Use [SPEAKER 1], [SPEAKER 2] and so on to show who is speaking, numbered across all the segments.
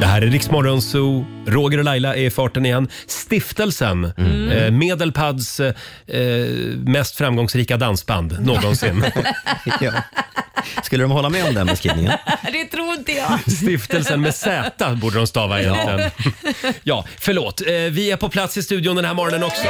[SPEAKER 1] Det här är Riksmorgon Zoo. Roger och Laila är i farten igen. Stiftelsen, eh, Medelpads eh, mest framgångsrika dansband någonsin.
[SPEAKER 2] Ja. Skulle de hålla med om den beskrivningen?
[SPEAKER 3] Det tror inte jag.
[SPEAKER 1] Stiftelsen med Z borde de stava egentligen. Ja. ja, förlåt. Eh, Vi är på plats i studion den här morgonen också.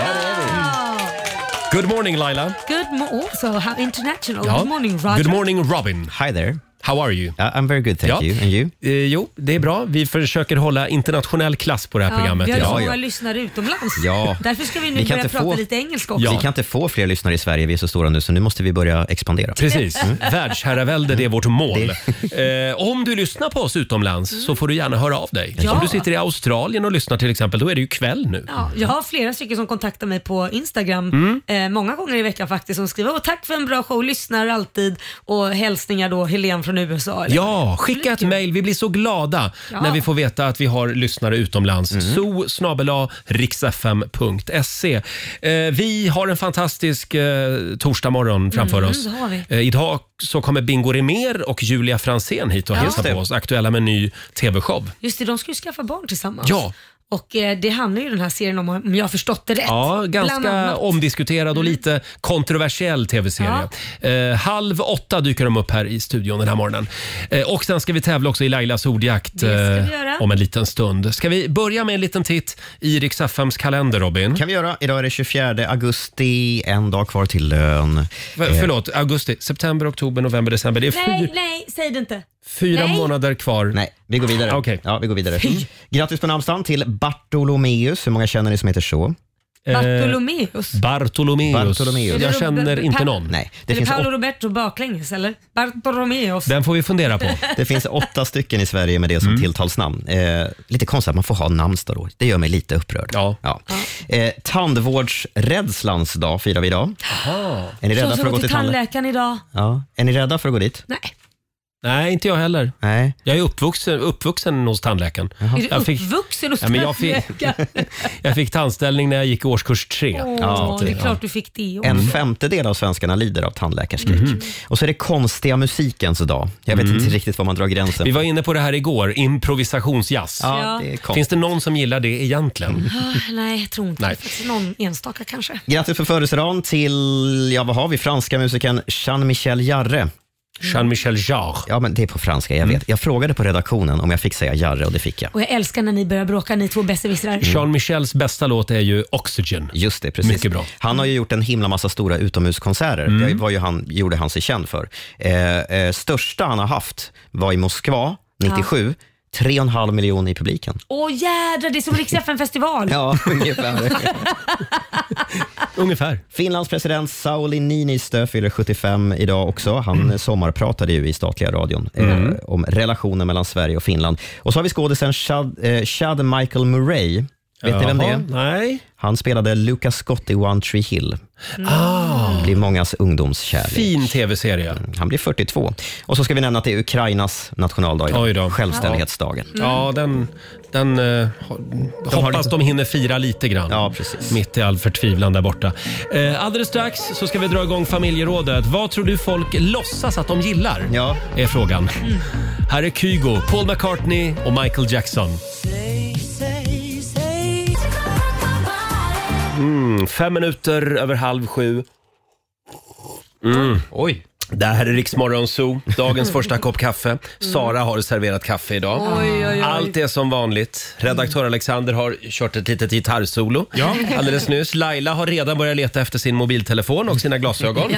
[SPEAKER 1] Good morning Laila.
[SPEAKER 3] Good morning. Also, how international.
[SPEAKER 1] Ja.
[SPEAKER 3] Good morning, Roger.
[SPEAKER 1] Good morning Robin.
[SPEAKER 2] Hi there.
[SPEAKER 1] How are you?
[SPEAKER 2] Uh, I'm very good, thank
[SPEAKER 1] Ja.
[SPEAKER 2] you. And you?
[SPEAKER 1] Eh, jo, det är bra. Vi försöker hålla internationell klass på det här programmet
[SPEAKER 3] vi har liksom- ju så
[SPEAKER 1] idag.
[SPEAKER 3] många
[SPEAKER 2] ja.
[SPEAKER 3] lyssnare utomlands.
[SPEAKER 2] Ja.
[SPEAKER 3] Därför ska vi nu
[SPEAKER 2] Vi kan
[SPEAKER 3] börja
[SPEAKER 2] inte
[SPEAKER 3] prata
[SPEAKER 2] få-
[SPEAKER 3] lite engelska också.
[SPEAKER 2] Vi kan inte få fler lyssnare i Sverige, vi är så stora nu, så nu måste vi börja expandera.
[SPEAKER 1] Precis.
[SPEAKER 3] Mm.
[SPEAKER 1] Världsherravälde, det är vårt mål. Eh, om du lyssnar på oss utomlands så får du gärna höra av dig.
[SPEAKER 3] Ja.
[SPEAKER 1] Om du sitter i Australien och lyssnar till exempel, då är det ju kväll nu.
[SPEAKER 3] Ja, jag har flera stycken som kontaktar mig på Instagram eh, många gånger i veckan faktiskt som skriver Åh, tack för en bra show, lyssnar alltid och hälsningar då Helen från USA. eller-
[SPEAKER 1] Ja, skicka ett mejl. Vi blir så glada
[SPEAKER 3] Ja.
[SPEAKER 1] när vi får veta att vi har lyssnare utomlands. Mm. riksfm.se. Eh, vi har en fantastisk eh, torsdagmorgon framför
[SPEAKER 3] Mm,
[SPEAKER 1] oss.
[SPEAKER 3] det har vi.
[SPEAKER 1] Eh, idag så kommer Bingo Rimér och Julia Fransén hit och
[SPEAKER 3] Ja.
[SPEAKER 1] hälsa på oss, aktuella med en ny tv-show.
[SPEAKER 3] Just det, de ska ju skaffa barn tillsammans.
[SPEAKER 1] Ja.
[SPEAKER 3] Och eh, det handlar ju den här serien om, om jag har förstått det rätt.
[SPEAKER 1] Ja,
[SPEAKER 3] Bland
[SPEAKER 1] ganska
[SPEAKER 3] annat. Mm.
[SPEAKER 1] omdiskuterad och lite kontroversiell tv-serie. Eh, halv åtta dyker de upp här i studion den här morgonen. Eh, och sen ska vi tävla också i Lailas ordjakt
[SPEAKER 3] Det ska vi
[SPEAKER 1] eh,
[SPEAKER 3] göra.
[SPEAKER 1] om en liten stund. Ska vi börja med en liten titt i Rix FMs kalender, Robin?
[SPEAKER 2] Kan vi göra. Idag är det 24 augusti, en dag kvar till lön.
[SPEAKER 1] Va- Förlåt, augusti, september, oktober, november, december. Det är
[SPEAKER 3] Nej,
[SPEAKER 1] fy-
[SPEAKER 3] nej, säg det inte.
[SPEAKER 1] fyra
[SPEAKER 3] nej.
[SPEAKER 1] månader kvar.
[SPEAKER 2] Nej, vi går vidare.
[SPEAKER 1] Ah, Okej.
[SPEAKER 2] Ja, vi går vidare. Grattis på namnsdagen till Bartolomeus. Hur många känner ni som heter så?
[SPEAKER 1] Eh,
[SPEAKER 3] Bartolomeus.
[SPEAKER 1] Bartolomeus.
[SPEAKER 2] Bartolomeus.
[SPEAKER 1] Jag
[SPEAKER 3] Är
[SPEAKER 1] känner
[SPEAKER 3] det
[SPEAKER 1] inte
[SPEAKER 3] Pa-
[SPEAKER 1] någon.
[SPEAKER 2] Nej, det
[SPEAKER 3] Det eller
[SPEAKER 2] finns,
[SPEAKER 3] Paolo
[SPEAKER 2] åt,
[SPEAKER 3] Roberto baklänges eller? Bartolomeos.
[SPEAKER 1] Den får vi fundera på.
[SPEAKER 2] det finns åtta stycken i Sverige med det
[SPEAKER 1] Mm.
[SPEAKER 2] som tilltalsnamn. Eh, lite konstigt att man får ha namnsdag då. Det gör mig lite upprörd.
[SPEAKER 1] Ja.
[SPEAKER 2] Eh, tandvårdsrädslans dag firar vi idag.
[SPEAKER 1] Aha.
[SPEAKER 2] Är ni
[SPEAKER 3] Jag
[SPEAKER 2] rädda
[SPEAKER 3] som
[SPEAKER 2] för att gå till tandläkaren?
[SPEAKER 3] tandläkaren idag.
[SPEAKER 2] Ja. Är ni rädda för att gå dit?
[SPEAKER 3] Nej.
[SPEAKER 1] Nej, inte jag heller.
[SPEAKER 2] Nej.
[SPEAKER 1] Jag är uppvuxen, uppvuxen hos tandläkaren.
[SPEAKER 3] Är du
[SPEAKER 1] Jag fick-
[SPEAKER 3] uppvuxen hos
[SPEAKER 1] Ja, men jag fick-
[SPEAKER 3] tandläkaren?
[SPEAKER 1] Jag fick tandställning när jag gick i årskurs tre.
[SPEAKER 3] Åh,
[SPEAKER 2] Ja,
[SPEAKER 1] typ,
[SPEAKER 3] det är
[SPEAKER 2] ja.
[SPEAKER 3] klart du fick det.
[SPEAKER 2] En femtedel av svenskarna lider av tandläkarskräck. Och så är det konstiga musikens dag. Jag vet inte riktigt var man drar gränsen.
[SPEAKER 1] Vi var inne på det här igår, improvisationsjazz.
[SPEAKER 2] ja, Mm.
[SPEAKER 3] Ja.
[SPEAKER 2] Det är konstigt.
[SPEAKER 1] Finns det någon som gillar det egentligen?
[SPEAKER 3] Ah, nej, jag tror inte
[SPEAKER 1] Nej.
[SPEAKER 3] det. Faktiskt Någon enstaka kanske.
[SPEAKER 2] Grattis på födelsedagen till, ja vad har vi, franska musikern Jean-Michel Jarre.
[SPEAKER 1] Jean-Michel Jarre.
[SPEAKER 2] Ja men det är på franska, jag vet. Jag frågade på redaktionen om jag fick säga Jarre och det fick jag.
[SPEAKER 3] Och jag älskar när ni börjar bråka, ni två besserwissrar.
[SPEAKER 2] Mm.
[SPEAKER 1] Jean-Michels bästa låt är ju Oxygen.
[SPEAKER 2] Just det, precis.
[SPEAKER 1] Mycket bra. Mm.
[SPEAKER 2] Han har ju gjort en himla massa stora utomhuskonserter. Det var ju han, gjorde han sig känd för. Eh, eh, största han har haft var i Moskva 97. 3,5 miljoner i publiken.
[SPEAKER 3] Åh jädrar, det är som Rix festival
[SPEAKER 2] Ja, ungefär.
[SPEAKER 1] Ungefär.
[SPEAKER 2] Finlands president Sauli Niinistö fyller 75 idag också. Han
[SPEAKER 1] Mm.
[SPEAKER 2] sommarpratade ju i statliga radion eh, om relationen mellan Sverige och Finland. Och så har vi skådisen Chad, eh, Chad Michael Murray. Vet ni vem det
[SPEAKER 1] Jaha,
[SPEAKER 2] är?
[SPEAKER 1] Nej.
[SPEAKER 2] Han spelade Lucas Scott i One Tree Hill.
[SPEAKER 1] Ah,
[SPEAKER 2] Blir mångas ungdomskärlek.
[SPEAKER 1] fin tv-serie.
[SPEAKER 2] Han blir 42. Och så ska vi nämna att det är Ukrainas nationaldag
[SPEAKER 1] Oj då.
[SPEAKER 2] idag. Självständighetsdagen.
[SPEAKER 1] Ja, den, den eh, ho- hoppas de hinner fira lite grann.
[SPEAKER 2] Ja, precis.
[SPEAKER 1] Mitt i all förtvivlan där borta. Eh, alldeles strax så ska vi dra igång familjerådet. Vad tror du folk låtsas att de gillar?
[SPEAKER 2] Ja.
[SPEAKER 1] Är frågan. Här är Kygo, Paul McCartney och Michael Jackson. Mm, fem minuter över halv sju. Mm.
[SPEAKER 2] Oj.
[SPEAKER 1] Det här är Riksmorgon Zoo, dagens första kopp kaffe. Sara har serverat kaffe idag. Allt är som vanligt. Redaktör Alexander har kört ett litet gitarrsolo alldeles nyss. Laila har redan börjat leta efter sin mobiltelefon och sina glasögon.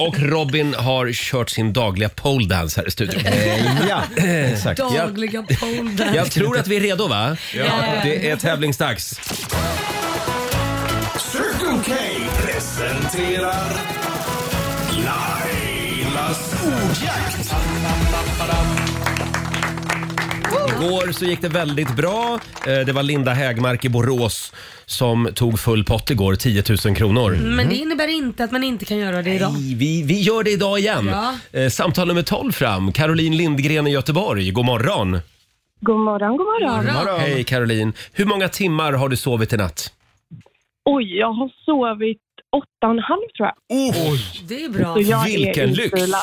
[SPEAKER 1] Och Robin har kört sin dagliga poledance här i studion.
[SPEAKER 2] Eh, ja, exakt.
[SPEAKER 3] Dagliga polder.
[SPEAKER 1] Jag tror att vi är redo va?
[SPEAKER 3] Ja.
[SPEAKER 1] Det är tävlingsdags.
[SPEAKER 4] Circle K presenterar Lailas ordjakt.
[SPEAKER 1] Igår så gick det väldigt bra. Eh, Det var Linda Hägmark i Borås som tog full pott igår, 10 000 kronor.
[SPEAKER 3] Men det innebär inte att man inte kan göra det idag.
[SPEAKER 1] Nej, vi, vi gör det idag igen.
[SPEAKER 3] Ja.
[SPEAKER 1] Eh, samtal nummer 12 fram. Caroline Lindgren i Göteborg. God morgon.
[SPEAKER 5] God morgon, god morgon.
[SPEAKER 1] Mm.
[SPEAKER 3] Bra.
[SPEAKER 1] Hej Caroline. Hur många timmar har du sovit i natt?
[SPEAKER 5] Oj, jag har sovit åtta och en halv tror jag.
[SPEAKER 3] Det är bra.
[SPEAKER 5] Så jag
[SPEAKER 1] vilken
[SPEAKER 5] är
[SPEAKER 1] lyx.
[SPEAKER 5] utvilad.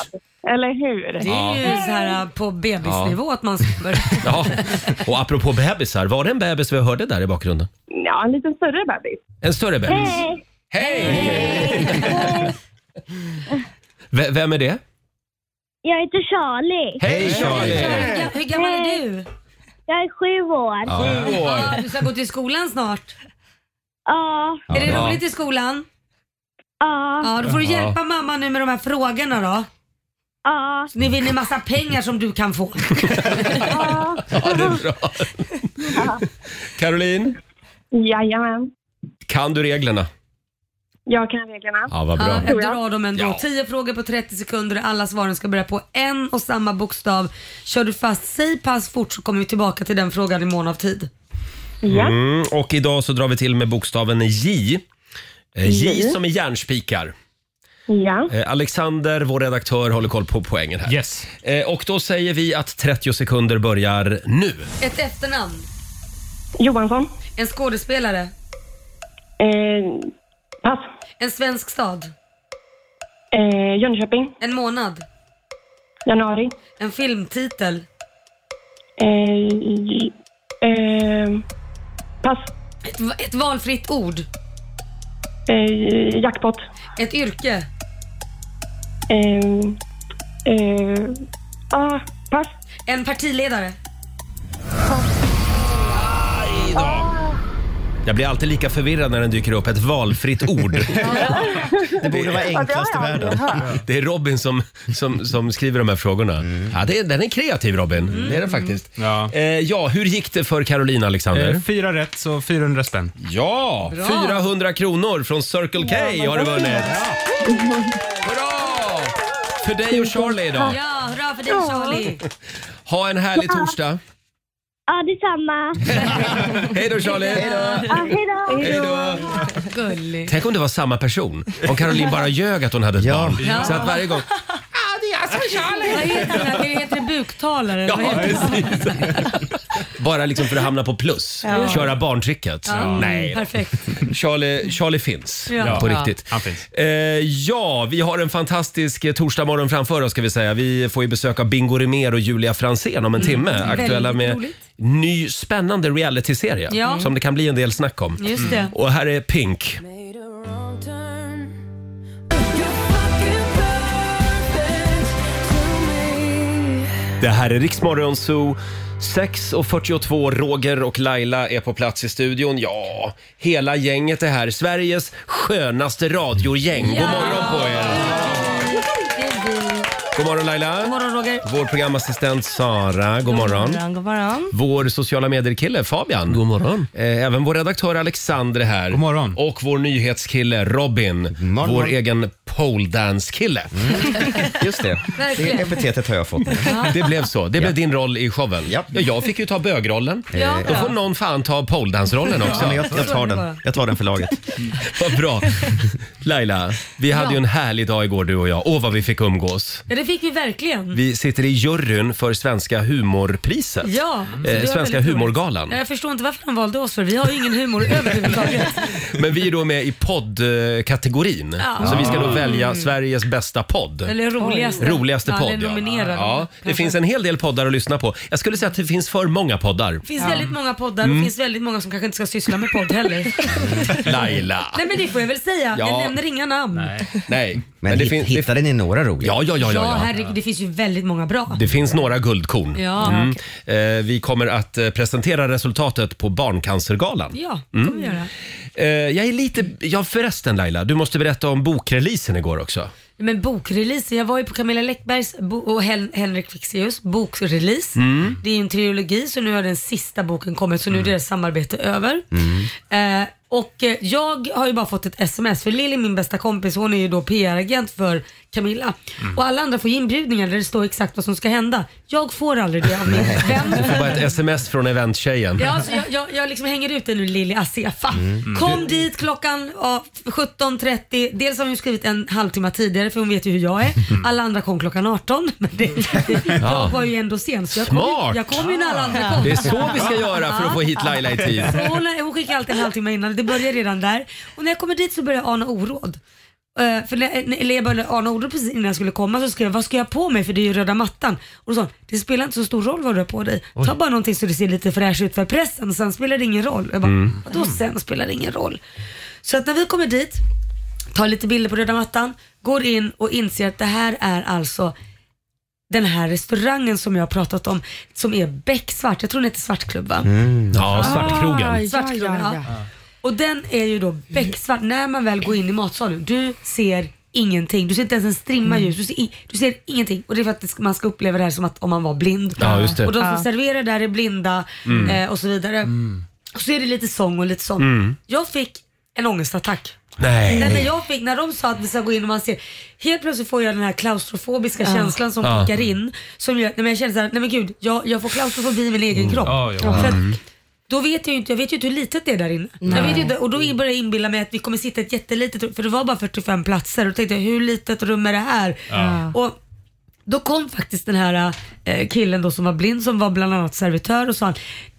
[SPEAKER 5] Eller hur?
[SPEAKER 3] Det är ju så här äh, på bebisnivå att man sover.
[SPEAKER 1] Ja. Och apropå bebisar, var det en bebis vi hörde där i bakgrunden?
[SPEAKER 5] Ja, en liten större bebis.
[SPEAKER 1] En större bebis?
[SPEAKER 5] Hej!
[SPEAKER 1] Hej! V- vem är det?
[SPEAKER 6] Jag heter Charlie.
[SPEAKER 1] Hej Charlie!
[SPEAKER 3] Hur ga- Hur gammal är du?
[SPEAKER 6] Jag är sju år. Ja.
[SPEAKER 1] Sju år.
[SPEAKER 3] Ja, du ska gå till skolan snart.
[SPEAKER 6] ja.
[SPEAKER 3] Är det
[SPEAKER 1] Ja.
[SPEAKER 3] roligt i skolan? Ja, då får du hjälpa mamma nu med de här frågorna då.
[SPEAKER 6] ja.
[SPEAKER 3] Så ni vinner massa pengar som du kan få.
[SPEAKER 1] Ja, det är bra. Caroline,
[SPEAKER 5] Jajamän.
[SPEAKER 1] kan du reglerna?
[SPEAKER 5] Jag kan reglerna.
[SPEAKER 1] Ja, vad
[SPEAKER 3] Ja,
[SPEAKER 1] bra.
[SPEAKER 3] jag drar dem ändå.
[SPEAKER 1] Ja.
[SPEAKER 3] 10 frågor på 30 sekunder och alla svaren ska börja på en och samma bokstav. Kör du fast, säg pass fort så kommer vi tillbaka till den frågan i mån av tid.
[SPEAKER 1] Mm, och idag så drar vi till med bokstaven J. Eh, J som är järnspikar.
[SPEAKER 2] Mm.
[SPEAKER 5] Ja.
[SPEAKER 1] Eh, Alexander, vår redaktör, håller koll på poängen här.
[SPEAKER 7] Yes.
[SPEAKER 1] Eh, Och då säger vi att 30 sekunder börjar nu.
[SPEAKER 3] Ett efternamn,
[SPEAKER 5] Johansson.
[SPEAKER 3] en skådespelare,
[SPEAKER 5] Eh, pass.
[SPEAKER 3] en svensk stad,
[SPEAKER 5] Eh, Jönköping.
[SPEAKER 3] en månad,
[SPEAKER 5] Januari.
[SPEAKER 3] en filmtitel,
[SPEAKER 5] Eh, j- eh, pass.
[SPEAKER 3] ett, ett valfritt ord,
[SPEAKER 5] Eh, jackpot.
[SPEAKER 3] ett yrke,
[SPEAKER 5] Eh, eh, ah, pass.
[SPEAKER 3] en partiledare.
[SPEAKER 1] Jag blir alltid lika förvirrad när den dyker upp. Ett valfritt ord.
[SPEAKER 2] Det borde vara enklast i världen.
[SPEAKER 1] Det är Robin som, som, som skriver de här frågorna. Ja, det är, den är kreativ Robin. Det är den faktiskt.
[SPEAKER 7] Ja.
[SPEAKER 1] Eh, Mm. ja, hur gick det för Caroline Alexander?
[SPEAKER 7] Eh, Fyra rätt så 400 spänn.
[SPEAKER 1] Ja, 400 kronor från Circle K har du vunnit. Bra! För dig och Charlie idag.
[SPEAKER 3] Ja, hurra för dig Charlie.
[SPEAKER 1] Ha en härlig torsdag.
[SPEAKER 6] ja, detsamma.
[SPEAKER 1] Hej då Charlie!
[SPEAKER 6] Ja,
[SPEAKER 5] Ah,
[SPEAKER 6] hej då.
[SPEAKER 1] Hej då!
[SPEAKER 3] Gullig.
[SPEAKER 1] Tänk om det var samma person. Om Caroline bara ljög att hon hade ett
[SPEAKER 2] Ja.
[SPEAKER 1] barn. Så att varje gång...
[SPEAKER 3] Vad heter den här? Heter det buktalare? eller vad
[SPEAKER 1] Ja,
[SPEAKER 3] heter det?
[SPEAKER 1] precis. Bara liksom för att hamna på plus. Köra barntricket. Nej.
[SPEAKER 3] mm, Perfekt.
[SPEAKER 1] Charlie, Charlie finns
[SPEAKER 3] Ja.
[SPEAKER 1] på
[SPEAKER 3] Ja.
[SPEAKER 1] riktigt.
[SPEAKER 7] Han finns.
[SPEAKER 1] Eh, ja, vi har en fantastisk eh, torsdagmorgon framför oss ska vi säga. Vi får ju besök av Bingo Rimér och Julia Fransén om en timme. Aktuella
[SPEAKER 3] Mm. Väldigt
[SPEAKER 1] med
[SPEAKER 3] roligt.
[SPEAKER 1] ny spännande realityserie
[SPEAKER 3] Ja.
[SPEAKER 1] som det kan bli en del snack om.
[SPEAKER 3] Just det.
[SPEAKER 1] Och här är Pink. Det här är Riksmorgon Zoo. 6.42, Roger och Laila är på plats i studion. Ja, hela gänget är här. Sveriges skönaste radiogäng. God morgon på er!
[SPEAKER 3] Det är vi.
[SPEAKER 1] God morgon Laila!
[SPEAKER 3] God morgon Roger.
[SPEAKER 1] Vår programassistent Sara, god morgon.
[SPEAKER 3] God morgon.
[SPEAKER 1] Vår sociala medier-kille Fabian. God morgon. Även vår redaktör Alexander är här.
[SPEAKER 7] God morgon.
[SPEAKER 1] Och vår nyhetskille Robin.
[SPEAKER 2] morgon.
[SPEAKER 1] Vår egen poledance-kille.
[SPEAKER 2] Just det. Det
[SPEAKER 3] Verkligen.
[SPEAKER 2] epitetet har jag fått.
[SPEAKER 1] Det blev så. Det blev din roll i showen.
[SPEAKER 2] Ja.
[SPEAKER 1] Ja, jag fick ju ta bögrollen.
[SPEAKER 3] Ja.
[SPEAKER 1] Då får någon fan ta poledance-rollen också.
[SPEAKER 2] Men jag, jag, tar den. jag tar den för laget.
[SPEAKER 1] Vad bra. Laila, vi hade ju en härlig dag igår du och jag. Åh vad vi fick umgås.
[SPEAKER 3] Ja, det fick vi verkligen.
[SPEAKER 1] Vi sitter i juryn för Svenska humorpriset.
[SPEAKER 3] Ja, så det var
[SPEAKER 1] Eh, Svenska
[SPEAKER 3] väldigt roligt.
[SPEAKER 1] humorgalan.
[SPEAKER 3] Ja, Jag förstår inte varför de valde oss för vi har ju ingen humor överhuvudtaget.
[SPEAKER 1] Men vi är då med i poddkategorin.
[SPEAKER 3] Ja.
[SPEAKER 1] Så vi ska då
[SPEAKER 2] Ah.
[SPEAKER 1] välja Sveriges bästa podd.
[SPEAKER 3] Eller roligaste.
[SPEAKER 1] Roligaste
[SPEAKER 3] ja,
[SPEAKER 1] podd,
[SPEAKER 3] Eller nominerade.
[SPEAKER 1] ja. Det
[SPEAKER 3] Kanske.
[SPEAKER 1] finns en hel del poddar att lyssna på. Jag skulle säga att det finns för många poddar.
[SPEAKER 3] Det finns väldigt många poddar
[SPEAKER 1] Mm.
[SPEAKER 3] och det finns väldigt många som kanske inte ska syssla med podd heller.
[SPEAKER 1] Laila!
[SPEAKER 3] Nej men det får jag väl säga.
[SPEAKER 1] Ja.
[SPEAKER 3] Jag nämner inga namn.
[SPEAKER 1] Nej.
[SPEAKER 2] Men,
[SPEAKER 1] det
[SPEAKER 2] hitt-
[SPEAKER 1] finns... Det...
[SPEAKER 2] hittade ni några roliga?
[SPEAKER 1] Ja, ja, ja, ja.
[SPEAKER 3] Ja,
[SPEAKER 1] ja.
[SPEAKER 3] herregud, det finns ju väldigt många bra.
[SPEAKER 1] Det finns några guldkorn.
[SPEAKER 3] Ja.
[SPEAKER 1] Mm. Eh, vi kommer att eh, presentera resultatet på Barncancergalan.
[SPEAKER 3] Ja, det kommer vi göra.
[SPEAKER 1] Eh, jag är lite... Ja, förresten Laila, du måste berätta om bokreleasen igår också.
[SPEAKER 3] Men bokrelease, jag var ju på Camilla Läckbergs bo- och Hen- Henrik Fixeus bokrelease. Det är ju en trilogi så nu har den sista boken kommit så nu är deras samarbete över. Eh, och eh, jag har ju bara fått ett sms för Lili min bästa kompis hon är ju då PR-agent för Camilla. Och alla andra får ju inbjudningar där det står exakt vad som ska hända. Jag får aldrig det av min vän.
[SPEAKER 1] Det var ett sms från eventtjejen.
[SPEAKER 3] Ja, så jag, jag, jag liksom hänger ut dig nu Lili Asefa. Kom dit klockan ja, 17.30. Dels har hon ju skrivit en halvtimme tidigare för hon vet ju hur jag är. Alla andra kom klockan 18. Men det, jag var ju ändå sen så jag kom, ju-
[SPEAKER 1] Smart.
[SPEAKER 3] jag kom ju när alla andra kom.
[SPEAKER 1] Det är så vi ska göra för att få hit Laila i tid.
[SPEAKER 3] Så Hon, hon skickar alltid en halvtimme innan, det börjar redan där. Och när jag kommer dit så börjar jag ana oråd. Eh, för när, när- eller jag började ana oråd precis innan jag skulle komma så skrev jag, vad ska jag ha på mig? För det är ju röda mattan. Och då sa hon, det spelar inte så stor roll vad du har på dig. Ta bara någonting så det ser lite fräscht ut för pressen, sen spelar det ingen roll. Jag bara, vadå sen spelar det ingen roll? Så att när vi kommer dit, tar lite bilder på röda mattan, går in och inser att det här är alltså den här restaurangen som jag har pratat om som är becksvart. Jag tror den heter Svartklubb va?
[SPEAKER 1] Ja, Svartkrogen.
[SPEAKER 8] Aj, ja,
[SPEAKER 3] Svartkrogen,
[SPEAKER 8] ja,
[SPEAKER 3] Ah, ja.
[SPEAKER 8] ja.
[SPEAKER 3] Och den är ju då becksvart. När man väl går in i matsalen, du ser ingenting. Du ser inte ens en
[SPEAKER 8] Mm.
[SPEAKER 3] strimma ljus. Du ser, i- du ser ingenting. Och det är för att det ska, man ska uppleva det här som att om man var blind.
[SPEAKER 1] Ja, just det. Mm.
[SPEAKER 3] Och de som
[SPEAKER 8] Ja. Mm.
[SPEAKER 3] serverar där är blinda eh, och så vidare. Och så är det lite sång och lite sånt.
[SPEAKER 1] Mm.
[SPEAKER 3] Jag fick en ångestattack. Nej,
[SPEAKER 1] Nej.
[SPEAKER 3] men jag fick, när de sa att vi ska gå in och man ser, helt plötsligt får jag den här klaustrofobiska känslan som
[SPEAKER 1] Ja.
[SPEAKER 3] kickar in. Som gör, nej men jag känner såhär, nej men gud, jag, jag får klaustrofobi i min egen kropp.
[SPEAKER 7] Ja, ja.
[SPEAKER 3] För att, då vet jag ju inte, jag vet ju inte hur litet det är där inne. Jag vet ju inte, och då började jag inbilla mig att vi kommer sitta i ett jättelitet rum, för det var bara 45 platser. Och då tänkte jag, hur litet rum är det här? Och då kom faktiskt den här eh, killen då som var blind som var bland annat servitör och sa han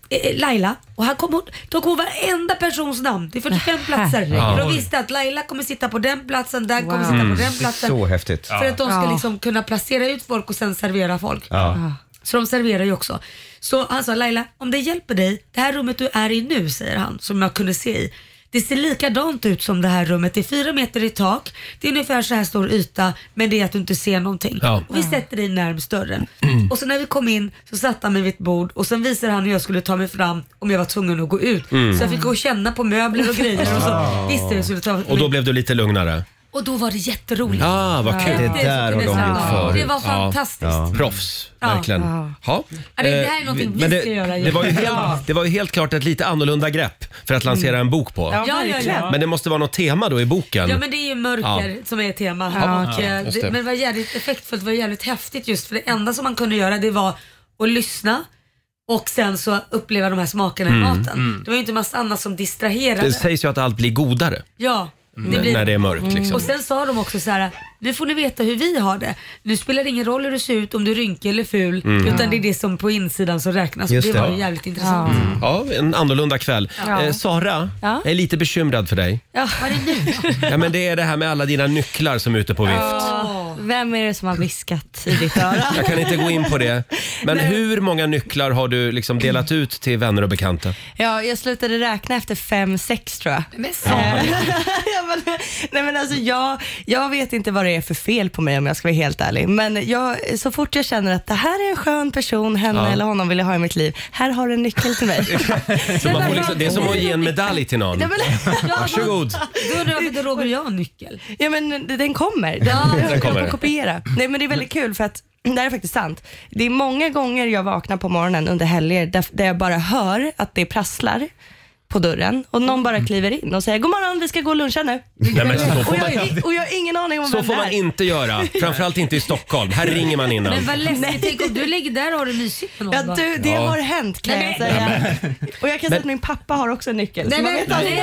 [SPEAKER 3] eh, Laila, och han kom, hon- då kom varenda persons namn. Det är 45 platser.
[SPEAKER 8] Herregud.
[SPEAKER 3] Och då visste jag att Laila kommer sitta på den platsen, den kommer sitta på den platsen.
[SPEAKER 2] Så häftigt.
[SPEAKER 3] För att de ska
[SPEAKER 8] Ja.
[SPEAKER 3] liksom kunna placera ut folk och sen servera folk.
[SPEAKER 2] Ja.
[SPEAKER 3] Så de serverar ju också. Så han sa Laila, om det hjälper dig, det här rummet du är i nu, säger han, som jag kunde se i. Det ser likadant ut som det här rummet. Det är fyra meter i tak, det är ungefär så här stor yta, men det är att du inte ser någonting.
[SPEAKER 1] Ja. Mm.
[SPEAKER 3] Och vi sätter dig närmst dörren. Och så när vi kom in så satte han mig vid ett bord och sen visade han hur jag skulle ta mig fram om jag var tvungen att gå ut.
[SPEAKER 1] Mm.
[SPEAKER 3] Så jag fick gå och känna på möbler och grejer och så visste jag hur jag skulle ta mig.
[SPEAKER 1] Och då blev du lite lugnare?
[SPEAKER 3] och då var det jätteroligt.
[SPEAKER 1] Ah, vad kul.
[SPEAKER 2] Det där har de gjort förut.
[SPEAKER 3] Det var
[SPEAKER 1] Ja.
[SPEAKER 3] fantastiskt.
[SPEAKER 1] Proffs,
[SPEAKER 3] Ja.
[SPEAKER 1] verkligen.
[SPEAKER 8] Ja.
[SPEAKER 1] Ja.
[SPEAKER 3] Ja, det- det här är
[SPEAKER 1] Eh,
[SPEAKER 3] någonting vi
[SPEAKER 1] men det,
[SPEAKER 3] ska göra
[SPEAKER 1] Det var, ju helt,
[SPEAKER 8] Ja.
[SPEAKER 1] det var ju helt klart ett lite annorlunda grepp för att lansera en bok på.
[SPEAKER 8] Ja,
[SPEAKER 3] Ja, ja,
[SPEAKER 8] verkligen.
[SPEAKER 3] ja.
[SPEAKER 1] Men det måste vara något tema då i boken.
[SPEAKER 3] Ja men det är ju mörker som är tema.
[SPEAKER 8] Ja,
[SPEAKER 3] och, eh,
[SPEAKER 1] just
[SPEAKER 3] det,
[SPEAKER 1] det.
[SPEAKER 3] men det var jävligt effektfullt, det var jävligt häftigt just för det enda som man kunde göra det var att lyssna och sen så uppleva de här smakerna i maten. Det var ju inte massa annat som distraherade.
[SPEAKER 1] Det sägs ju att allt blir godare
[SPEAKER 3] ja, det
[SPEAKER 1] när Mm. det är
[SPEAKER 8] Mm.
[SPEAKER 1] mörkt. Liksom.
[SPEAKER 3] Och sen sa de också så här: nu får ni veta hur vi har det. Nu spelar det ingen roll hur du ser ut, om du är rynkig eller ful, utan det är det som på insidan som räknas.
[SPEAKER 2] Just
[SPEAKER 3] det,
[SPEAKER 2] det.
[SPEAKER 3] var ju jävligt intressant.
[SPEAKER 1] Ja, en annorlunda kväll. Eh, Sara,
[SPEAKER 8] Ja.
[SPEAKER 1] jag är lite bekymrad för dig.
[SPEAKER 8] Ja.
[SPEAKER 1] Ja, men det är det här med alla dina nycklar som är ute på vift.
[SPEAKER 8] Vem är det som har viskat i ditt öra?
[SPEAKER 1] Jag kan inte gå in på det. Men hur många nycklar har du liksom delat ut till vänner och bekanta?
[SPEAKER 8] Ja, jag slutade räkna efter fem, sex tror jag.
[SPEAKER 3] Men
[SPEAKER 8] jag bara, nej men alltså jag, jag vet inte vad det är för fel på mig om jag ska vara helt ärlig. Men jag, så fort jag känner att det här är en skön person, henne eller honom vill jag ha i mitt liv. Här har du en nyckel till mig.
[SPEAKER 1] Så man får liksom, det är som att ge en medalj till någon.
[SPEAKER 8] Nej, men,
[SPEAKER 1] Varsågod.
[SPEAKER 3] Då undrar jag varför Roger och jag har nyckel.
[SPEAKER 8] ja, men den kommer. Den,
[SPEAKER 1] Den kommer.
[SPEAKER 8] Jag får kopiera. Nej men det är väldigt kul för att det här är faktiskt sant. Det är många gånger jag vaknar på morgonen under helger där, där jag bara hör att det prasslar på dörren och någon bara kliver in och säger god morgon, vi ska gå och luncha nu.
[SPEAKER 1] Nej, men Mm. så får
[SPEAKER 8] Och
[SPEAKER 1] man,
[SPEAKER 8] jag, och jag har ingen aning om
[SPEAKER 1] så
[SPEAKER 8] vem
[SPEAKER 1] får
[SPEAKER 8] det
[SPEAKER 1] man
[SPEAKER 8] är.
[SPEAKER 1] inte göra. Framförallt inte i Stockholm. Här ringer man
[SPEAKER 3] Men
[SPEAKER 1] innan.
[SPEAKER 3] vad läskigt, tänk om du ligger där och har det mysigt med någon
[SPEAKER 8] Ja,
[SPEAKER 3] va?
[SPEAKER 8] du, det har hänt kan jag säga. Och jag kan säga att min pappa har också en nyckel. så
[SPEAKER 3] Nej,
[SPEAKER 8] man
[SPEAKER 3] men,
[SPEAKER 8] vet aldrig.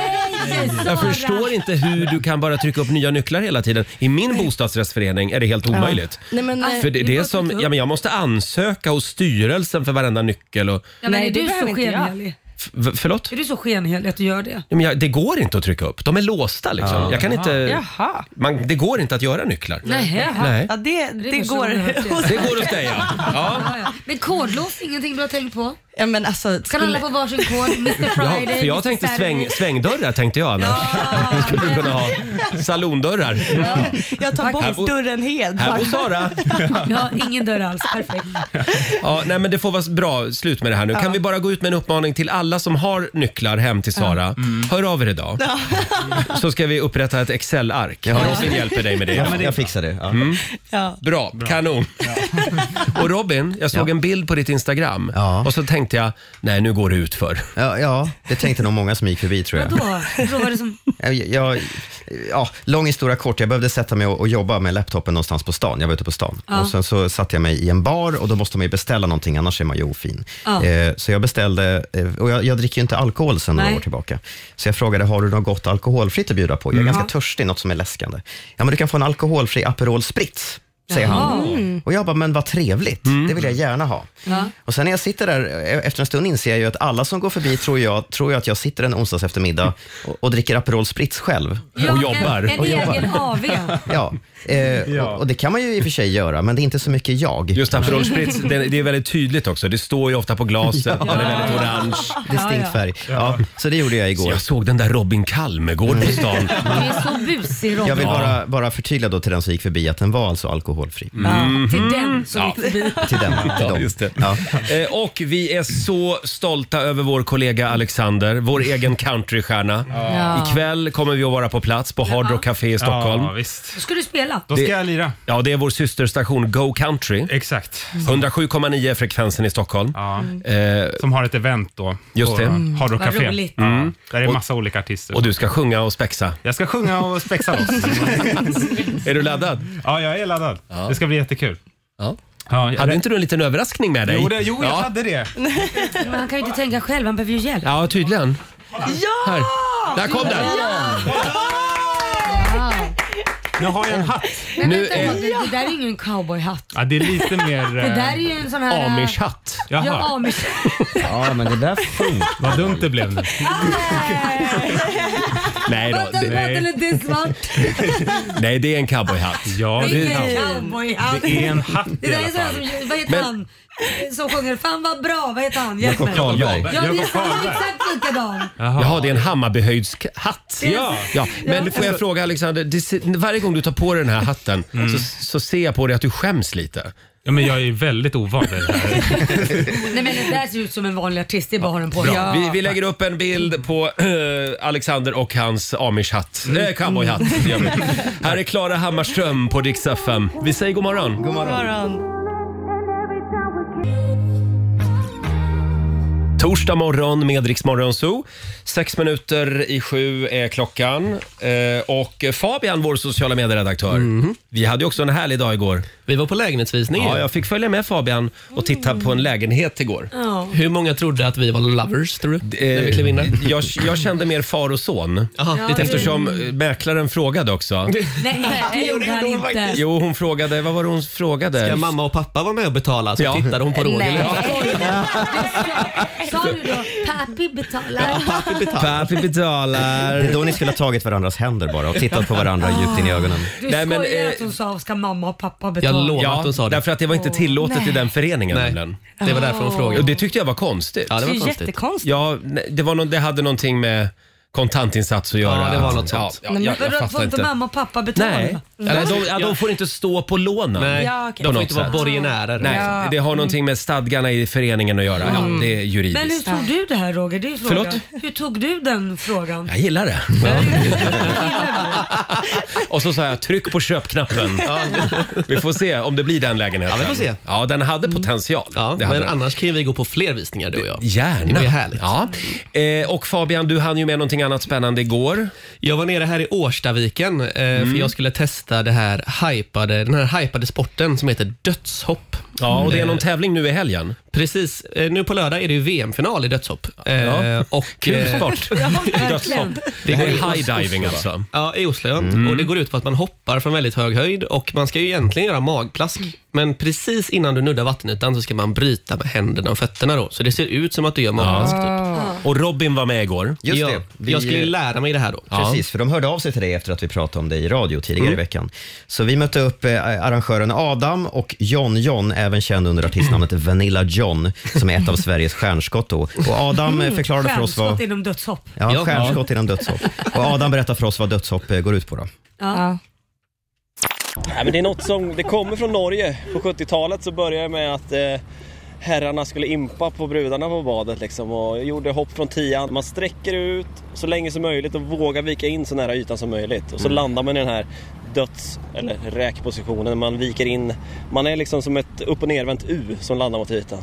[SPEAKER 3] nej, Sara.
[SPEAKER 1] Jag förstår inte hur du kan bara trycka upp nya nycklar hela tiden. I min bostadsrättsförening är det helt omöjligt.
[SPEAKER 8] Nej, men, eh,
[SPEAKER 1] Alltså, För det, det är
[SPEAKER 3] måste
[SPEAKER 1] som,
[SPEAKER 3] ta upp.
[SPEAKER 1] ja, men jag måste ansöka hos styrelsen för varenda nyckel. Och,
[SPEAKER 3] Ja, men
[SPEAKER 8] Nej,
[SPEAKER 3] är
[SPEAKER 8] det
[SPEAKER 3] du så
[SPEAKER 8] behöver inte jag.
[SPEAKER 3] skenhelig?
[SPEAKER 1] f- v- förlåt?
[SPEAKER 3] Är du så skenhelig att du gör det?
[SPEAKER 1] Ja, Men jag, det går inte att trycka upp. De är låsta liksom. Jag kan inte,
[SPEAKER 8] Jaha.
[SPEAKER 1] man, det går inte att göra nycklar.
[SPEAKER 3] Nej.
[SPEAKER 1] Nej.
[SPEAKER 8] Ja, det,
[SPEAKER 3] Det
[SPEAKER 8] det,
[SPEAKER 3] är kanske
[SPEAKER 8] går.
[SPEAKER 3] hon har hört det.
[SPEAKER 1] Det går hos dig ja. ja.
[SPEAKER 3] Ja, ja. Men kodlås, ingenting du har tänkt på?
[SPEAKER 8] Ja, men alltså,
[SPEAKER 3] Kan alla få varsin kod? Mr Friday,
[SPEAKER 1] Ja, för jag
[SPEAKER 3] Mr.
[SPEAKER 1] tänkte
[SPEAKER 3] Saturday.
[SPEAKER 1] sväng, svängdörrar tänkte jag annars.
[SPEAKER 3] Ja,
[SPEAKER 1] Skulle du kunna ha salondörrar?
[SPEAKER 8] jag tar
[SPEAKER 1] Här bor-
[SPEAKER 8] bort dörren helt.
[SPEAKER 1] Här bor Sara.
[SPEAKER 3] ja, ingen dörr alls. Perfekt.
[SPEAKER 1] Ja, nej, men det får vara bra slut med det här nu. Kan vi bara gå ut med en uppmaning till alla som har nycklar hem till Sara. Hör av er idag. Så ska vi upprätta ett Excel-ark. Robin hjälper dig med det. Mm.
[SPEAKER 2] Jag, jag fixar det. Ja.
[SPEAKER 8] Ja.
[SPEAKER 1] Bra, kanon. Och Robin, jag såg en bild på ditt Instagram
[SPEAKER 2] Ja.
[SPEAKER 1] och så tänkte jag, nej nu går det ut för.
[SPEAKER 2] Ja, ja, det tänkte nog många som gick förbi tror jag.
[SPEAKER 3] Vadå? Då var det som...
[SPEAKER 2] Jag, jag, ja, lång historia kort, jag behövde sätta mig och, och jobba med laptopen någonstans på stan. Jag var ute på stan. Och sen så satte jag mig i en bar och då måste man ju beställa någonting, annars är man ju ofin.
[SPEAKER 3] Ja.
[SPEAKER 2] Eh, så jag beställde, eh, och jag, jag dricker ju inte alkohol sedan några
[SPEAKER 3] Nej.
[SPEAKER 2] år tillbaka. Så jag frågade, har du något gott
[SPEAKER 3] Mm.
[SPEAKER 2] alkoholfritt att bjuda på? Jag är ganska törstig, något som är läskande. Ja, men du kan få en alkoholfri Aperol Spritz. säger han.
[SPEAKER 3] Jaha.
[SPEAKER 1] Mm.
[SPEAKER 2] Och jag bara, men vad trevligt. Det vill jag gärna ha. Och sen när jag sitter där, e- efter en stund inser jag ju att alla som går förbi tror jag, tror jag att jag sitter en onsdags eftermiddag
[SPEAKER 1] Mm.
[SPEAKER 2] och, och dricker Aperol Spritz själv.
[SPEAKER 3] Ja,
[SPEAKER 1] Och jobbar.
[SPEAKER 3] En, en
[SPEAKER 2] Och jobbar.
[SPEAKER 3] egen AV.
[SPEAKER 2] Ja, eh,
[SPEAKER 7] Ja.
[SPEAKER 2] och, och det kan man ju i och för sig göra, men det är inte så mycket jag.
[SPEAKER 1] Just Aperol Spritz, det, det är väldigt tydligt också. Det står ju ofta på glaset, den är väldigt orange.
[SPEAKER 3] Ja, ja.
[SPEAKER 2] Distinkt färg. Ja, så det gjorde jag igår.
[SPEAKER 1] Jag såg den där Robin Kalmegård på stan.
[SPEAKER 3] Du är så busig Robin.
[SPEAKER 2] Jag vill bara, bara förtydliga då till den som gick förbi att den var alltså alkoholfri.
[SPEAKER 3] Ja, till den som gick förbi.
[SPEAKER 2] Till den. Till
[SPEAKER 1] Mm. Ja,
[SPEAKER 2] dem.
[SPEAKER 1] just det.
[SPEAKER 2] Ja.
[SPEAKER 1] Eh, Och vi är så stolta över vår kollega Alexander, vår egen countrystjärna.
[SPEAKER 3] Ja.
[SPEAKER 1] Ikväll kommer vi att vara på plats på Hard Rock Café i Stockholm.
[SPEAKER 7] Ja, visst.
[SPEAKER 3] Ska du spela?
[SPEAKER 7] Då ska jag lira.
[SPEAKER 1] Ja, det är vår systerstation Go Country.
[SPEAKER 7] Exakt.
[SPEAKER 1] 107,9 är frekvensen i Stockholm.
[SPEAKER 7] Ja.
[SPEAKER 1] Eh,
[SPEAKER 7] Som har ett event då.
[SPEAKER 1] Just
[SPEAKER 7] på
[SPEAKER 1] det. Mm,
[SPEAKER 7] Hard Rock
[SPEAKER 3] vad
[SPEAKER 7] Café.
[SPEAKER 3] roligt.
[SPEAKER 7] Ja, där är massa olika artister.
[SPEAKER 1] och du ska sjunga och spexa.
[SPEAKER 7] Jag ska sjunga och spexa loss.
[SPEAKER 1] Är du laddad?
[SPEAKER 7] Ja, jag är laddad. Det ska bli jättekul.
[SPEAKER 1] Ja.
[SPEAKER 7] Ja, jag-
[SPEAKER 1] Hade inte du en liten överraskning med dig?
[SPEAKER 7] Jo, det, jo jag
[SPEAKER 1] ja.
[SPEAKER 7] hade det.
[SPEAKER 3] Men han kan ju inte tänka själv, han behöver ju hjälp.
[SPEAKER 1] ja, tydligen.
[SPEAKER 8] Ja!
[SPEAKER 1] Här. Där kom den!
[SPEAKER 7] Nu har jag en hatt.
[SPEAKER 1] Nu
[SPEAKER 3] Vänta,
[SPEAKER 1] är
[SPEAKER 3] det, det där är ingen cowboyhatt.
[SPEAKER 7] Ja, det är lite mer... eh,
[SPEAKER 3] Det där är ju en sån här...
[SPEAKER 1] amish-hatt.
[SPEAKER 7] Jaha,
[SPEAKER 3] Ja, amish.
[SPEAKER 2] ja, men det där funkar.
[SPEAKER 7] vad dumt det blev nu.
[SPEAKER 1] Nej då,
[SPEAKER 3] Vänta,
[SPEAKER 1] det,
[SPEAKER 3] vänta, det är svart.
[SPEAKER 1] nej, det är en cowboyhatt.
[SPEAKER 7] Ja, det,
[SPEAKER 3] Det
[SPEAKER 7] är-
[SPEAKER 3] är en cowboyhatt.
[SPEAKER 7] det är en hatt
[SPEAKER 3] Det
[SPEAKER 7] i
[SPEAKER 3] där
[SPEAKER 7] alla
[SPEAKER 3] är sån här
[SPEAKER 7] fall.
[SPEAKER 3] som, vad heter
[SPEAKER 1] Men-
[SPEAKER 3] han? Som sjunger Fan vad bra, vad heter han? Hjälp mig. Ja,
[SPEAKER 2] Karlberg.
[SPEAKER 3] det är
[SPEAKER 7] Jakob
[SPEAKER 3] så-
[SPEAKER 7] Karlberg.
[SPEAKER 3] exakt likadan.
[SPEAKER 1] Jaha, det är en Hammarbyhöjdshatt.
[SPEAKER 7] Ja.
[SPEAKER 1] Ja, men får jag fråga Alexander, det, ser- varje gång du tar på dig den här hatten så, så ser jag på dig att du skäms lite.
[SPEAKER 7] ja, men jag är väldigt ovan vid det
[SPEAKER 3] Mm.
[SPEAKER 7] här.
[SPEAKER 3] Nej men det där ser ut som en vanlig artist, det är bara att ha den på.
[SPEAKER 1] Bra.
[SPEAKER 3] Ja.
[SPEAKER 1] Vi, vi lägger upp en bild på eh, Alexander och hans amish-hatt. Eh, cowboyhatt. det gör vi. Här är Klara Hammarström på Dix FM. Vi säger god morgon.
[SPEAKER 2] God morgon.
[SPEAKER 1] Torsdag morgon med Rix Morgon Zoo. Sex minuter i sju är klockan. Eh, och Fabian, vår sociala medieredaktör. Vi hade ju också en härlig dag igår.
[SPEAKER 9] Mhm. Vi var på lägenhetsvisning.
[SPEAKER 1] Ja,
[SPEAKER 9] ju.
[SPEAKER 1] jag fick följa med Fabian och titta på en lägenhet igår. Eh,
[SPEAKER 3] Ja.
[SPEAKER 9] Hur många trodde att vi var lovers, tror du? när vi klev in där?
[SPEAKER 1] jag, jag kände mer far och son.
[SPEAKER 9] Aha,
[SPEAKER 3] Ja,
[SPEAKER 9] lite efter.
[SPEAKER 1] Eftersom eh, mäklaren frågade också.
[SPEAKER 3] Nej, det gjorde han inte.
[SPEAKER 1] Jo, hon frågade, vad var det hon
[SPEAKER 9] Ja,
[SPEAKER 1] frågade?
[SPEAKER 9] mamma och pappa var med och betalade, så
[SPEAKER 1] Ja.
[SPEAKER 9] tittade hon på Roger.
[SPEAKER 3] Nej.
[SPEAKER 9] Ja.
[SPEAKER 3] Sa du då pappi betalar?
[SPEAKER 9] Pappi betalade.
[SPEAKER 1] Pappi betalar.
[SPEAKER 2] Det är då ni skulle ha tagit varandras händer bara och tittat på varandra djupt in i ögonen.
[SPEAKER 3] Du
[SPEAKER 1] Nej,
[SPEAKER 3] skojar
[SPEAKER 1] men, eh,
[SPEAKER 3] att hon sa ska mamma och pappa
[SPEAKER 9] Jag
[SPEAKER 3] betala?
[SPEAKER 9] lovar
[SPEAKER 1] Ja,
[SPEAKER 9] att hon sa det.
[SPEAKER 1] därför att det var inte tillåtet i den föreningen.
[SPEAKER 9] Nej,
[SPEAKER 1] nämligen.
[SPEAKER 9] det var därför hon
[SPEAKER 1] Och
[SPEAKER 9] frågade.
[SPEAKER 1] det tyckte jag var konstigt.
[SPEAKER 9] Ja,
[SPEAKER 8] Det
[SPEAKER 9] det
[SPEAKER 8] är
[SPEAKER 9] var
[SPEAKER 8] ju
[SPEAKER 9] konstigt.
[SPEAKER 8] jättekonstigt.
[SPEAKER 1] Ja, nej, det, var någon, det hade någonting med kontantinsats att göra.
[SPEAKER 9] Ja, det var något sånt.
[SPEAKER 1] Ja, ja, jag, jag,
[SPEAKER 3] Vadå, får
[SPEAKER 1] fattar
[SPEAKER 3] inte
[SPEAKER 1] inte.
[SPEAKER 3] mamma och pappa betala?
[SPEAKER 1] Nej, Eller, de, ja, de får inte stå på lånen.
[SPEAKER 9] Nej,
[SPEAKER 8] Ja, okej.
[SPEAKER 9] de får
[SPEAKER 1] Något
[SPEAKER 9] inte vara
[SPEAKER 1] sätt.
[SPEAKER 9] borgenärer.
[SPEAKER 1] Nej, det har någonting med stadgarna i föreningen att göra. Ja, det är juridiskt.
[SPEAKER 3] Mm. Men hur tog du det här Roger? Det är ju frågan.
[SPEAKER 1] Förlåt?
[SPEAKER 3] Hur tog du den frågan?
[SPEAKER 1] Jag gillar det. Och så sa jag tryck på köpknappen. Vi får se om det blir den lägenheten.
[SPEAKER 9] Ja, vi får se.
[SPEAKER 1] Ja, den hade
[SPEAKER 3] Mm.
[SPEAKER 1] potential.
[SPEAKER 9] Ja,
[SPEAKER 1] det hade
[SPEAKER 9] men
[SPEAKER 1] den.
[SPEAKER 9] annars kan ju vi gå på fler visningar du och jag.
[SPEAKER 1] Gärna.
[SPEAKER 9] Det är härligt.
[SPEAKER 1] Ja. Eh, och Fabian, du hann ju med någonting annat spännande igår.
[SPEAKER 9] Jag var nere här i Årstaviken eh,
[SPEAKER 1] Mm.
[SPEAKER 9] för jag skulle testa det här hypade, den här hypade sporten som heter dödshopp.
[SPEAKER 1] Ja, och det är
[SPEAKER 9] Eh,
[SPEAKER 1] någon tävling nu i helgen.
[SPEAKER 9] Precis. Eh, nu på lördag är det ju VM-final i dödshopp. Eh,
[SPEAKER 1] Ja.
[SPEAKER 9] och,
[SPEAKER 1] Kul
[SPEAKER 9] eh,
[SPEAKER 1] sport.
[SPEAKER 3] verkligen.
[SPEAKER 1] Dödshopp. Det går
[SPEAKER 9] här är
[SPEAKER 1] high diving alltså.
[SPEAKER 9] Ja, i Oslo ja.
[SPEAKER 2] Mm.
[SPEAKER 9] Och det går ut på att man hoppar från väldigt hög höjd och man ska ju egentligen göra magplask. Men precis innan du nuddar vattenytan så ska man bryta med händerna och fötterna då. Så det ser ut som att du gör magplask. Typ.
[SPEAKER 1] Och Robin var med igår.
[SPEAKER 2] Just
[SPEAKER 9] ja,
[SPEAKER 2] det. Vi-
[SPEAKER 9] Jag skulle ju lära mig det här då.
[SPEAKER 2] Precis, för de hörde av sig till dig efter att vi pratade om det i radio tidigare i veckan. Så vi mötte upp eh, arrangören Adam och John John, även känd under artistnamnet Vanilla John, som är ett av Sveriges stjärnskott då. Och Adam eh, förklarade för oss vad...
[SPEAKER 3] Stjärnskott inom dödshopp.
[SPEAKER 2] Ja,
[SPEAKER 9] Ja.
[SPEAKER 2] stjärnskott inom dödshopp. Och Adam berättar för oss vad dödshopp eh, går ut på då.
[SPEAKER 3] Ja.
[SPEAKER 10] Nej, men det är något som det kommer från Norge. På 70-talet så började det med att eh, herrarna skulle impa på brudarna på badet liksom och gjorde hopp från tian. Man sträcker ut så länge som möjligt och vågar vika in så nära ytan som möjligt. Och så landar man i den här döds eller räkpositionen. Man viker in. Man är liksom som ett upp och nervänt U som landar mot ytan.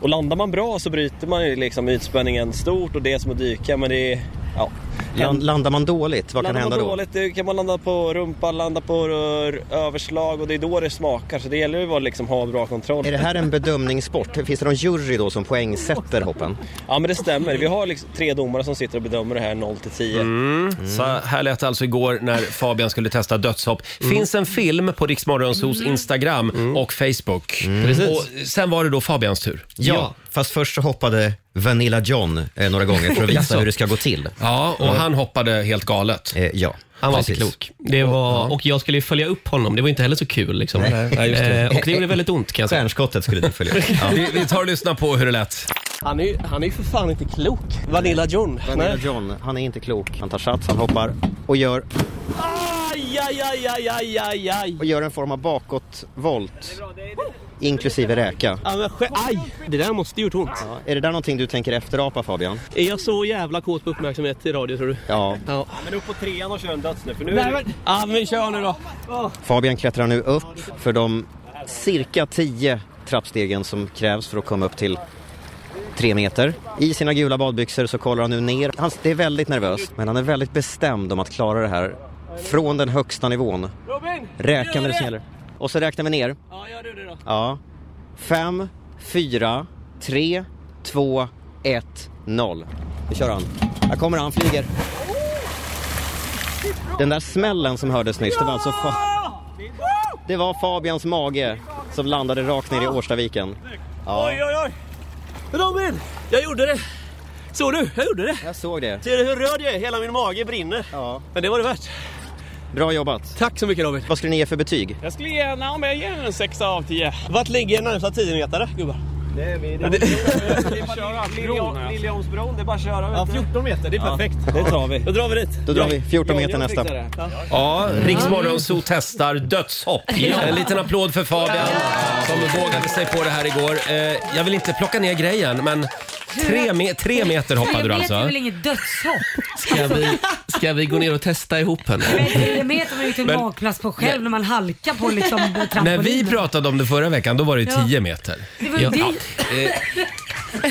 [SPEAKER 10] Och landar man bra så bryter man ju liksom ytspänningen stort och det är som att dyka men det är, ja,
[SPEAKER 2] Lan- Landar man dåligt, vad kan
[SPEAKER 10] landar
[SPEAKER 2] hända
[SPEAKER 10] man
[SPEAKER 2] då?
[SPEAKER 10] dåligt, då? kan man landa på rumpa, landa på rör, överslag och det är då det smakar. Så det gäller ju att liksom ha bra kontroll.
[SPEAKER 2] Är det här en bedömningssport? Finns det någon jury då som poängsätter hoppen?
[SPEAKER 10] Ja men det stämmer. Vi har liksom tre domare som sitter och bedömer det här 0 till 10.
[SPEAKER 1] Mm. Så här lät det alltså igår när Fabian skulle testa dödshopp. Finns en film på Riksmorgonsos Instagram och Facebook.
[SPEAKER 2] Precis.
[SPEAKER 1] Och sen var det då Fabians tur.
[SPEAKER 2] Ja, fast först så hoppade Vanilla John eh, några gånger för att visa
[SPEAKER 1] Jaså?
[SPEAKER 2] hur det ska gå till.
[SPEAKER 1] Ja, och
[SPEAKER 2] Ja.
[SPEAKER 1] han hoppade helt galet.
[SPEAKER 2] ja.
[SPEAKER 9] Han var inte
[SPEAKER 2] Precis.
[SPEAKER 9] klok. Det var, och jag skulle ju följa upp honom. Det var inte heller så kul. Liksom.
[SPEAKER 2] Nej. Nej, just det.
[SPEAKER 9] Eh, Och det gjorde väldigt ont kan jag säga.
[SPEAKER 2] Stjärnskottet Alltså, skulle du följa upp. Ja.
[SPEAKER 1] Vi, vi tar och lyssnar på hur det lät.
[SPEAKER 10] Han är ju han är ju för fan inte klok. Vanilla John.
[SPEAKER 2] Vanilla John, han är inte klok. Han tar sats, han hoppar och gör,
[SPEAKER 10] Aj, aj, aj, aj, aj, aj, aj.
[SPEAKER 2] och gör en form av bakåtvolt. Inklusive räka.
[SPEAKER 10] Ja, men ske- Aj! Det där måste gjort ont.
[SPEAKER 2] Är det där någonting du tänker efterapa Fabian?
[SPEAKER 10] Är jag så jävla kåt på uppmärksamhet i radio tror du?
[SPEAKER 2] Ja.
[SPEAKER 10] Ja. Men upp på trean och kör en döds nu. För nu Nej, men... Ja men kör nu då.
[SPEAKER 2] Fabian klättrar nu upp för de cirka 10 trappstegen som krävs för att komma upp till tre meter. I sina gula badbyxor så kollar han nu ner. Han det är väldigt nervös, men han är väldigt bestämd om att klara det här från den högsta nivån.
[SPEAKER 10] Robin!
[SPEAKER 2] Räknar det som gäller. Och så räknar vi ner.
[SPEAKER 10] Ja, gör du det då.
[SPEAKER 2] Ja. Fem, fyra, tre, två, ett, noll. Nu kör han. Här kommer han, flyger. Den där smällen som hördes nyss, det var alltså fa- det var Fabians mage som landade rakt ner i Årstaviken. Ja,
[SPEAKER 10] Oj, oj, oj! Robin! Jag gjorde det! Såg du? Jag gjorde det!
[SPEAKER 2] jag såg det.
[SPEAKER 10] Ser du hur röd jag är? Hela min mage brinner.
[SPEAKER 2] Ja.
[SPEAKER 10] Men det var det värt.
[SPEAKER 2] Bra jobbat.
[SPEAKER 10] Tack så mycket Robin.
[SPEAKER 2] Vad skulle ni ge för betyg?
[SPEAKER 10] Jag skulle ge, nej, men jag ger en 6 av 10. Vart ligger närmsta 10-metare gubbar? Det är vid... Liljeholmsbron, det är bara att köra. Ja, 14 meter, det är perfekt. det tar vi. Då drar vi dit.
[SPEAKER 2] Då drar vi 14 meter nästa.
[SPEAKER 1] Ja, Riksmorgonso testar dödshopp. En liten applåd för Fabian som vågade sig på det här igår. Eh, jag vill inte plocka ner grejen, men tre, me- tre meter hoppade du
[SPEAKER 3] Tre meter är
[SPEAKER 1] alltså?
[SPEAKER 3] väl inget dödshopp?
[SPEAKER 9] Ska vi, ska vi gå ner och testa ihop henne?
[SPEAKER 3] Men Tre meter var ju inte en
[SPEAKER 1] Men-
[SPEAKER 3] magplats på själv när man halkar på liksom trampolinen.
[SPEAKER 1] När vi pratade om det förra veckan, då var det
[SPEAKER 3] Ja.
[SPEAKER 1] 10 meter.
[SPEAKER 3] Det var ju det.
[SPEAKER 1] Eh,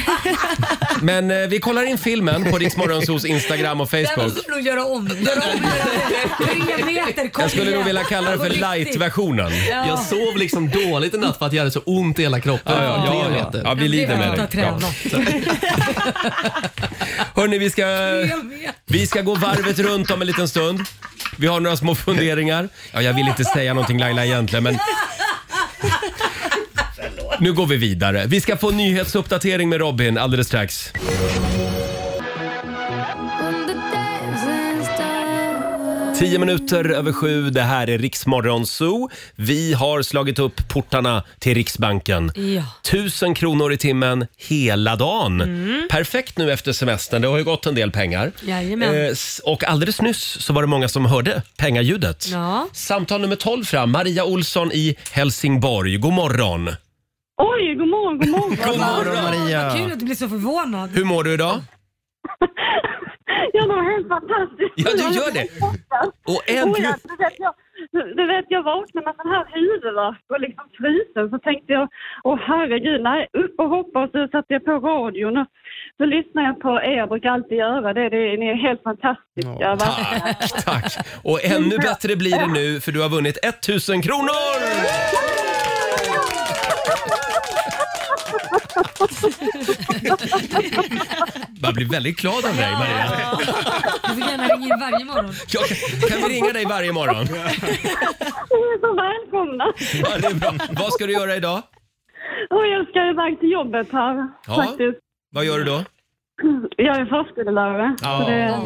[SPEAKER 1] Men eh, vi kollar in filmen på Riksmorgonsos Instagram och
[SPEAKER 3] Där
[SPEAKER 1] Facebook.
[SPEAKER 3] måste du nog göra om. Göra om, göra om. Tre meter, kom
[SPEAKER 1] Jag skulle
[SPEAKER 3] igen.
[SPEAKER 1] nog vilja kalla det
[SPEAKER 3] På
[SPEAKER 1] för
[SPEAKER 3] riktigt.
[SPEAKER 1] light-versionen.
[SPEAKER 3] Ja.
[SPEAKER 9] Jag sov liksom dåligt i natt för att jag hade så ont i hela kroppen.
[SPEAKER 1] Ja, ja,
[SPEAKER 9] Tre
[SPEAKER 1] ja.
[SPEAKER 9] meter.
[SPEAKER 1] ja vi lider med dig. Ja. Hörni, vi ska, vi ska gå varvet runt om en liten stund. Vi har några små funderingar. Ja, jag vill inte säga någonting Laila egentligen, men nu går vi vidare. Vi ska få en nyhetsuppdatering med Robin alldeles strax. Tio minuter över sju, det här är Riksmorgon Zoo. Vi har slagit upp portarna till Riksbanken.
[SPEAKER 3] Ja.
[SPEAKER 1] Tusen kronor i timmen hela dagen. Perfekt nu efter semestern. Det har ju gått en del pengar.
[SPEAKER 3] Jajamän.
[SPEAKER 1] Eh, s- och alldeles nyss så var det många som hörde pengaljudet.
[SPEAKER 3] Ja.
[SPEAKER 1] Samtal nummer 12 fram. Maria Olsson i Helsingborg. God morgon.
[SPEAKER 5] Oj, god morgon, god morgon.
[SPEAKER 1] God morgon
[SPEAKER 3] Vad kul att du blir så förvånad.
[SPEAKER 1] Hur mår du idag?
[SPEAKER 5] Ja, det var helt fantastiskt.
[SPEAKER 1] Ja, du gör det. Och en
[SPEAKER 5] Oj, ja, du, vet, jag, du vet, jag vaknade med sån här huvudvärk och liksom frusen. Så tänkte jag, åh herregud, nej, upp och hoppa. Och så satte jag på radion och så lyssnade jag på er, jag brukar alltid göra det. det ni är helt fantastiska. verkligen.
[SPEAKER 1] Tack, tack. Och ännu bättre blir det nu för du har vunnit 1000 kronor! Man blir väldigt glad av dig Maria.
[SPEAKER 3] Du får gärna ringa in varje morgon.
[SPEAKER 1] Jag, kan vi ringa dig varje morgon?
[SPEAKER 5] Ni är så välkomna.
[SPEAKER 1] Ja, det är bra. Vad ska du göra idag?
[SPEAKER 5] Och jag ska iväg till jobbet här
[SPEAKER 1] Ja.
[SPEAKER 5] faktiskt.
[SPEAKER 1] Vad gör du då?
[SPEAKER 5] Jag är förskolelärare,
[SPEAKER 1] Ja.
[SPEAKER 5] så det är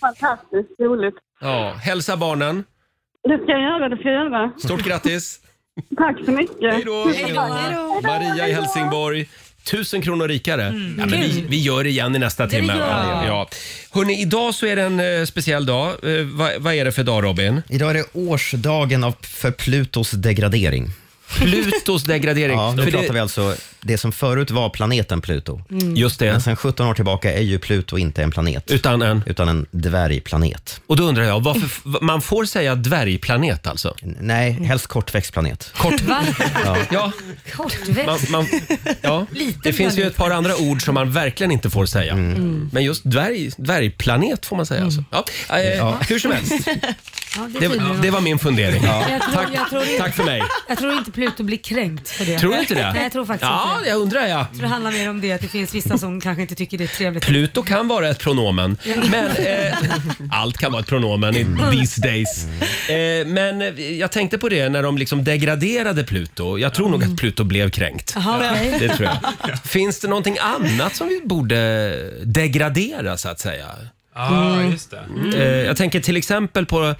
[SPEAKER 5] fantastiskt roligt.
[SPEAKER 1] Ja, hälsa barnen.
[SPEAKER 5] Det ska jag göra, det ska jag göra.
[SPEAKER 1] Stort grattis!
[SPEAKER 5] Tack så mycket.
[SPEAKER 1] Hej då! Maria i Helsingborg. Tusen kronor rikare. Ja, men vi, vi gör det igen i nästa timme.
[SPEAKER 3] gör
[SPEAKER 1] Ja.
[SPEAKER 3] vi.
[SPEAKER 1] Ja. Hörrni, idag så är det en eh, speciell dag. Eh, vad, vad är det för dag Robin?
[SPEAKER 2] Idag är det årsdagen av för Plutos degradering.
[SPEAKER 1] Plutos degradering.
[SPEAKER 2] Ja, då
[SPEAKER 1] För det-
[SPEAKER 2] pratar vi alltså det som förut var planeten Pluto.
[SPEAKER 1] Mm. Just det.
[SPEAKER 2] Men sen 17 år tillbaka är ju Pluto inte en planet.
[SPEAKER 1] Utan en?
[SPEAKER 2] Utan en dvärgplanet.
[SPEAKER 1] Och då undrar jag, varför, f- man får säga dvärgplanet alltså?
[SPEAKER 2] Nej,
[SPEAKER 3] Mm.
[SPEAKER 2] helst kortväxt planet.
[SPEAKER 1] Kort,
[SPEAKER 3] Va?
[SPEAKER 1] ja. ja,
[SPEAKER 3] Kortväxt?
[SPEAKER 1] man, man, ja. det finns ju ett par andra ord som man verkligen inte får säga.
[SPEAKER 2] Mm.
[SPEAKER 1] Men just dvärg, dvärgplanet får man säga alltså. Ja. Eh,
[SPEAKER 3] Ja.
[SPEAKER 1] Hur som helst,
[SPEAKER 3] Ja, det,
[SPEAKER 1] det,
[SPEAKER 3] tyder
[SPEAKER 1] var-
[SPEAKER 3] nog.
[SPEAKER 1] det var min fundering.
[SPEAKER 3] Jag tror,
[SPEAKER 1] Tack,
[SPEAKER 3] jag tror inte,
[SPEAKER 1] tack för mig.
[SPEAKER 3] Jag tror inte Pluto blir kränkt för det.
[SPEAKER 1] Tror du inte det?
[SPEAKER 3] Nej, jag tror faktiskt
[SPEAKER 1] Ja,
[SPEAKER 3] inte det.
[SPEAKER 1] jag undrar jag.
[SPEAKER 3] Jag tror det handlar mer om det, att det finns vissa som kanske inte tycker det är trevligt.
[SPEAKER 1] Pluto kan vara ett pronomen. Men, eh, allt kan vara ett pronomen i
[SPEAKER 3] Mm.
[SPEAKER 1] these days. Eh, men eh, jag tänkte på det när de liksom degraderade Pluto. Jag tror nog att Pluto blev kränkt.
[SPEAKER 3] Mm. Jaha, okej.
[SPEAKER 1] Det tror jag. Finns det någonting annat som vi borde degradera så att säga?
[SPEAKER 7] Ja, just det.
[SPEAKER 3] Mm.
[SPEAKER 1] Eh, jag tänker till exempel på,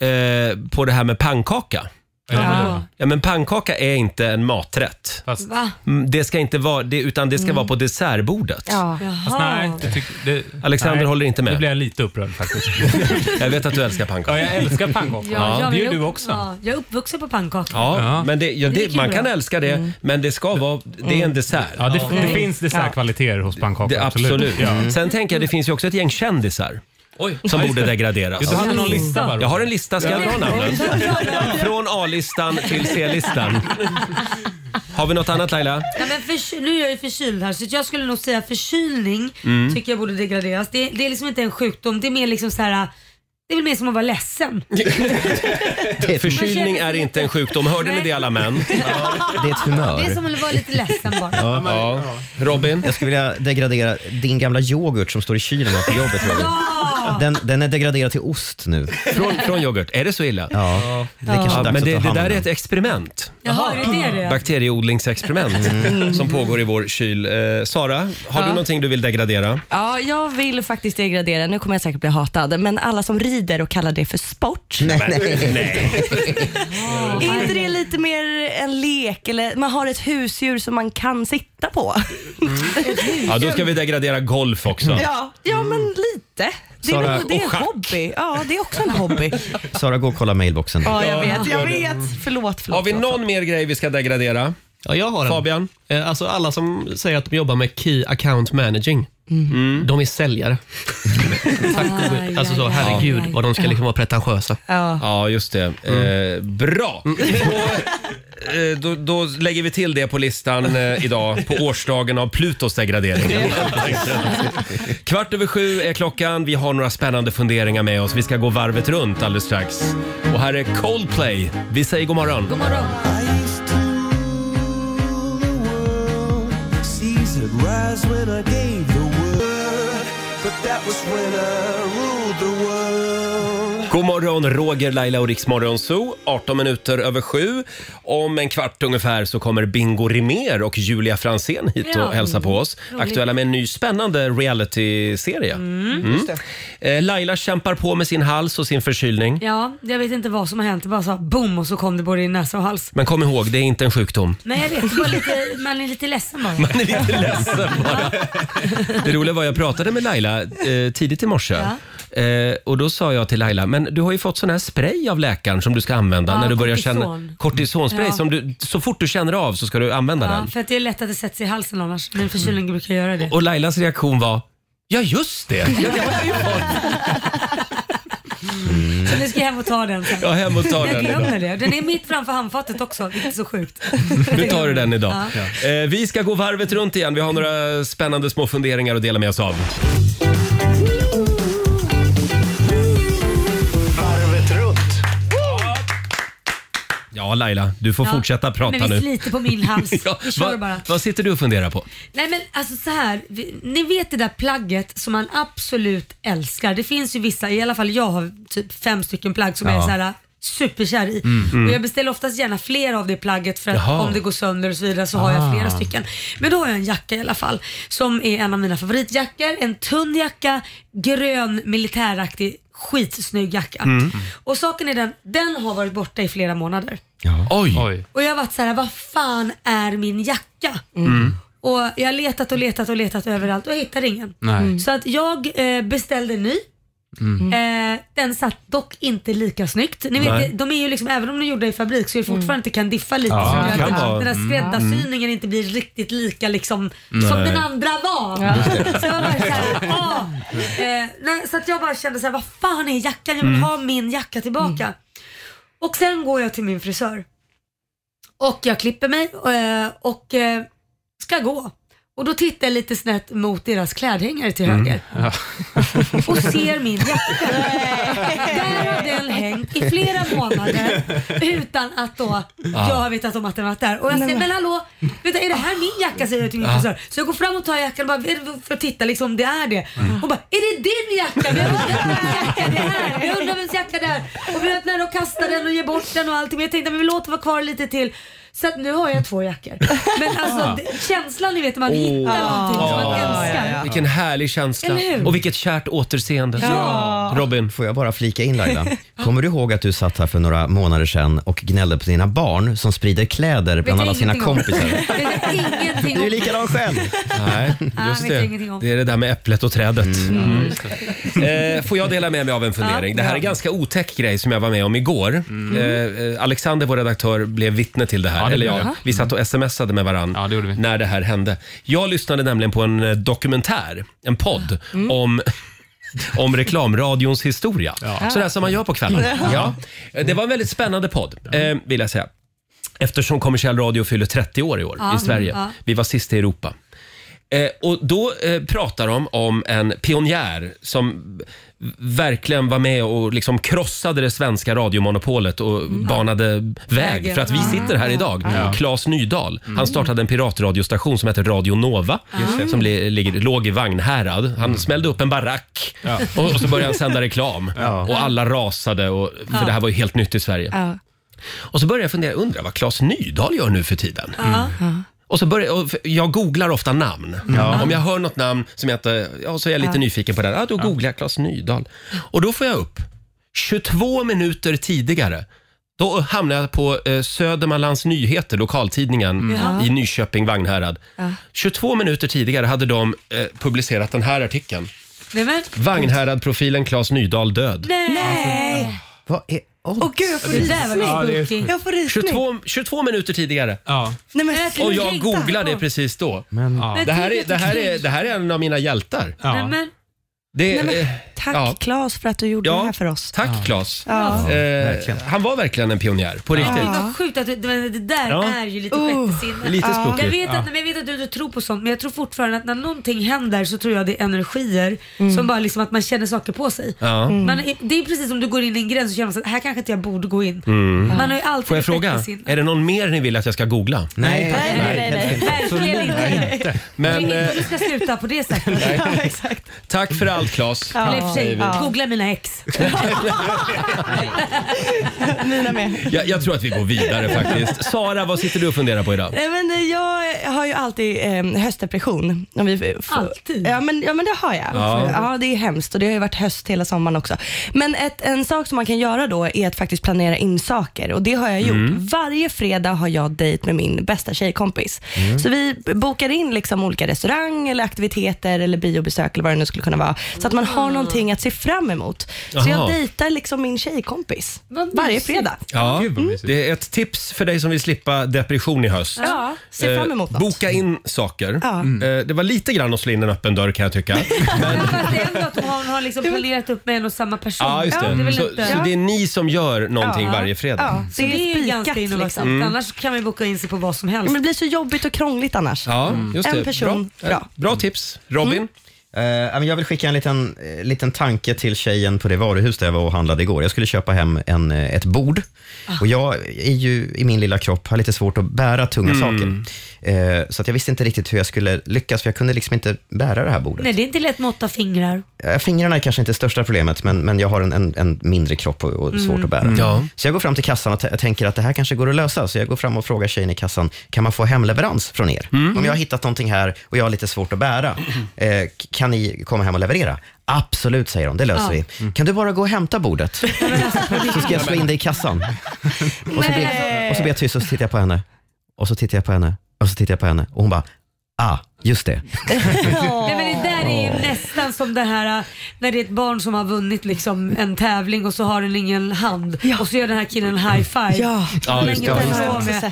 [SPEAKER 1] eh, på det här med pannkaka.
[SPEAKER 3] Ja.
[SPEAKER 1] Ja, men pannkaka är inte en maträtt.
[SPEAKER 3] Va?
[SPEAKER 1] Mm, Det ska inte vara det, utan det ska
[SPEAKER 3] Mm.
[SPEAKER 1] vara på dessertbordet.
[SPEAKER 3] Ja.
[SPEAKER 7] Fast nej, det tyck, det,
[SPEAKER 1] Alexander
[SPEAKER 7] nej,
[SPEAKER 1] håller inte med.
[SPEAKER 7] Nu blir jag lite upprörd faktiskt.
[SPEAKER 1] Jag vet att du älskar pannkaka.
[SPEAKER 7] Ja, jag älskar pannkaka.
[SPEAKER 3] Ja, jag
[SPEAKER 1] det
[SPEAKER 3] är
[SPEAKER 1] gör du
[SPEAKER 3] upp-
[SPEAKER 1] också.
[SPEAKER 3] Ja, jag är uppvuxen på pannkaka.
[SPEAKER 1] Ja, men det, ja,
[SPEAKER 3] Det är
[SPEAKER 1] det,
[SPEAKER 3] kul
[SPEAKER 1] man kan
[SPEAKER 3] då.
[SPEAKER 1] älska det, men det ska vara, det är en dessert.
[SPEAKER 7] Ja, det, det finns dessertkvaliteter hos pannkakor.
[SPEAKER 1] Det, absolut. Mm.
[SPEAKER 7] Ja.
[SPEAKER 1] Sen tänker jag, det finns ju också ett gäng kändisar.
[SPEAKER 7] Oj.
[SPEAKER 1] Som
[SPEAKER 7] Ja, just
[SPEAKER 1] borde
[SPEAKER 7] det.
[SPEAKER 1] degraderas.
[SPEAKER 7] Ja, Du hade någon lista Barbro.
[SPEAKER 1] Jag har en lista, ska jag
[SPEAKER 7] Ja.
[SPEAKER 1] dra namnen? Från A-listan till C-listan. Har vi något annat Laila?
[SPEAKER 3] Ja, men förky- nu är jag ju förkyld här så jag skulle nog säga förkylning
[SPEAKER 1] Mm.
[SPEAKER 3] tycker jag borde degraderas. Det, det är liksom inte en sjukdom, det är mer liksom så här. Det är väl mer som att vara ledsen.
[SPEAKER 1] Förkylning är inte en sjukdom, hörde ni det alla män?
[SPEAKER 2] Det är ett humör.
[SPEAKER 3] Det är som att vara lite ledsen bara.
[SPEAKER 2] Ja.
[SPEAKER 1] Robin?
[SPEAKER 2] Jag skulle vilja degradera din gamla yoghurt som står i kylen här på jobbet. Robin.
[SPEAKER 3] Ja!
[SPEAKER 2] Den, den är degraderad till ost nu.
[SPEAKER 1] Från, från yoghurt, är det så illa?
[SPEAKER 2] Ja. Det är
[SPEAKER 1] Ja.
[SPEAKER 2] kanske dags
[SPEAKER 1] men
[SPEAKER 2] att
[SPEAKER 1] det,
[SPEAKER 2] ta
[SPEAKER 1] det
[SPEAKER 2] hand
[SPEAKER 1] där
[SPEAKER 2] om
[SPEAKER 1] är
[SPEAKER 2] den.
[SPEAKER 1] ett experiment.
[SPEAKER 3] Jaha, är det det?
[SPEAKER 1] Bakterieodlingsexperiment
[SPEAKER 8] Mm.
[SPEAKER 1] som pågår i vår kyl. Eh, Sara, har du
[SPEAKER 8] Ja.
[SPEAKER 1] någonting du vill degradera?
[SPEAKER 8] Ja, jag vill faktiskt degradera, nu kommer jag säkert bli hatad, men alla som rider och kallar det för sport.
[SPEAKER 1] Men- nej.
[SPEAKER 8] Är inte det lite mer en lek? Eller man har ett husdjur som man kan sitta på.
[SPEAKER 1] Ja, då ska vi degradera golf också.
[SPEAKER 8] Ja, ja men lite. Det är,
[SPEAKER 2] Mm. Sara,
[SPEAKER 8] nog- det är
[SPEAKER 2] och
[SPEAKER 8] en
[SPEAKER 2] schack.
[SPEAKER 8] hobby. Ja, det är också en hobby.
[SPEAKER 2] Sara, gå och kolla mailboxen.
[SPEAKER 8] Ja, jag vet. Jag
[SPEAKER 1] gör det.
[SPEAKER 8] vet. Förlåt, förlåt.
[SPEAKER 1] Har vi någon mer grej vi ska degradera?
[SPEAKER 9] Ja, jag har en.
[SPEAKER 1] Fabian?
[SPEAKER 9] Eh, Alltså alla som säger att de jobbar med Key Account Managing. De är säljare. Tack och gud. Alltså så, herregud vad de ska liksom vara pretentiösa.
[SPEAKER 8] Ja.
[SPEAKER 1] Ja, just det. Eh, bra! Då, eh, då, då lägger vi till det på listan eh, idag på årsdagen av Plutos degradering. Kvart över sju är klockan. Vi har några spännande funderingar med oss. Vi ska gå varvet runt alldeles strax. Och här är Coldplay. Vi säger god morgon.
[SPEAKER 3] God morgon.
[SPEAKER 4] Caesar rise when I gave the word, but that was when I ruled the world.
[SPEAKER 1] God morgon, Roger, Laila och Riksmorgon Zoo. 18 minuter över sju. Om en kvart ungefär så kommer Bingo Rimér och Julia Fransén hit
[SPEAKER 3] Ja.
[SPEAKER 1] och hälsa på oss.
[SPEAKER 3] Roligt.
[SPEAKER 1] Aktuella med en ny spännande reality-serie. Mm. Eh, Laila kämpar på med sin hals och sin förkylning.
[SPEAKER 3] Ja, jag vet inte vad som har hänt. Det bara sa boom och så kom det både i näsa och hals.
[SPEAKER 1] Men kom ihåg, det är inte en sjukdom.
[SPEAKER 3] Nej, jag vet. det var Lite, man är lite ledsen bara.
[SPEAKER 1] Man är lite ledsen bara. Det roliga var jag pratade med Laila eh, tidigt i morse. Eh, och då sa jag till Laila, men du har ju fått sån här spray av läkaren som du ska använda
[SPEAKER 3] Ja,
[SPEAKER 1] när du börjar
[SPEAKER 3] kortison.
[SPEAKER 1] känna kortisonspray.
[SPEAKER 3] Ja.
[SPEAKER 1] Som du, så fort du känner av så ska du använda
[SPEAKER 3] Ja,
[SPEAKER 1] den.
[SPEAKER 3] för att det är lätt att det sätts i halsen annars. Men förkylning brukar göra det.
[SPEAKER 1] Och Lailas reaktion var, ja just det.
[SPEAKER 3] Så nu ska jag hem och ta den sen.
[SPEAKER 1] Jag är hem och tar
[SPEAKER 3] Jag
[SPEAKER 1] den
[SPEAKER 3] glömmer
[SPEAKER 1] idag.
[SPEAKER 3] det. Den är mitt framför handfatet också, vilket är så sjukt.
[SPEAKER 1] Nu tar du den idag. Eh, vi ska gå varvet runt igen. Vi har några spännande små funderingar att dela med oss av.
[SPEAKER 4] Varvet runt.
[SPEAKER 1] Ja, Laila, du får
[SPEAKER 3] Ja,
[SPEAKER 1] fortsätta prata
[SPEAKER 3] Men vi
[SPEAKER 1] nu.
[SPEAKER 3] sliter på min hals.
[SPEAKER 1] Ja,
[SPEAKER 3] Vi kör bara.
[SPEAKER 1] vad, vad sitter du och funderar på?
[SPEAKER 3] Nej men alltså så här, vi, ni vet det där plagget som man absolut älskar. Det finns ju vissa, i alla fall jag har typ fem stycken plagg som
[SPEAKER 1] Ja.
[SPEAKER 3] jag är så här äh, superkär i.
[SPEAKER 1] Mm, mm.
[SPEAKER 3] Och jag beställer oftast gärna fler av det plagget för att
[SPEAKER 1] Jaha.
[SPEAKER 3] om det går sönder och så vidare så har
[SPEAKER 1] Ah.
[SPEAKER 3] jag flera stycken. Men då har jag en jacka i alla fall som är en av mina favoritjackor. En tunn jacka, grön militäraktig skitsnygg jacka.
[SPEAKER 1] Mm.
[SPEAKER 3] Och saken är den, den har varit borta i flera månader.
[SPEAKER 1] Oj.
[SPEAKER 3] Och jag har varit så här, vad fan är min jacka?
[SPEAKER 1] Mm.
[SPEAKER 3] Och jag har letat och letat och letat överallt och jag hittar ingen.
[SPEAKER 1] Nej.
[SPEAKER 3] Så att jag eh, beställde en ny
[SPEAKER 7] Mm.
[SPEAKER 3] Eh, den satt dock inte lika snyggt. Ni
[SPEAKER 7] Nej.
[SPEAKER 3] vet, de är ju liksom, även om de är gjorda i fabrik så är det fortfarande kan diffa lite.
[SPEAKER 7] Ja,
[SPEAKER 3] så
[SPEAKER 7] det
[SPEAKER 3] att
[SPEAKER 7] kan
[SPEAKER 3] den-
[SPEAKER 7] vara.
[SPEAKER 3] den här
[SPEAKER 7] Mm.
[SPEAKER 3] skräddarsyningen inte blir riktigt lika liksom,
[SPEAKER 7] Nej.
[SPEAKER 3] som den andra var.
[SPEAKER 7] Ja. Just
[SPEAKER 3] Så jag var bara så, här, "Ah." eh, nej, så att jag bara kände så här, vad fan är jackan? Jag vill
[SPEAKER 11] Mm.
[SPEAKER 3] ha min jacka tillbaka.
[SPEAKER 7] Mm.
[SPEAKER 3] Och sen går jag till min frisör. Och jag klipper mig eh, och eh, ska gå. Och då tittar jag lite snett mot deras klädhängare till
[SPEAKER 7] Mm.
[SPEAKER 3] höger
[SPEAKER 7] Ja.
[SPEAKER 3] och ser min jacka. Där har den hängt i flera månader utan att då
[SPEAKER 11] Ah.
[SPEAKER 3] jag har vetat om att den varit där. Och jag
[SPEAKER 11] Nej,
[SPEAKER 3] säger,
[SPEAKER 11] men-
[SPEAKER 3] men hallå, vänta, är det här min jacka? Säger jag till min
[SPEAKER 11] Ah.
[SPEAKER 3] frisör. Så jag går fram och tar jackan och bara, för att titta liksom, om det är det.
[SPEAKER 11] Mm.
[SPEAKER 3] Hon bara, är det din jacka? Men jag bara, "Vems jacka det här? Jag undrar vems jacka det är. Och vi öppnar och kastar den och ger bort den och allting. Men jag tänkte, men vi låter vara kvar lite till. Så att nu har jag två jackor. Men alltså
[SPEAKER 1] Ah.
[SPEAKER 3] det- känslan ni vet när man hittar
[SPEAKER 1] Åh.
[SPEAKER 3] någonting som man
[SPEAKER 1] Ja.
[SPEAKER 3] älskar.
[SPEAKER 1] Vilken härlig känsla.
[SPEAKER 3] Eller hur?
[SPEAKER 1] Och vilket kärt återseende.
[SPEAKER 3] Ja.
[SPEAKER 1] Robin.
[SPEAKER 2] Får jag bara flika in Laila? Kommer du ihåg att du satt här för några månader sedan och gnällde på dina barn som sprider kläder
[SPEAKER 3] Vet
[SPEAKER 2] bland
[SPEAKER 3] jag
[SPEAKER 2] alla sina
[SPEAKER 3] ingenting om.
[SPEAKER 2] kompisar?
[SPEAKER 3] Vet jag ingenting
[SPEAKER 2] Du är
[SPEAKER 3] om.
[SPEAKER 2] likadan själv.
[SPEAKER 1] Nej,
[SPEAKER 3] Ah,
[SPEAKER 1] just
[SPEAKER 3] vet jag ingenting
[SPEAKER 1] det.
[SPEAKER 3] om.
[SPEAKER 1] Det är det där med äpplet och trädet.
[SPEAKER 3] Mm.
[SPEAKER 1] Eh, får jag dela med mig av en fundering?
[SPEAKER 3] Ja.
[SPEAKER 1] Det här är en
[SPEAKER 3] Ja.
[SPEAKER 1] ganska otäck grej som jag var med om igår. Eh, eh, Alexander, vår redaktör, blev vittne till det här.
[SPEAKER 7] Mm. Ja, det
[SPEAKER 1] Eller
[SPEAKER 7] blev
[SPEAKER 1] ja,
[SPEAKER 7] jag.
[SPEAKER 1] vi satt och smsade med varandra när det här hände. Jag lyssnade nämligen på en eh, dokumentär, en podd, om om reklamradions historia. Sådär som man gör på kvällen.
[SPEAKER 7] Ja.
[SPEAKER 1] Ja. Eh, Det var en väldigt spännande podd, eh, vill jag säga. Eftersom kommersiell radio fyller 30 år i år
[SPEAKER 7] Ja,
[SPEAKER 1] i Sverige.
[SPEAKER 7] ja.
[SPEAKER 1] Vi var sist i Europa. Eh, och då eh, pratar de om en pionjär som verkligen var med och liksom krossade det svenska radiomonopolet och banade väg för att vi sitter här idag.
[SPEAKER 7] Mm. Ja. Mm.
[SPEAKER 1] Claes Nydahl. Han startade en piratradiostation som heter Radio Nova som li, ligger, låg i Vagnhärad. Han smällde upp en barack
[SPEAKER 7] Mm. Ja.
[SPEAKER 1] och, och så började han sända reklam. Och alla rasade, och, för
[SPEAKER 7] Ja.
[SPEAKER 1] det här var ju helt nytt i Sverige.
[SPEAKER 8] Ja.
[SPEAKER 1] Och så började jag fundera, undra vad Claes Nydahl gör nu för tiden? Och så börjar, och för- jag googlar ofta namn.
[SPEAKER 7] Ja.
[SPEAKER 1] Om jag hör något namn som jag inte, ja, så är jag lite
[SPEAKER 7] Ja.
[SPEAKER 1] nyfiken på det. Ja, då googlar jag Claes Nydahl. Och då får jag upp, 22 minuter tidigare, då hamnar jag på eh, Södermanlands Nyheter, lokaltidningen
[SPEAKER 7] Mm. Ja.
[SPEAKER 1] i Nyköping, Vagnhärad.
[SPEAKER 3] Ja.
[SPEAKER 1] 22 minuter tidigare hade de eh, publicerat den här artikeln.
[SPEAKER 3] Nej, men,
[SPEAKER 1] Vagnhärad-profilen Claes Nydahl död.
[SPEAKER 3] Nej! Nej.
[SPEAKER 1] Vad är odds?
[SPEAKER 8] Åh gud, jag får
[SPEAKER 1] Det där
[SPEAKER 8] rysning.
[SPEAKER 1] var ju spooky.
[SPEAKER 8] jag får rysning.
[SPEAKER 1] 22, 22 minuter tidigare.
[SPEAKER 8] Nej, men,
[SPEAKER 1] Och jag googlade precis då.
[SPEAKER 8] Ja.
[SPEAKER 1] Det, här är, det, här är, det här är en av mina hjältar.
[SPEAKER 8] Nej, men,
[SPEAKER 1] Det,
[SPEAKER 8] Nej, men,
[SPEAKER 1] eh,
[SPEAKER 8] tack
[SPEAKER 1] ja.
[SPEAKER 8] Claes för att du gjorde det här för oss.
[SPEAKER 1] Tack Claes.
[SPEAKER 8] Ja.
[SPEAKER 1] Eh, han var verkligen en pionjär, på riktigt.
[SPEAKER 3] Det var sjukt att du, det, det där
[SPEAKER 1] Ja.
[SPEAKER 3] är ju lite
[SPEAKER 1] Uh.
[SPEAKER 3] skämtsinne.
[SPEAKER 1] Lite spooky.
[SPEAKER 3] jag, vet att,
[SPEAKER 1] Ja.
[SPEAKER 3] men jag vet att du inte tror på sånt men jag tror fortfarande att när någonting händer så tror jag det är energier som bara liksom att man känner saker på sig.
[SPEAKER 1] Ja. Mm.
[SPEAKER 3] Man, är- det är precis som du går in i en gräns och känner så att här kanske inte jag borde gå in.
[SPEAKER 1] Mm.
[SPEAKER 3] Man har ju alltid
[SPEAKER 1] Får jag
[SPEAKER 3] respekt
[SPEAKER 1] fråga,
[SPEAKER 3] för sin-
[SPEAKER 1] är det någon mer ni vill att jag ska googla? Nej,
[SPEAKER 3] tack. Nej, nej, nej, nej. Verkligen inte.
[SPEAKER 1] Men
[SPEAKER 3] det är
[SPEAKER 1] eh,
[SPEAKER 3] inte du ska sluta på det sättet.
[SPEAKER 1] Nej.
[SPEAKER 3] Ja,
[SPEAKER 1] tack för allt Claes.
[SPEAKER 3] Eller i och för sig,
[SPEAKER 1] säger vi.
[SPEAKER 3] googla mina ex.
[SPEAKER 8] Mina med.
[SPEAKER 1] Jag, jag tror att vi går vidare faktiskt. Sara, vad sitter du och funderar på idag?
[SPEAKER 8] Nej, men eh, jag har ju alltid eh, höstdepression. Om vi f- f-
[SPEAKER 3] alltid?
[SPEAKER 8] Ja men, ja, men det har jag.
[SPEAKER 11] Ja.
[SPEAKER 8] Ja. det är hemskt och det har ju varit höst hela sommaren också. Men ett, en sak som man kan göra då är att faktiskt planera in saker och det har jag gjort.
[SPEAKER 11] Mm.
[SPEAKER 8] Varje fredag har jag dejt med min bästa tjejkompis.
[SPEAKER 11] Mm.
[SPEAKER 8] Så vi b- bokar in liksom olika restaurang eller aktiviteter eller biobesök eller vad det nu skulle kunna vara. Så att man
[SPEAKER 3] Ah.
[SPEAKER 8] har någonting att se fram emot. Så
[SPEAKER 1] Jaha.
[SPEAKER 8] jag dejtar liksom min tjejkompis varje fredag.
[SPEAKER 1] Ja, det är ett tips för dig som vill slippa depression i höst.
[SPEAKER 8] Ja, se fram emot
[SPEAKER 1] eh,
[SPEAKER 8] något.
[SPEAKER 1] Boka in saker.
[SPEAKER 8] Ja. Mm.
[SPEAKER 1] Eh, det var lite grann att slå in en öppen dörr kan jag tycka.
[SPEAKER 3] Fast det är ändå att hon har, hon har liksom planerat upp med en och samma person.
[SPEAKER 1] Ja, just det.
[SPEAKER 3] är väl
[SPEAKER 1] så,
[SPEAKER 3] inte-
[SPEAKER 1] så det är ni som gör någonting varje fredag.
[SPEAKER 3] Så det är, ju ganska innovativt.
[SPEAKER 8] liksom. Mm.
[SPEAKER 3] Annars kan man ju boka in sig på vad som helst.
[SPEAKER 8] Men det blir så jobbigt och krångligt annars.
[SPEAKER 1] Ja,
[SPEAKER 8] just En det. person, Mm. Bra. bra.
[SPEAKER 1] Eh, tips. Robin?
[SPEAKER 2] Eh, jag vill skicka en liten, eh, liten tanke till tjejen på det varuhus där jag var och handlade igår. Jag skulle köpa hem en, eh, ett bord och jag är ju i min lilla kropp har lite svårt att bära tunga
[SPEAKER 1] Mm.
[SPEAKER 2] saker. Eh, så att jag visste inte riktigt hur jag skulle lyckas för jag kunde liksom inte bära det här bordet.
[SPEAKER 3] Nej, det är inte lätt med åtta fingrar.
[SPEAKER 2] Eh, Fingrarna är kanske inte det största problemet, men, men jag har en, en, en mindre kropp och, och
[SPEAKER 3] Mm.
[SPEAKER 2] svårt att bära.
[SPEAKER 3] Mm. Ja.
[SPEAKER 2] Så jag går fram till kassan och t- jag tänker att det här kanske går att lösa. Så jag går fram och frågar tjejen i kassan, kan man få hemleverans från er?
[SPEAKER 3] Mm.
[SPEAKER 2] Om jag har hittat någonting här och jag har lite svårt att bära, eh, k- kan ni komma hem och leverera? Absolut, säger hon, det löser
[SPEAKER 3] Ja.
[SPEAKER 2] vi. Kan du bara gå och hämta bordet? så ska jag slå in det i kassan. Och så blir, och så blir jag tyst och så tittar jag på henne. Och så tittar jag på henne. Och så tittar jag på henne. Och hon bara, Ah, just det.
[SPEAKER 3] Nej, men det där är ju nästan som det här äh, när det är ett barn som har vunnit liksom en tävling och så har den ingen hand och så gör den här killen en high five. Ja,
[SPEAKER 2] Ja, just det. Ja, just det.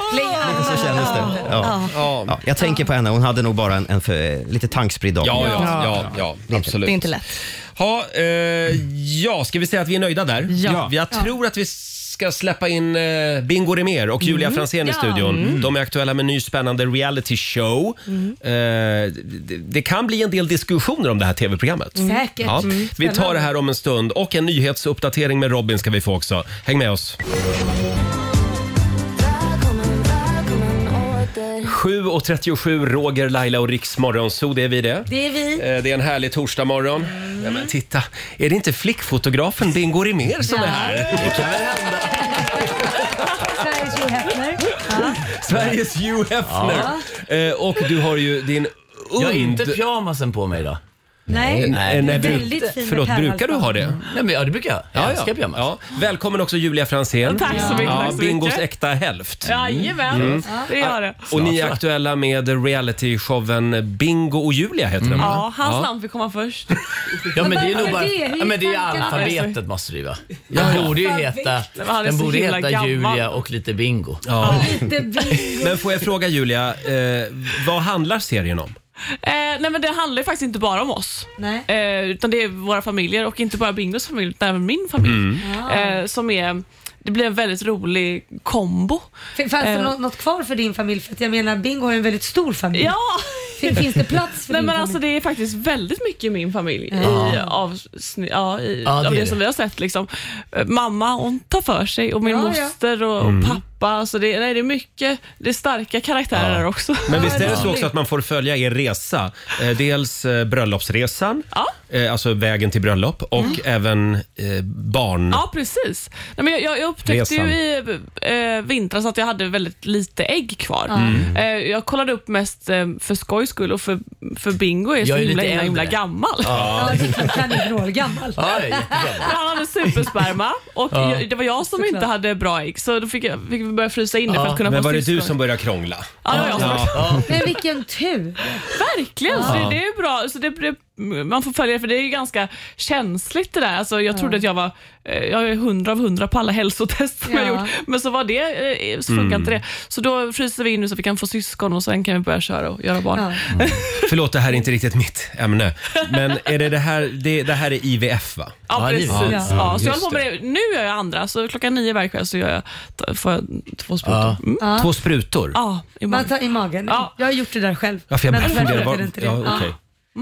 [SPEAKER 3] Så
[SPEAKER 2] kändes det. Ja. Ja, jag tänker på henne, hon hade nog bara en, en för, lite tankspridd dag.
[SPEAKER 1] Ja, ja, ja, ja,
[SPEAKER 2] Det är inte-
[SPEAKER 1] absolut.
[SPEAKER 8] Det är inte lätt.
[SPEAKER 1] Ha, eh, ja, ska vi säga att vi är nöjda där?
[SPEAKER 8] Ja.
[SPEAKER 1] Jag
[SPEAKER 8] Ja.
[SPEAKER 1] tror att vi ska släppa in eh, Bingo Rimér och Julia
[SPEAKER 11] Mm.
[SPEAKER 1] Franzén i
[SPEAKER 11] Ja.
[SPEAKER 1] studion.
[SPEAKER 11] Mm.
[SPEAKER 1] De är aktuella med en ny spännande reality show.
[SPEAKER 11] Mm.
[SPEAKER 1] Eh, det, det kan bli en del diskussioner om det här tv-programmet.
[SPEAKER 11] Mm. Säkert.
[SPEAKER 1] Ja.
[SPEAKER 11] Mm.
[SPEAKER 1] Vi tar
[SPEAKER 11] Spännande.
[SPEAKER 1] det här om en stund och en nyhetsuppdatering med Robin ska vi få också. Häng med oss. 7.37, Roger, Laila och Riks Morgonzoo, det är vi det.
[SPEAKER 3] Det är vi.
[SPEAKER 1] Eh, Det är en härlig torsdagmorgon. Ja, men titta, är det inte flickfotografen Bingo Rimér som är här?
[SPEAKER 3] Sveriges Hugh Hefner. Ja.
[SPEAKER 1] Sveriges Hugh Hefner. Eh, Och du har ju din und...
[SPEAKER 11] Jag har inte
[SPEAKER 1] pyjamasen på mig idag.
[SPEAKER 3] Nej,
[SPEAKER 1] Nej,
[SPEAKER 3] det är
[SPEAKER 1] nej, bru-
[SPEAKER 3] väldigt fin
[SPEAKER 1] Förlåt,
[SPEAKER 3] med
[SPEAKER 1] brukar du ha det?
[SPEAKER 3] pärlhalsband.
[SPEAKER 1] Nej, men, ja, det brukar jag.
[SPEAKER 11] Jag älskar pyjamas.
[SPEAKER 1] Välkommen också Julia Franzén.
[SPEAKER 11] Tack så mycket, tack så
[SPEAKER 1] Bingos
[SPEAKER 11] mycket.
[SPEAKER 1] äkta hälft.
[SPEAKER 11] Jajamän,
[SPEAKER 1] Mm.
[SPEAKER 11] det gör det.
[SPEAKER 1] Och ni är aktuella med realityshowen Bingo och Julia heter den va?
[SPEAKER 11] Mm. Ja, hans namn fick komma först.
[SPEAKER 1] Ja, men det är nog
[SPEAKER 11] Varför
[SPEAKER 1] bara-
[SPEAKER 11] Hur
[SPEAKER 1] ja, men
[SPEAKER 11] gick
[SPEAKER 1] det är
[SPEAKER 11] tankarna?
[SPEAKER 1] alfabetet.
[SPEAKER 12] måste det ju vara.
[SPEAKER 1] Ja.
[SPEAKER 12] Den borde ju
[SPEAKER 1] Alfabet.
[SPEAKER 12] heta,
[SPEAKER 11] Men han är
[SPEAKER 12] den
[SPEAKER 11] så
[SPEAKER 12] borde
[SPEAKER 11] himla
[SPEAKER 12] heta
[SPEAKER 11] gammal.
[SPEAKER 12] Julia och lite bingo.
[SPEAKER 1] Ja.
[SPEAKER 11] Lite bingo.
[SPEAKER 1] Men får jag fråga Julia, eh, vad handlar serien om?
[SPEAKER 11] Eh, nej men det handlar ju faktiskt inte bara om oss. Eh, utan det är våra familjer och inte bara Bingos familj utan även min familj.
[SPEAKER 1] Mm.
[SPEAKER 11] Eh, som är, det blir en väldigt rolig kombo.
[SPEAKER 3] F- Fanns det
[SPEAKER 11] Eh.
[SPEAKER 3] nå- något kvar för din familj? För att jag menar, Bingo har ju en väldigt stor familj.
[SPEAKER 11] Ja!
[SPEAKER 3] Fin- Finns det plats för
[SPEAKER 11] Nej
[SPEAKER 3] din
[SPEAKER 11] men
[SPEAKER 3] familj?
[SPEAKER 11] alltså det är faktiskt väldigt mycket i min familj i,
[SPEAKER 3] Ja.
[SPEAKER 11] avsni- ja, i,
[SPEAKER 12] Ja, det
[SPEAKER 11] av
[SPEAKER 12] är
[SPEAKER 11] det,
[SPEAKER 12] det.
[SPEAKER 11] som vi har sett. Liksom. Eh, Mamma hon tar för sig och min
[SPEAKER 12] Ja, ja.
[SPEAKER 11] moster och,
[SPEAKER 1] Mm.
[SPEAKER 11] och pappa. Så det, nej, det är mycket, det är starka karaktärer där också.
[SPEAKER 1] Men visst är det så också att man får följa er resa? Eh, Dels eh, bröllopsresan, eh, alltså vägen till bröllop och
[SPEAKER 11] Mm.
[SPEAKER 1] även eh, barn.
[SPEAKER 11] Ja, precis. Nej, men jag, jag, jag upptäckte
[SPEAKER 1] Resan.
[SPEAKER 11] ju i eh, vintras att jag hade väldigt lite ägg kvar.
[SPEAKER 12] Mm.
[SPEAKER 11] Eh, jag kollade upp mest eh, för skojs skull och för, för Bingo är så
[SPEAKER 12] Jag är
[SPEAKER 11] himla,
[SPEAKER 12] lite
[SPEAKER 11] himla, himla
[SPEAKER 12] äldre.
[SPEAKER 11] gammal.
[SPEAKER 12] Ja. Ja, det
[SPEAKER 3] Han är vrålgammal.
[SPEAKER 11] Han hade supersperma och
[SPEAKER 1] Ja.
[SPEAKER 11] jag, det var jag som inte hade bra ägg så då fick, jag, fick vi börja frysa in det för att kunna
[SPEAKER 1] Men
[SPEAKER 11] få
[SPEAKER 1] var det du
[SPEAKER 11] syskon.
[SPEAKER 1] som började krångla?
[SPEAKER 11] Ja, det var jag som
[SPEAKER 3] Men vilken tur.
[SPEAKER 11] Verkligen, så
[SPEAKER 1] Ja.
[SPEAKER 11] det, det är ju bra. Så det, det, man får följa det, för det är ju ganska känsligt det där. Alltså, jag trodde att jag var eh, jag är 100 av 100 på alla hälsotest som jag
[SPEAKER 12] Ja.
[SPEAKER 11] gjort, men så var det, eh, så funkar
[SPEAKER 1] Mm.
[SPEAKER 11] inte det. Så då fryser vi in nu så vi kan få syskon och sen kan vi börja köra och göra barn.
[SPEAKER 1] Förlåt, det här är inte riktigt mitt ämne. Men är det, det, här, det, det här är IVF va?
[SPEAKER 11] Ja, precis. Ja. så jag
[SPEAKER 1] Just
[SPEAKER 11] håller på med det. Nu gör jag andra, så klockan nio varje kväll så gör jag, t- får jag två sprutor.
[SPEAKER 1] Ja.
[SPEAKER 11] Mm.
[SPEAKER 3] Ja.
[SPEAKER 1] Två sprutor?
[SPEAKER 11] Ja, i
[SPEAKER 3] Man
[SPEAKER 11] magen.
[SPEAKER 3] tar i magen. Jag har gjort det där själv.
[SPEAKER 1] Ja, för jag bara
[SPEAKER 3] tyvärr
[SPEAKER 1] funderar, var-
[SPEAKER 3] funkade inte det.
[SPEAKER 1] ja, okej.
[SPEAKER 3] Ja,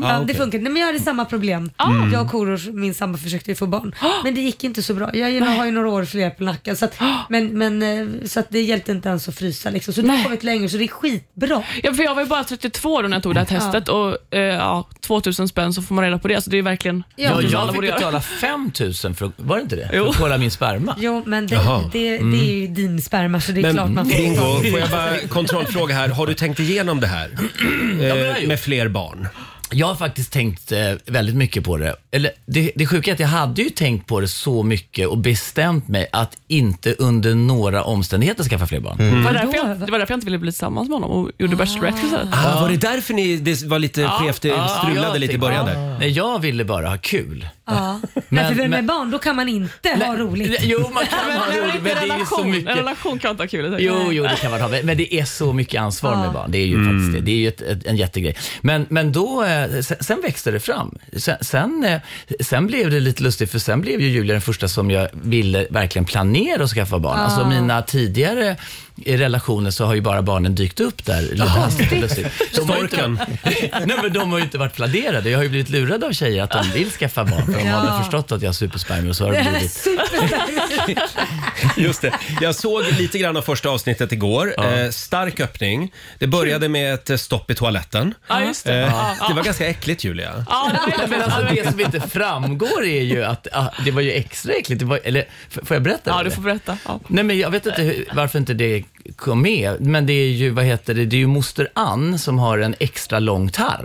[SPEAKER 1] Ah,
[SPEAKER 3] det
[SPEAKER 1] okej.
[SPEAKER 3] funkar inte. Nej, men jag hade samma problem.
[SPEAKER 1] Mm.
[SPEAKER 3] Jag och Korosh, min sambo, försökte ju få barn. Men det gick inte så bra. Jag har ju- har ju några år fler på nacken. Så, att, men, men, eh, så att det hjälpte inte ens att frysa. Liksom. Så nu har jag kommit längre, så det är skitbra.
[SPEAKER 11] Ja, för jag var ju bara 32 då när jag tog det här
[SPEAKER 3] Ja.
[SPEAKER 11] testet och eh, ja, 2000 spänn så får man reda på det. Så det är ju verkligen
[SPEAKER 12] Ja,
[SPEAKER 11] något som
[SPEAKER 12] jag
[SPEAKER 11] alla
[SPEAKER 12] fick
[SPEAKER 11] borde göra.
[SPEAKER 12] betala 5000 för att, var det inte det? För att kolla min sperma.
[SPEAKER 3] Jo, men det,
[SPEAKER 12] Jaha.
[SPEAKER 3] det, det,
[SPEAKER 12] Mm.
[SPEAKER 3] är ju din sperma, så det är klart man får
[SPEAKER 1] Bingo, får jag bara kontrollfråga här. Har du tänkt igenom det här? Eh, med fler barn?
[SPEAKER 12] Jag har faktiskt tänkt eh, väldigt mycket på det. Eller, det. Det sjuka är att jag hade ju tänkt på det så mycket och bestämt mig att inte under några omständigheter skaffa fler barn.
[SPEAKER 1] Mm.
[SPEAKER 11] Det var, därför jag, det var därför jag inte ville bli tillsammans med honom och gjorde Bachelorette istället.
[SPEAKER 1] Ah, var det därför ni det var lite
[SPEAKER 12] Ja,
[SPEAKER 1] skevt,
[SPEAKER 12] Ah. ja,
[SPEAKER 1] strulade
[SPEAKER 12] jag
[SPEAKER 1] lite i
[SPEAKER 12] tänkte-
[SPEAKER 1] början där?
[SPEAKER 12] Nej, jag ville bara ha kul.
[SPEAKER 3] Ah. Ja.
[SPEAKER 12] Men-
[SPEAKER 3] Men, för vem med
[SPEAKER 12] men-
[SPEAKER 3] barn, då kan man inte ha roligt.
[SPEAKER 12] Jo, man kan ha roligt, men det är ju så mycket.
[SPEAKER 11] En relation kan inte ha kul. tycker jag.
[SPEAKER 12] Jo, jo, det kan man ha. Men men det är så mycket ansvar
[SPEAKER 11] Ja.
[SPEAKER 3] Ah.
[SPEAKER 12] med barn. Det är
[SPEAKER 1] Mm.
[SPEAKER 12] ju faktiskt det. Det är ju ett, ett, en jättegrej. Men, men då, eh, sen, sen växte det fram. Sen, sen, eh, sen blev det lite lustigt, för sen blev ju Julia den första som jag ville verkligen planera att skaffa barn.
[SPEAKER 11] Ja.
[SPEAKER 3] Ah.
[SPEAKER 12] Alltså mina tidigare i relationer så har ju bara barnen dykt upp där lite hastigt och lustigt. De har ju inte-
[SPEAKER 1] Storken.
[SPEAKER 12] Nej men de har ju inte varit planerade. Jag har ju blivit lurad av tjejer att de vill skaffa barn för de har
[SPEAKER 1] Ja.
[SPEAKER 12] väl förstått att jag har superspermier och så har det blivit
[SPEAKER 1] Just det. Jag såg lite grann av första avsnittet igår. Eh, stark öppning. Det började med ett eh, stopp i toaletten. Eh,
[SPEAKER 12] Ja, just det. Ja, ja.
[SPEAKER 1] det var ganska äckligt Julia.
[SPEAKER 12] Nej, men alltså, det som inte framgår är ju att ah, det var ju extra äckligt. Det var, eller, f- får jag berätta?
[SPEAKER 11] Ja,
[SPEAKER 12] eller?
[SPEAKER 11] du får berätta. Ja.
[SPEAKER 12] Nej, men jag vet inte hur, varför inte det kom med, men det är ju, vad heter det, det är ju moster Ann som har en extra lång tarm.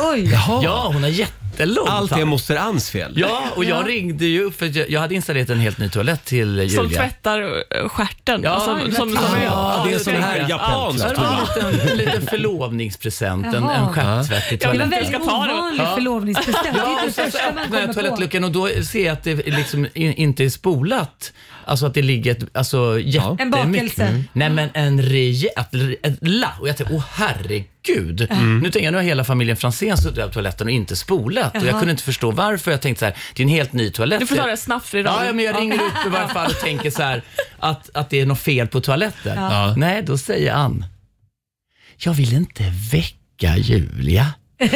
[SPEAKER 3] Oj!
[SPEAKER 12] Ja, hon har jätte jättelångt.
[SPEAKER 1] Allt är moster Anns fel.
[SPEAKER 12] Ja, och jag
[SPEAKER 11] Ja.
[SPEAKER 12] ringde ju upp för att jag, jag hade installerat en helt ny toalett till Julia.
[SPEAKER 11] Som tvättar eh, stjärten.
[SPEAKER 12] Ja,
[SPEAKER 11] Alltså, som, som,
[SPEAKER 12] ah,
[SPEAKER 11] ja,
[SPEAKER 12] det är
[SPEAKER 11] jag
[SPEAKER 12] sån här
[SPEAKER 11] tänkte.
[SPEAKER 12] japansk
[SPEAKER 11] Ja,
[SPEAKER 12] toalett. En liten, liten förlovningspresent, en, en
[SPEAKER 11] Jaha.
[SPEAKER 12] stjärttvätt i
[SPEAKER 11] Ja, men
[SPEAKER 12] toaletten.
[SPEAKER 11] väldigt Jag ska ta den. ovanlig förlovningspresent. Det är
[SPEAKER 12] Ja,
[SPEAKER 11] det
[SPEAKER 12] och sen så
[SPEAKER 11] första man
[SPEAKER 12] öppnar jag
[SPEAKER 11] kommer på.
[SPEAKER 12] toalettluckan och då ser jag att det är liksom in, inte är spolat. Alltså att det ligger ett, alltså jättemycket.
[SPEAKER 11] En bakelse.
[SPEAKER 12] Mm. Nej men en rejäl, ett la. Och jag tänkte, åh herregud.
[SPEAKER 11] Mm.
[SPEAKER 12] Nu tänker jag, nu har hela familjen Franzén suttit på toaletten och inte spolat. Och jag
[SPEAKER 11] Jaha.
[SPEAKER 12] kunde inte förstå varför. Jag tänkte så här, det är en helt ny toalett. typ.
[SPEAKER 11] Du får ta det snabbt idag.
[SPEAKER 12] Ja, ja, men jag ringer upp i varje fall och tänker så här att, att det är något fel på toaletten.
[SPEAKER 11] Ja.
[SPEAKER 12] Nej, då säger Ann. Jag vill inte väcka Julia.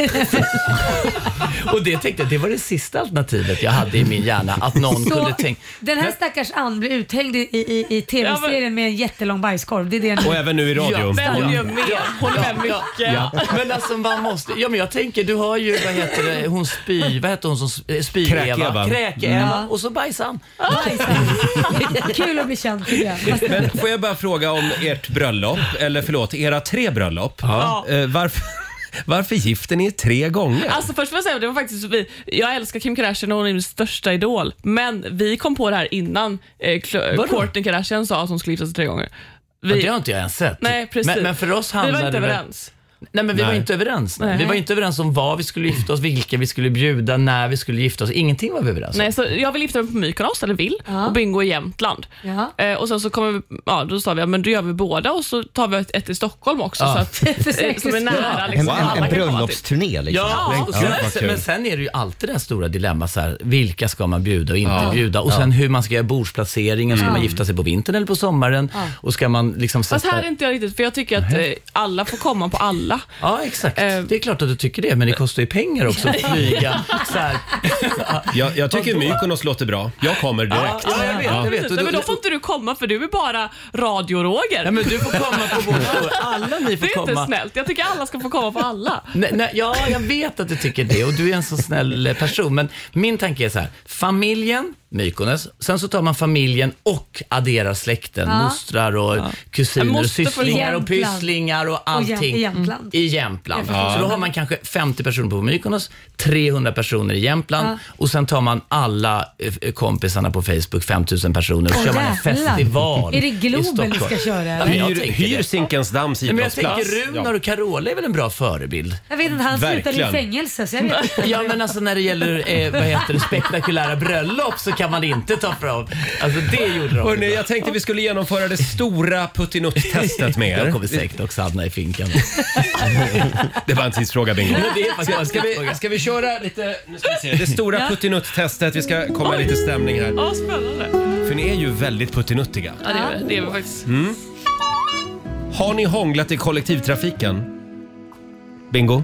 [SPEAKER 12] och det tänkte jag, det var det sista alternativet jag hade i min hjärna. Att någon
[SPEAKER 3] Så,
[SPEAKER 12] kunde tänka.
[SPEAKER 3] Den här stackars Ann blir uthängd i, i, i tv-serien med en jättelång bajskorv. Det är det
[SPEAKER 1] Och även nu i radio.
[SPEAKER 12] Ja, men-
[SPEAKER 1] Ja.
[SPEAKER 12] Ja, ja,
[SPEAKER 11] Håller med
[SPEAKER 12] ja,
[SPEAKER 11] mycket.
[SPEAKER 12] ja. Men alltså man måste, ja men jag tänker, du har ju, vad heter det, hon spy, vad heter hon som sp- eh, spyr-Eva?
[SPEAKER 1] Kräk-Eva.
[SPEAKER 12] Kräk-Eva.
[SPEAKER 3] Mm.
[SPEAKER 12] Och så bajsar han.
[SPEAKER 3] Kul att bli känd för det. Fast-
[SPEAKER 1] Men får jag bara fråga om ert bröllop, eller förlåt, era tre bröllop.
[SPEAKER 11] Ja.
[SPEAKER 1] Eh, varför, varför gifte ni er tre gånger?
[SPEAKER 11] Alltså först vill jag säga, det var faktiskt vi, jag älskar Kim Kardashian och hon är min största idol. Men vi kom på det här innan eh, Kl-
[SPEAKER 12] Vadå?
[SPEAKER 11] Kourtney Kardashian sa att hon skulle gifta sig tre gånger.
[SPEAKER 12] Ja, det har inte jag ens sett.
[SPEAKER 11] Nej, precis.
[SPEAKER 12] Men, men för oss
[SPEAKER 11] Vi var
[SPEAKER 12] handlade
[SPEAKER 11] inte
[SPEAKER 12] det väl-
[SPEAKER 11] överens.
[SPEAKER 12] Nej, men vi var
[SPEAKER 11] Nej.
[SPEAKER 12] inte överens. Nej.
[SPEAKER 11] Nej.
[SPEAKER 12] Vi var inte överens om vad vi skulle gifta oss, vilka vi skulle bjuda, när vi skulle gifta oss. Ingenting var vi överens om.
[SPEAKER 11] Nej, så jag vill gifta mig på Mykonos, eller vill, och Bingo i Jämtland. Eh, och sen så kommer vi, ja, då sa vi, ja, men då gör vi båda och så tar vi ett, ett i Stockholm också,
[SPEAKER 12] Ja.
[SPEAKER 11] så att, eh, som är nära. Liksom,
[SPEAKER 12] Wow.
[SPEAKER 2] En
[SPEAKER 11] alla kan komma till.
[SPEAKER 2] bröllopsturné liksom.
[SPEAKER 12] Ja, och sen, men sen är det ju alltid det här stora dilemmat, så här, vilka ska man bjuda och inte
[SPEAKER 11] Ja.
[SPEAKER 12] bjuda? Och
[SPEAKER 11] Ja.
[SPEAKER 12] sen hur man ska göra bordsplaceringen, ska
[SPEAKER 11] Mm.
[SPEAKER 12] man gifta sig på vintern eller på sommaren?
[SPEAKER 11] Ja.
[SPEAKER 12] Och ska man liksom
[SPEAKER 11] Fast
[SPEAKER 12] sätta...
[SPEAKER 11] här är inte jag riktigt, för jag tycker att eh, alla får komma på alla. Eh,
[SPEAKER 12] Ja, exakt. Det är klart att du tycker det, men det kostar ju pengar också att flyga. Så här.
[SPEAKER 1] Jag, jag tycker Mykonos låter bra. Jag kommer direkt.
[SPEAKER 12] Ja, jag vet, jag vet.
[SPEAKER 11] Nej, men då får inte du komma för du är bara radio-Roger.
[SPEAKER 12] Nej, men du får komma på vår Alla ni får
[SPEAKER 11] Det är
[SPEAKER 12] komma.
[SPEAKER 11] inte snällt. Jag tycker alla ska få komma på alla.
[SPEAKER 12] Nej, nej, ja, jag vet att du tycker det och du är en så snäll person. Men min tanke är så här, familjen, Mykonos, sen så tar man familjen och adderar släkten.
[SPEAKER 3] Ja.
[SPEAKER 12] Mostrar och kusiner och
[SPEAKER 3] Moster från
[SPEAKER 12] sysslingar och
[SPEAKER 3] Jämtland.
[SPEAKER 12] pysslingar och
[SPEAKER 3] Och Jäm-
[SPEAKER 12] allting.
[SPEAKER 3] i Jämtland.
[SPEAKER 12] I Jämtland.
[SPEAKER 3] Jag förstår.
[SPEAKER 12] Så då har man kanske 50 personer på Mykonos, 300 personer i Jämtland
[SPEAKER 3] Ja.
[SPEAKER 12] och sen tar man alla eh, kompisarna på Facebook, 5000 personer och
[SPEAKER 3] Åh,
[SPEAKER 12] kör man en
[SPEAKER 3] jävlar.
[SPEAKER 12] festival
[SPEAKER 3] Är det
[SPEAKER 12] i
[SPEAKER 3] Globen
[SPEAKER 12] Stockholm.
[SPEAKER 3] vi ska köra, eller?
[SPEAKER 12] Ja, men jag
[SPEAKER 1] Hyr-
[SPEAKER 12] tänker
[SPEAKER 1] hyr
[SPEAKER 12] det.
[SPEAKER 1] Zinkensdamms
[SPEAKER 12] Nej, men Jag
[SPEAKER 1] idrottsplats.
[SPEAKER 12] tänker Runar
[SPEAKER 1] Ja.
[SPEAKER 12] och Carola är väl en bra förebild?
[SPEAKER 3] Jag vet inte, han slutade i
[SPEAKER 12] Verkligen.
[SPEAKER 3] fängelse så jag vet inte.
[SPEAKER 12] Ja men alltså när det gäller eh, vad heter det, spektakulära bröllop så kan man inte ta fram. Alltså det gjorde de.
[SPEAKER 1] Hörrni, jag tänkte vi skulle genomföra det stora puttinutt-testet med er.
[SPEAKER 12] Jag kommer säkert också hamna i finkan.
[SPEAKER 1] Det var en tidsfråga Bingo.
[SPEAKER 12] Ja, det är faktiskt
[SPEAKER 1] Ska, ska,
[SPEAKER 12] en
[SPEAKER 1] vi,
[SPEAKER 12] tidsfråga.
[SPEAKER 1] ska vi köra lite, nu ska vi se, det stora
[SPEAKER 11] Ja.
[SPEAKER 1] puttinutt-testet. Vi ska komma i lite stämning här.
[SPEAKER 11] Ja, spännande.
[SPEAKER 1] För ni är ju väldigt puttinuttiga.
[SPEAKER 11] Ja, det är vi- det är vi faktiskt.
[SPEAKER 1] Mm. Har ni hånglat i kollektivtrafiken? Bingo?
[SPEAKER 11] Eh,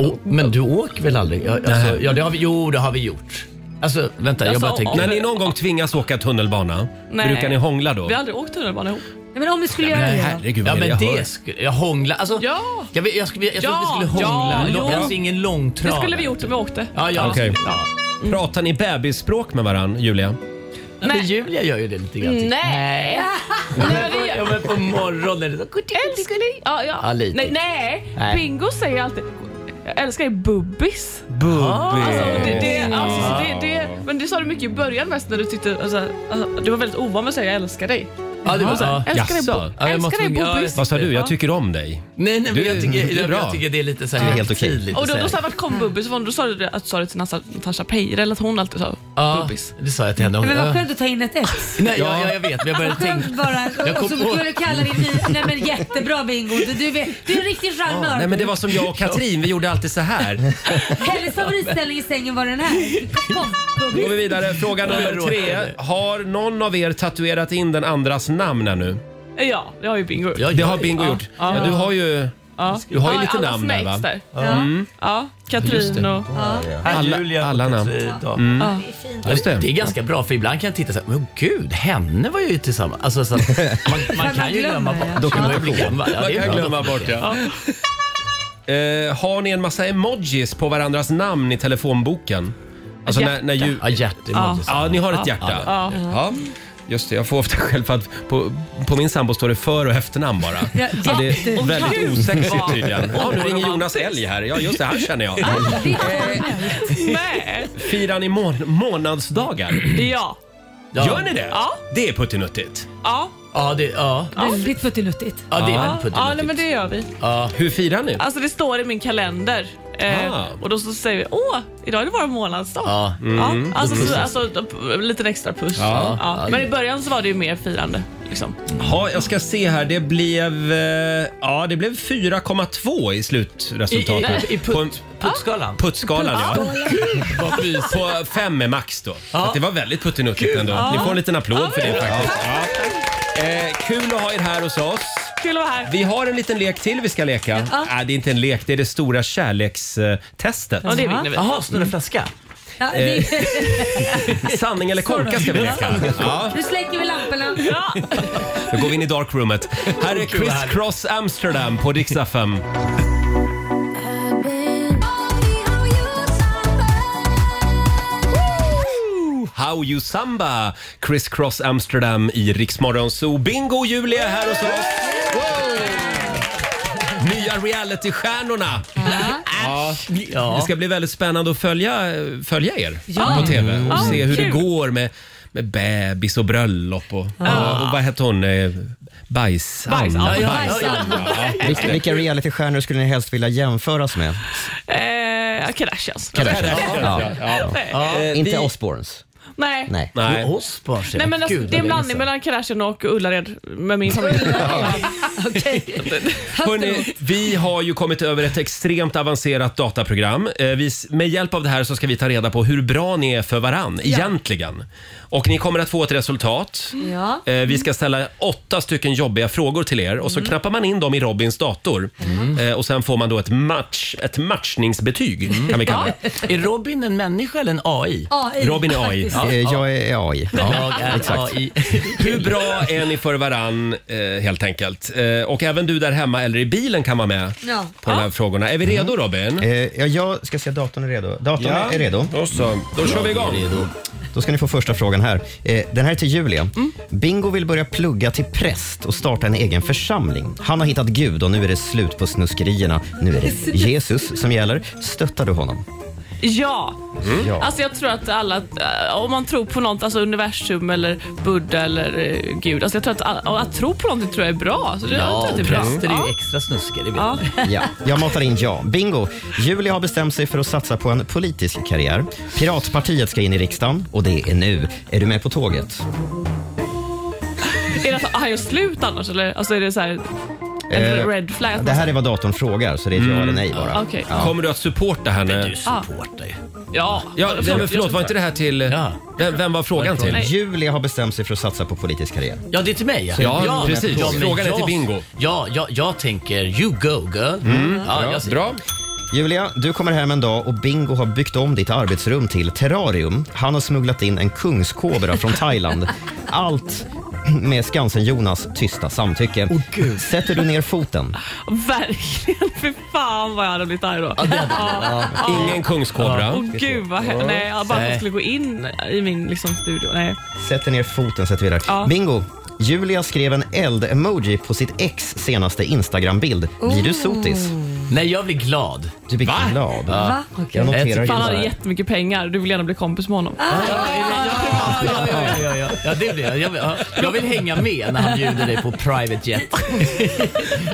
[SPEAKER 12] Oh, men du åker väl aldrig? Ja, alltså, ja, det har vi, jo det har vi gjort. Alltså vänta, jag,
[SPEAKER 11] Jag
[SPEAKER 12] bara
[SPEAKER 11] sa
[SPEAKER 12] tänker.
[SPEAKER 11] om-
[SPEAKER 1] När ni någon gång tvingas åka tunnelbana,
[SPEAKER 11] Nej.
[SPEAKER 1] brukar ni hångla då?
[SPEAKER 11] Vi har aldrig åkt tunnelbana ihop.
[SPEAKER 3] Nej, men om vi skulle
[SPEAKER 12] Nej,
[SPEAKER 3] göra det
[SPEAKER 1] herregud,
[SPEAKER 12] ja,
[SPEAKER 1] vad är
[SPEAKER 12] men
[SPEAKER 1] det jag hör?
[SPEAKER 12] det skulle, jag hångla, alltså.
[SPEAKER 11] Ja.
[SPEAKER 12] Jag, vet- jag, skulle- jag, trodde
[SPEAKER 11] Ja,
[SPEAKER 12] vi skulle hångla,
[SPEAKER 11] ja,
[SPEAKER 12] ja,
[SPEAKER 11] ja.
[SPEAKER 12] alltså ingen
[SPEAKER 11] Det
[SPEAKER 12] långtradare.
[SPEAKER 11] skulle vi gjort om vi åkte.
[SPEAKER 12] Ja, ja.
[SPEAKER 1] Okej.
[SPEAKER 12] Ja.
[SPEAKER 1] Pratar ni bebisspråk med varann, Julia?
[SPEAKER 12] Men Julia gör ju det lite grann. tycker jag.
[SPEAKER 11] Nej. Nej, vi-
[SPEAKER 12] Ja, men på morgonen är det så.
[SPEAKER 11] Älskling. Ja, ja.
[SPEAKER 12] Ja, lite.
[SPEAKER 11] nej, nej.
[SPEAKER 12] Nej.
[SPEAKER 11] Bingo säger alltid jag älskar ju bubbis.
[SPEAKER 1] Bubbis.
[SPEAKER 11] Alltså, det,
[SPEAKER 12] Mm.
[SPEAKER 11] det, alltså, så
[SPEAKER 1] Ah.
[SPEAKER 11] det, det, men det sa du mycket i början mest när du tyckte, alltså, alltså, du var väldigt ovan med att säga jag älskar dig.
[SPEAKER 12] Ja, det var så.
[SPEAKER 11] här, älskar dig,
[SPEAKER 12] Jaså.
[SPEAKER 11] bo-
[SPEAKER 12] Ja, jag
[SPEAKER 11] älskar
[SPEAKER 12] måste-
[SPEAKER 11] dig
[SPEAKER 12] ja,
[SPEAKER 11] bubbis.
[SPEAKER 1] Vad sa du?
[SPEAKER 11] Ja.
[SPEAKER 1] Jag tycker om dig.
[SPEAKER 12] Nej, nej, men
[SPEAKER 1] Du-
[SPEAKER 12] jag tycker,
[SPEAKER 1] det är
[SPEAKER 12] jag,
[SPEAKER 1] bra.
[SPEAKER 12] jag tycker det är lite så
[SPEAKER 1] Det
[SPEAKER 12] här
[SPEAKER 1] är helt okej.
[SPEAKER 12] högtidligt
[SPEAKER 11] Och
[SPEAKER 12] att
[SPEAKER 11] då, då
[SPEAKER 12] säga.
[SPEAKER 11] sa jag vart kom bubbis ifrån? Då sa du det- att du sa det till Nasa- Natasha Peire, eller att hon alltid sa
[SPEAKER 12] Ja,
[SPEAKER 11] bubbis.
[SPEAKER 12] det sa jag till henne. Hon,
[SPEAKER 3] Men vad
[SPEAKER 12] ja.
[SPEAKER 3] skönt att ta in ett S.
[SPEAKER 12] Nej, ja, ja, jag vet, men jag började tänka.
[SPEAKER 3] Skönt bara.
[SPEAKER 12] Jag kom
[SPEAKER 3] Och så
[SPEAKER 12] på-
[SPEAKER 3] skulle du kalla din ny... Nej men jättebra bingo. Du, du, vet, du är en riktig charmör.
[SPEAKER 1] Nej men det var som jag och Katrin, vi gjorde alltid så här.
[SPEAKER 3] Hennes favoritställning i sängen var den här. Kom,
[SPEAKER 1] Då
[SPEAKER 3] bubbis.
[SPEAKER 1] går vi vidare. Fråga nummer tre. Har någon av er tatuerat in den andras namn ännu?
[SPEAKER 11] Ja, det har ju Bingo gjort.
[SPEAKER 1] Det har Bingo
[SPEAKER 11] Ja,
[SPEAKER 1] gjort.
[SPEAKER 11] ja.
[SPEAKER 1] Ja, du har ju...
[SPEAKER 11] Ja.
[SPEAKER 1] Du har ju
[SPEAKER 11] Ja,
[SPEAKER 1] lite
[SPEAKER 11] alla
[SPEAKER 1] namn där, va?
[SPEAKER 11] snakes
[SPEAKER 1] Ja.
[SPEAKER 11] Ja.
[SPEAKER 1] Mm.
[SPEAKER 11] ja, Katrin och... Ja.
[SPEAKER 1] Alla, alla namn. Mm.
[SPEAKER 11] Ja.
[SPEAKER 1] Just det.
[SPEAKER 12] eh, Det är ganska bra för ibland kan jag titta så här, men gud, henne var ju tillsammans. Alltså, så att man, man kan ju glömma bort.
[SPEAKER 1] Dokumentation.
[SPEAKER 12] Ja, det är
[SPEAKER 1] Man kan
[SPEAKER 12] bra.
[SPEAKER 1] glömma bort ja. Eh, har ni en massa emojis på varandras namn i telefonboken? Alltså när, när ju...
[SPEAKER 12] Ja, hjärtemojis.
[SPEAKER 1] Ja, ni har ett
[SPEAKER 12] Ja.
[SPEAKER 1] hjärta.
[SPEAKER 12] Ja.
[SPEAKER 1] Ja. Just det, jag får ofta själv för att på, på min sambo står det för och efternamn bara.
[SPEAKER 4] Ja,
[SPEAKER 1] Så det är
[SPEAKER 4] jätte-
[SPEAKER 1] väldigt
[SPEAKER 4] Gud,
[SPEAKER 1] osexigt
[SPEAKER 4] vad-
[SPEAKER 1] tydligen. Ja, nu ringer Jonas Elg här. Ja, just det, han känner jag.
[SPEAKER 11] Nej.
[SPEAKER 1] Firar ni mån månadsdagar?
[SPEAKER 11] Ja.
[SPEAKER 1] Gör ni det?
[SPEAKER 11] Ja.
[SPEAKER 1] Det är puttinuttigt.
[SPEAKER 11] Ja.
[SPEAKER 12] Ja, det, ja.
[SPEAKER 3] Väldigt futtinuttigt.
[SPEAKER 1] Ja, det är väldigt
[SPEAKER 11] ja.
[SPEAKER 1] puttinuttigt.
[SPEAKER 11] ja nej, men det gör vi.
[SPEAKER 12] Ja.
[SPEAKER 1] Hur firar ni?
[SPEAKER 11] Alltså det står i min kalender. Eh,
[SPEAKER 1] Ah.
[SPEAKER 11] Och då så säger vi, åh, idag är det vår månadsdag.
[SPEAKER 12] Ja. Mm.
[SPEAKER 11] Ja, alltså,
[SPEAKER 12] Puss.
[SPEAKER 11] så, alltså p- liten extra puss.
[SPEAKER 1] Ja.
[SPEAKER 11] Ja. Men i början så var det ju mer firande. Liksom.
[SPEAKER 1] Ja, jag ska se här. Det blev, eh, ja, det blev 4,2 i slutresultatet.
[SPEAKER 12] I- i- i putt-
[SPEAKER 1] På en-
[SPEAKER 12] puttskalan?
[SPEAKER 1] Puttskalan, ja. På fem är max då. Så att det var väldigt puttinuttigt ändå.
[SPEAKER 11] Ja.
[SPEAKER 1] Ni får en liten applåd
[SPEAKER 11] Ja,
[SPEAKER 1] för det
[SPEAKER 11] men-
[SPEAKER 1] faktiskt. Ja. Eh, kul att ha er här hos oss.
[SPEAKER 11] Kul att vara här.
[SPEAKER 1] Vi har en liten lek till vi ska leka.
[SPEAKER 11] Ja.
[SPEAKER 1] Nej, det är inte en lek, det är det stora kärlekstestet.
[SPEAKER 11] Ja, det vinner vi.
[SPEAKER 12] Jaha, snurra flaska.
[SPEAKER 3] Ja, det-
[SPEAKER 1] Sanning eller korka ska vi leka. Ja.
[SPEAKER 3] Nu släcker vi lamporna.
[SPEAKER 1] Då går vi in i darkroomet. Här är Chris Cross Amsterdam på Dix FM. How you samba, Chris Cross Amsterdam i Riksmorgon Zoo. Bingo Julia är här hos oss! Wow! Nya reality-stjärnorna! Ja.
[SPEAKER 12] Ja.
[SPEAKER 1] Det ska bli väldigt spännande att följa, följa er
[SPEAKER 12] Ja.
[SPEAKER 1] på TV och
[SPEAKER 12] Ja,
[SPEAKER 1] se hur det
[SPEAKER 12] kul.
[SPEAKER 1] går med, med bebis och bröllop och,
[SPEAKER 12] Ja.
[SPEAKER 1] och, och vad hette hon? Eh, Bajs-Anna.
[SPEAKER 12] Bajs, ja, ja,
[SPEAKER 1] Bajs-Anna.
[SPEAKER 12] ja, ja.
[SPEAKER 1] just
[SPEAKER 2] Vilka,
[SPEAKER 1] det.
[SPEAKER 2] vilka realitystjärnor skulle ni helst vilja jämföras med?
[SPEAKER 11] Eh, Kardashians.
[SPEAKER 2] Kardashians. Ja. Ja.
[SPEAKER 11] Nej.
[SPEAKER 1] Eh,
[SPEAKER 2] Ja. Inte
[SPEAKER 11] vi-
[SPEAKER 2] Osbournes.
[SPEAKER 11] Nej.
[SPEAKER 2] Nej.
[SPEAKER 1] Nej.
[SPEAKER 12] Osbournes?
[SPEAKER 11] Nej men alltså, det är en blandning mellan Kardashian och Ullared med min familj.
[SPEAKER 1] Hörrni, vi har ju kommit över ett extremt avancerat dataprogram. Eh, Vi, s- med hjälp av det här så ska vi ta reda på hur bra ni är för varann
[SPEAKER 3] Ja.
[SPEAKER 1] egentligen. Och ni kommer att få ett resultat.
[SPEAKER 3] Ja.
[SPEAKER 1] Eh, Vi ska ställa åtta stycken jobbiga frågor till er och så knappar man in dem i Robins dator. Eh, Och sen får man då ett, match, ett matchningsbetyg kan vi kalla det.
[SPEAKER 12] Är Robin en människa eller en AI?
[SPEAKER 3] AI.
[SPEAKER 1] Robin är AI.
[SPEAKER 12] Ja.
[SPEAKER 2] Eh, Jag är AI.
[SPEAKER 12] Ja, exakt.
[SPEAKER 1] Hur bra är ni för varann eh, helt enkelt? Eh, och även du där hemma eller i bilen kan vara med
[SPEAKER 3] Ja.
[SPEAKER 1] på de här frågorna. Är vi redo Robin?
[SPEAKER 2] Eh, ja, jag ska se att datorn är redo. Datorn
[SPEAKER 1] Ja.
[SPEAKER 2] är redo.
[SPEAKER 1] Då så. Då kör vi igång.
[SPEAKER 2] Då ska ni få första frågan här. Eh, den här är till Julia. Bingo vill börja plugga till präst och starta en egen församling. Han har hittat Gud och nu är det slut på snuskerierna. Nu är det Jesus som gäller. Stöttar du honom?
[SPEAKER 11] Ja.
[SPEAKER 2] Mm. Ja.
[SPEAKER 11] Alltså jag tror att alla, eh, om man tror på något, alltså universum eller Buddha eller eh, Gud. Alltså jag tror att, alla, och att tro på någonting tror jag är bra. Så det, jag tror
[SPEAKER 12] Ja,
[SPEAKER 11] att
[SPEAKER 12] och
[SPEAKER 11] det är bra.
[SPEAKER 12] präster är
[SPEAKER 11] Ja.
[SPEAKER 12] ju extra snuskiga, det vet
[SPEAKER 11] Ja.
[SPEAKER 2] Ja, jag matar in ja. Bingo! Julia har bestämt sig för att satsa på en politisk karriär. Piratpartiet ska in i riksdagen och det är nu. Är du med på tåget?
[SPEAKER 11] Är det att, har jag slut annars eller? Alltså är det så här, en
[SPEAKER 2] Eh,
[SPEAKER 11] red flag? att
[SPEAKER 2] Det
[SPEAKER 11] man-
[SPEAKER 2] här är vad datorn frågar, så det är ett ja eller nej bara.
[SPEAKER 11] Okej.
[SPEAKER 2] Ja.
[SPEAKER 1] Kommer du att supporta henne?
[SPEAKER 11] Ah. Ja.
[SPEAKER 1] Ja, nej, men förlåt, var inte det här till... Vem, vem var frågan till?
[SPEAKER 11] Nej.
[SPEAKER 2] Julia har bestämt sig för att satsa på politisk karriär.
[SPEAKER 12] Ja, det är till mig.
[SPEAKER 1] Så jag- precis.
[SPEAKER 12] men
[SPEAKER 1] Frågan är till
[SPEAKER 12] jag-
[SPEAKER 1] Bingo.
[SPEAKER 12] Ja, ja, jag tänker you go girl. Mm. Ja, jag ser-
[SPEAKER 2] Julia, du kommer hem en dag och Bingo har byggt om ditt arbetsrum till terrarium. Han har smugglat in en kungskobra från Thailand. Allt med Skansen-Jonas tysta samtycke. Sätter du ner foten?
[SPEAKER 11] Verkligen. Fy fan vad jag hade blivit arg då. Ja,
[SPEAKER 1] Ingen kungskobra.
[SPEAKER 11] Åh gud vad he- Nej, jag bara att de skulle gå in i min liksom, studio. Nej.
[SPEAKER 2] Sätter ner foten, sätter vi där.
[SPEAKER 11] Ja.
[SPEAKER 2] Bingo! Julia skrev en eld-emoji på sitt ex senaste Instagram-bild. Blir du sotis?
[SPEAKER 12] Nej, jag blir glad.
[SPEAKER 2] Du blir glad.
[SPEAKER 12] Va? Okej. typ
[SPEAKER 2] Jag noterar
[SPEAKER 12] Jag
[SPEAKER 2] ju
[SPEAKER 12] tycker
[SPEAKER 11] Han
[SPEAKER 2] bara.
[SPEAKER 11] hade jättemycket pengar du vill gärna bli kompis med honom.
[SPEAKER 12] Ja, ja, ja, ja, ja. ja det blir jag. Jag, vill- ja. jag vill hänga med när han bjuder dig på private jet.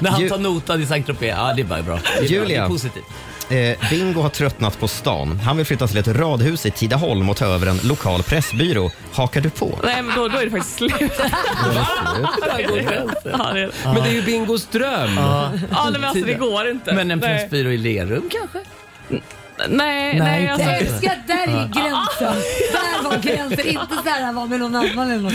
[SPEAKER 12] när han tar notan i Saint Tropez. Ja, det är bara bra. Det är bra. Det
[SPEAKER 2] Julia.
[SPEAKER 12] är positivt.
[SPEAKER 2] Eh, Bingo har tröttnat på stan. Han vill flytta till ett radhus i Tidaholm och ta över en lokal pressbyrå. Hakar du på?
[SPEAKER 11] Nej men då, då är det faktiskt slut. ja, det är det.
[SPEAKER 1] Men det är ju Bingos dröm.
[SPEAKER 12] Ja.
[SPEAKER 11] Ja, nej, men alltså det går
[SPEAKER 2] Äh,
[SPEAKER 11] inte.
[SPEAKER 12] Men en
[SPEAKER 11] Nej.
[SPEAKER 12] pressbyrå i Lerum kanske?
[SPEAKER 11] Nej, nej,
[SPEAKER 12] Nej,
[SPEAKER 11] alltså.
[SPEAKER 12] det-
[SPEAKER 3] Älskar, där är gränsen. Där var gränsen. Inte där han var med någon annan eller något.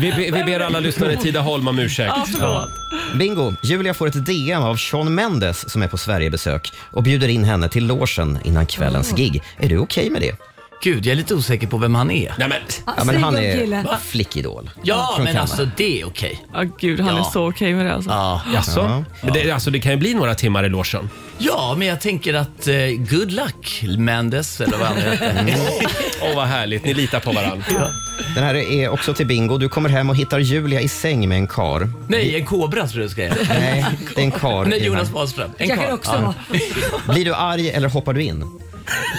[SPEAKER 1] Vi, be- vi ber alla lyssnare i Tidaholm om ursäkt.
[SPEAKER 11] Ja, förlåt.
[SPEAKER 2] Bingo! Julia får ett DM av Sean Mendes som är på Sverigebesök och bjuder in henne till logen innan kvällens gig. Är du okej med det?
[SPEAKER 12] Gud, jag är lite osäker på vem han är.
[SPEAKER 1] Nej, men...
[SPEAKER 2] Ja, men han
[SPEAKER 3] Snygg
[SPEAKER 2] är
[SPEAKER 3] kille.
[SPEAKER 2] flickidol.
[SPEAKER 12] Ja,
[SPEAKER 2] Från
[SPEAKER 12] men
[SPEAKER 2] Kalmar.
[SPEAKER 12] alltså det är okej.
[SPEAKER 11] Ja, gud, han
[SPEAKER 12] Ja.
[SPEAKER 11] är så okej med det alltså.
[SPEAKER 12] Ja.
[SPEAKER 1] Jaså? Men Det, alltså, det kan ju bli några timmar i logen.
[SPEAKER 12] Ja, men jag tänker att eh, good luck, Mendes, eller vad han heter.
[SPEAKER 1] Åh, vad härligt. Ni litar på varandra.
[SPEAKER 2] Den här är också till Bingo. Du kommer hem och hittar Julia i säng med en kar.
[SPEAKER 12] Nej, en kobra tror jag du ska göra.
[SPEAKER 2] Nej, det är en kar. i
[SPEAKER 12] Nej,
[SPEAKER 2] den
[SPEAKER 12] Jonas
[SPEAKER 2] här.
[SPEAKER 12] Wahlström. En
[SPEAKER 2] Jag kan
[SPEAKER 12] karl.
[SPEAKER 2] också vara. Blir du arg eller hoppar du in?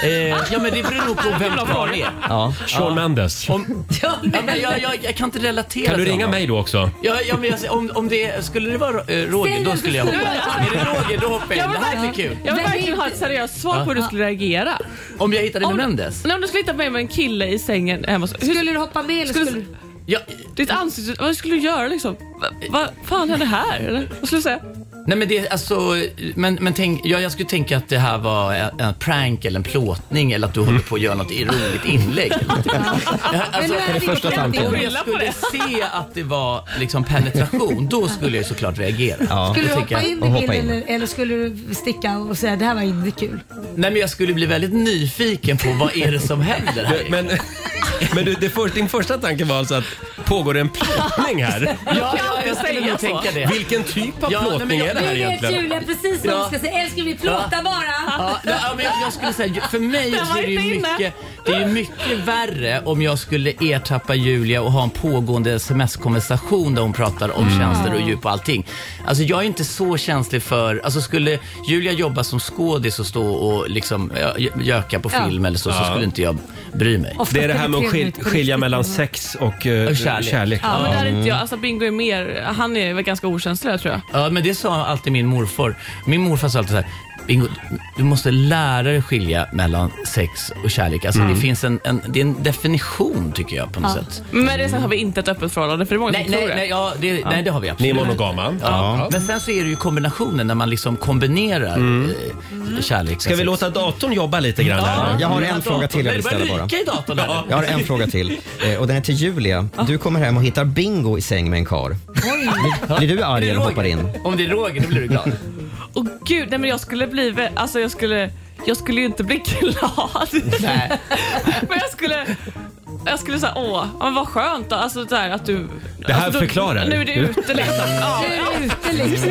[SPEAKER 12] Eh, ja, men det beror nog på vem karln är.
[SPEAKER 2] Ja.
[SPEAKER 1] Shawn Mendes.
[SPEAKER 12] Om, ja, men jag, jag, jag kan inte relatera
[SPEAKER 1] Kan du
[SPEAKER 12] till
[SPEAKER 1] ringa
[SPEAKER 12] honom.
[SPEAKER 1] mig då också?
[SPEAKER 12] Ja, ja, men jag, om, om det, skulle det vara eh, Roger, då skulle jag hoppa. Är det Roger, då hoppar jag.
[SPEAKER 11] Jag
[SPEAKER 12] in.
[SPEAKER 11] vill
[SPEAKER 12] Det här blir
[SPEAKER 11] verkligen,
[SPEAKER 12] kul.
[SPEAKER 11] jag vill verkligen ha ett seriöst svar på hur du skulle reagera.
[SPEAKER 12] Om jag hittade
[SPEAKER 11] Om-
[SPEAKER 12] Mendes?
[SPEAKER 11] Nej, om du skulle hitta med mig en kille i sängen hemma hos- hur-
[SPEAKER 3] Skulle du hoppa med eller skulle du...
[SPEAKER 12] Ja,
[SPEAKER 11] Ditt ansikte, vad skulle du göra liksom? Va- Vad fan hände här? Eller, Vad skulle du säga?
[SPEAKER 12] Nej men det, alltså, men, men tänk, ja, jag skulle tänka att det här var en, en prank eller en plåtning eller att du håller på att göra något i- roligt inlägg. Alltså, Ja,
[SPEAKER 4] Men nu är Det är det första inte tanken.
[SPEAKER 12] Om
[SPEAKER 4] roligt.
[SPEAKER 12] jag skulle se att det var liksom penetration, då skulle jag ju såklart reagera.
[SPEAKER 3] Skulle
[SPEAKER 12] Då
[SPEAKER 3] du hoppa
[SPEAKER 12] tänker jag-
[SPEAKER 3] in i bilden eller, eller skulle du sticka och säga det här var inte kul?
[SPEAKER 12] Nej men jag skulle bli väldigt nyfiken på vad är det som händer här?
[SPEAKER 1] Men, men du, det för, din första tanke var alltså att pågår det en plåtning här?
[SPEAKER 12] Ja, ja, jag skulle nog tänka det.
[SPEAKER 1] Vilken typ av
[SPEAKER 12] Ja, nej, men
[SPEAKER 1] plåtning
[SPEAKER 12] jag-
[SPEAKER 1] är det här
[SPEAKER 12] Nu vet
[SPEAKER 1] egentligen?
[SPEAKER 3] Julia precis vad
[SPEAKER 12] Ja.
[SPEAKER 3] hon ska säga. Älskling vi
[SPEAKER 12] Ja.
[SPEAKER 3] plåtar
[SPEAKER 12] Ja,
[SPEAKER 3] bara.
[SPEAKER 12] nej, ja, men jag, jag skulle säga, för mig
[SPEAKER 3] Den
[SPEAKER 12] så
[SPEAKER 3] var
[SPEAKER 12] är det ju
[SPEAKER 3] inte inne.
[SPEAKER 12] mycket, det är ju mycket värre om jag skulle ertappa Julia och ha en pågående sms-konversation där hon pratar om
[SPEAKER 11] Mm.
[SPEAKER 12] tjänster och djup och allting. Alltså jag är inte så känslig för, alltså skulle Julia jobba som skådis och stå och liksom ö- göka på
[SPEAKER 11] Ja.
[SPEAKER 12] film eller så, så
[SPEAKER 1] Ja.
[SPEAKER 12] skulle inte jag bry mig.
[SPEAKER 11] Ofta
[SPEAKER 1] Det är det här med att
[SPEAKER 11] penetrerar
[SPEAKER 1] skil,
[SPEAKER 11] inte på
[SPEAKER 1] skilja
[SPEAKER 11] riktigt.
[SPEAKER 1] mellan sex och eh, kärlek.
[SPEAKER 11] Ja, men där är inte jag. Alltså Bingo är mer, han är väl ganska okänslig där, tror jag.
[SPEAKER 12] Ja, men det sa alltid min morfar. Min morfar sa alltid så här. Bingo, du måste lära dig skilja mellan sex och kärlek. Alltså,
[SPEAKER 11] Mm.
[SPEAKER 12] det, finns en, en, det är en definition tycker jag på något
[SPEAKER 11] Ja.
[SPEAKER 12] sätt.
[SPEAKER 11] Men med det sen har vi inte ett öppet förhållande för det är många
[SPEAKER 12] Nej,
[SPEAKER 11] som
[SPEAKER 12] nej,
[SPEAKER 11] tror det.
[SPEAKER 12] nej, ja, det, nej, det har vi
[SPEAKER 1] Ni
[SPEAKER 12] absolut.
[SPEAKER 1] är monogama.
[SPEAKER 12] Ja. Men sen så är det ju kombinationen när man liksom kombinerar eh, kärlek med
[SPEAKER 1] Ska vi
[SPEAKER 12] sex. Mm.
[SPEAKER 1] låta datorn jobba lite grann här nu?
[SPEAKER 2] Jag har en fråga till jag vill ställa bara. Jag har en fråga till eh, och den är till Julia.
[SPEAKER 12] Ah.
[SPEAKER 2] Du kommer hem och hittar Bingo i säng med en kar. Blir- Blir du arg eller hoppar in?
[SPEAKER 12] Om det är Roger, då blir du glad.
[SPEAKER 11] Åh gud, nej men jag skulle bli, vä- alltså jag skulle, jag skulle ju inte bli glad.
[SPEAKER 12] Nej.
[SPEAKER 11] men jag skulle, jag skulle säga åh, ja, men vad skönt då. Alltså det här att du.
[SPEAKER 1] Det här
[SPEAKER 11] alltså, då-
[SPEAKER 1] förklarar.
[SPEAKER 11] Nu är det ute liksom. Ja.
[SPEAKER 3] Nu är det ute liksom.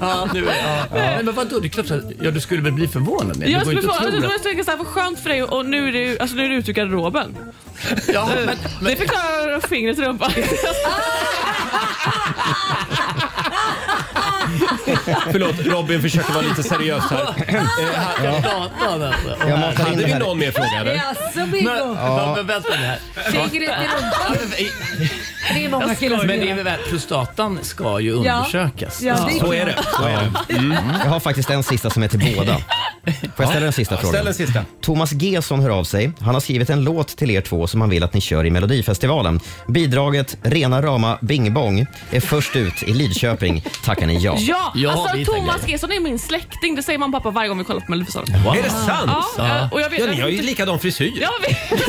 [SPEAKER 12] Ja, nu, ja, ja. Men vadå, det är klart att ja, du skulle väl bli förvånad? men
[SPEAKER 11] Jag
[SPEAKER 12] det går
[SPEAKER 11] skulle
[SPEAKER 12] ju inte att
[SPEAKER 11] få, alltså,
[SPEAKER 12] tro
[SPEAKER 11] jag
[SPEAKER 12] det.
[SPEAKER 11] skulle tänka såhär, vad skönt för dig och nu är du, alltså, nu är du ute ur garderoben.
[SPEAKER 12] Ja, men,
[SPEAKER 11] Det förklarar fingret i rumpan.
[SPEAKER 1] Förlåt, Robin försöker vara lite seriös här. Eh, ha-
[SPEAKER 12] Satan alltså.
[SPEAKER 1] Jag matar in Hade det vi här. någon mer fråga, eller?
[SPEAKER 3] Jaså
[SPEAKER 12] Men,
[SPEAKER 3] alltså Bingo?
[SPEAKER 12] ja. men vänta nu här.
[SPEAKER 3] Fingret i rumpan. Det är många
[SPEAKER 12] Jag
[SPEAKER 3] killar
[SPEAKER 12] skojar.
[SPEAKER 3] som
[SPEAKER 12] Men
[SPEAKER 3] gör
[SPEAKER 12] det är
[SPEAKER 3] det.
[SPEAKER 12] väl väl, prostatan ska ju
[SPEAKER 3] Ja.
[SPEAKER 12] undersökas.
[SPEAKER 3] Ja, det är Så är
[SPEAKER 1] det.
[SPEAKER 2] Ja. Jag har faktiskt en sista som är till båda. Får jag ställa en sista
[SPEAKER 1] Mm. Ja,
[SPEAKER 2] fråga?
[SPEAKER 1] ställ en sista.
[SPEAKER 2] Thomas G som hör av sig. Han har skrivit en låt till er två som han vill att ni kör i Melodifestivalen. Bidraget Rena rama Bing Bong är först ut i Lidköping. Tackar ni ja?
[SPEAKER 11] Ja, alltså Thomas Gesson är min släkting. Det säger mamma och pappa varje gång vi kollar på Melodifestivalen.
[SPEAKER 1] Är det sant?
[SPEAKER 11] Ja, eh, och jag vet,
[SPEAKER 1] ja, ni har ju likadan frisyr.
[SPEAKER 11] Jag vet.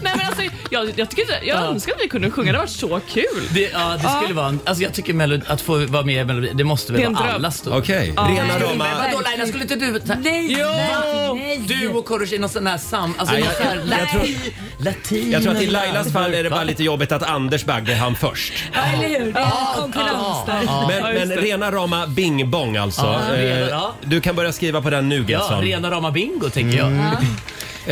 [SPEAKER 11] Nej men alltså, jag, jag, tycker inte, jag önskar att vi kunde sjunga, det var så kul.
[SPEAKER 12] Det, ja, det skulle vara en, alltså jag tycker melod, att få vara med i Melodi, det måste
[SPEAKER 11] Det är
[SPEAKER 12] väl
[SPEAKER 11] en
[SPEAKER 12] vara
[SPEAKER 11] dröm.
[SPEAKER 12] allas stora.
[SPEAKER 1] Okej. Rena rama...
[SPEAKER 12] Men vadå Laila, skulle inte du... Ta,
[SPEAKER 3] nej,
[SPEAKER 12] jo!
[SPEAKER 3] nej, nej.
[SPEAKER 12] Du och Korosh i någon sån här sam... Alltså,
[SPEAKER 1] Nej,
[SPEAKER 12] någon sån här,
[SPEAKER 1] jag- jag tror-
[SPEAKER 12] Nej, latin.
[SPEAKER 1] Jag tror att i Lailas fall är det bara lite jobbigt att Anders Bagge han först.
[SPEAKER 3] Ja, eller hur? Det är konkurrens där.
[SPEAKER 1] Men, men rena rama bing bong alltså.
[SPEAKER 12] Ja, rena-
[SPEAKER 1] Eh,
[SPEAKER 12] ja.
[SPEAKER 1] Du kan börja skriva på den nu
[SPEAKER 12] Ja,
[SPEAKER 1] Gesson.
[SPEAKER 12] rena rama bingo tänker jag.
[SPEAKER 1] Eh,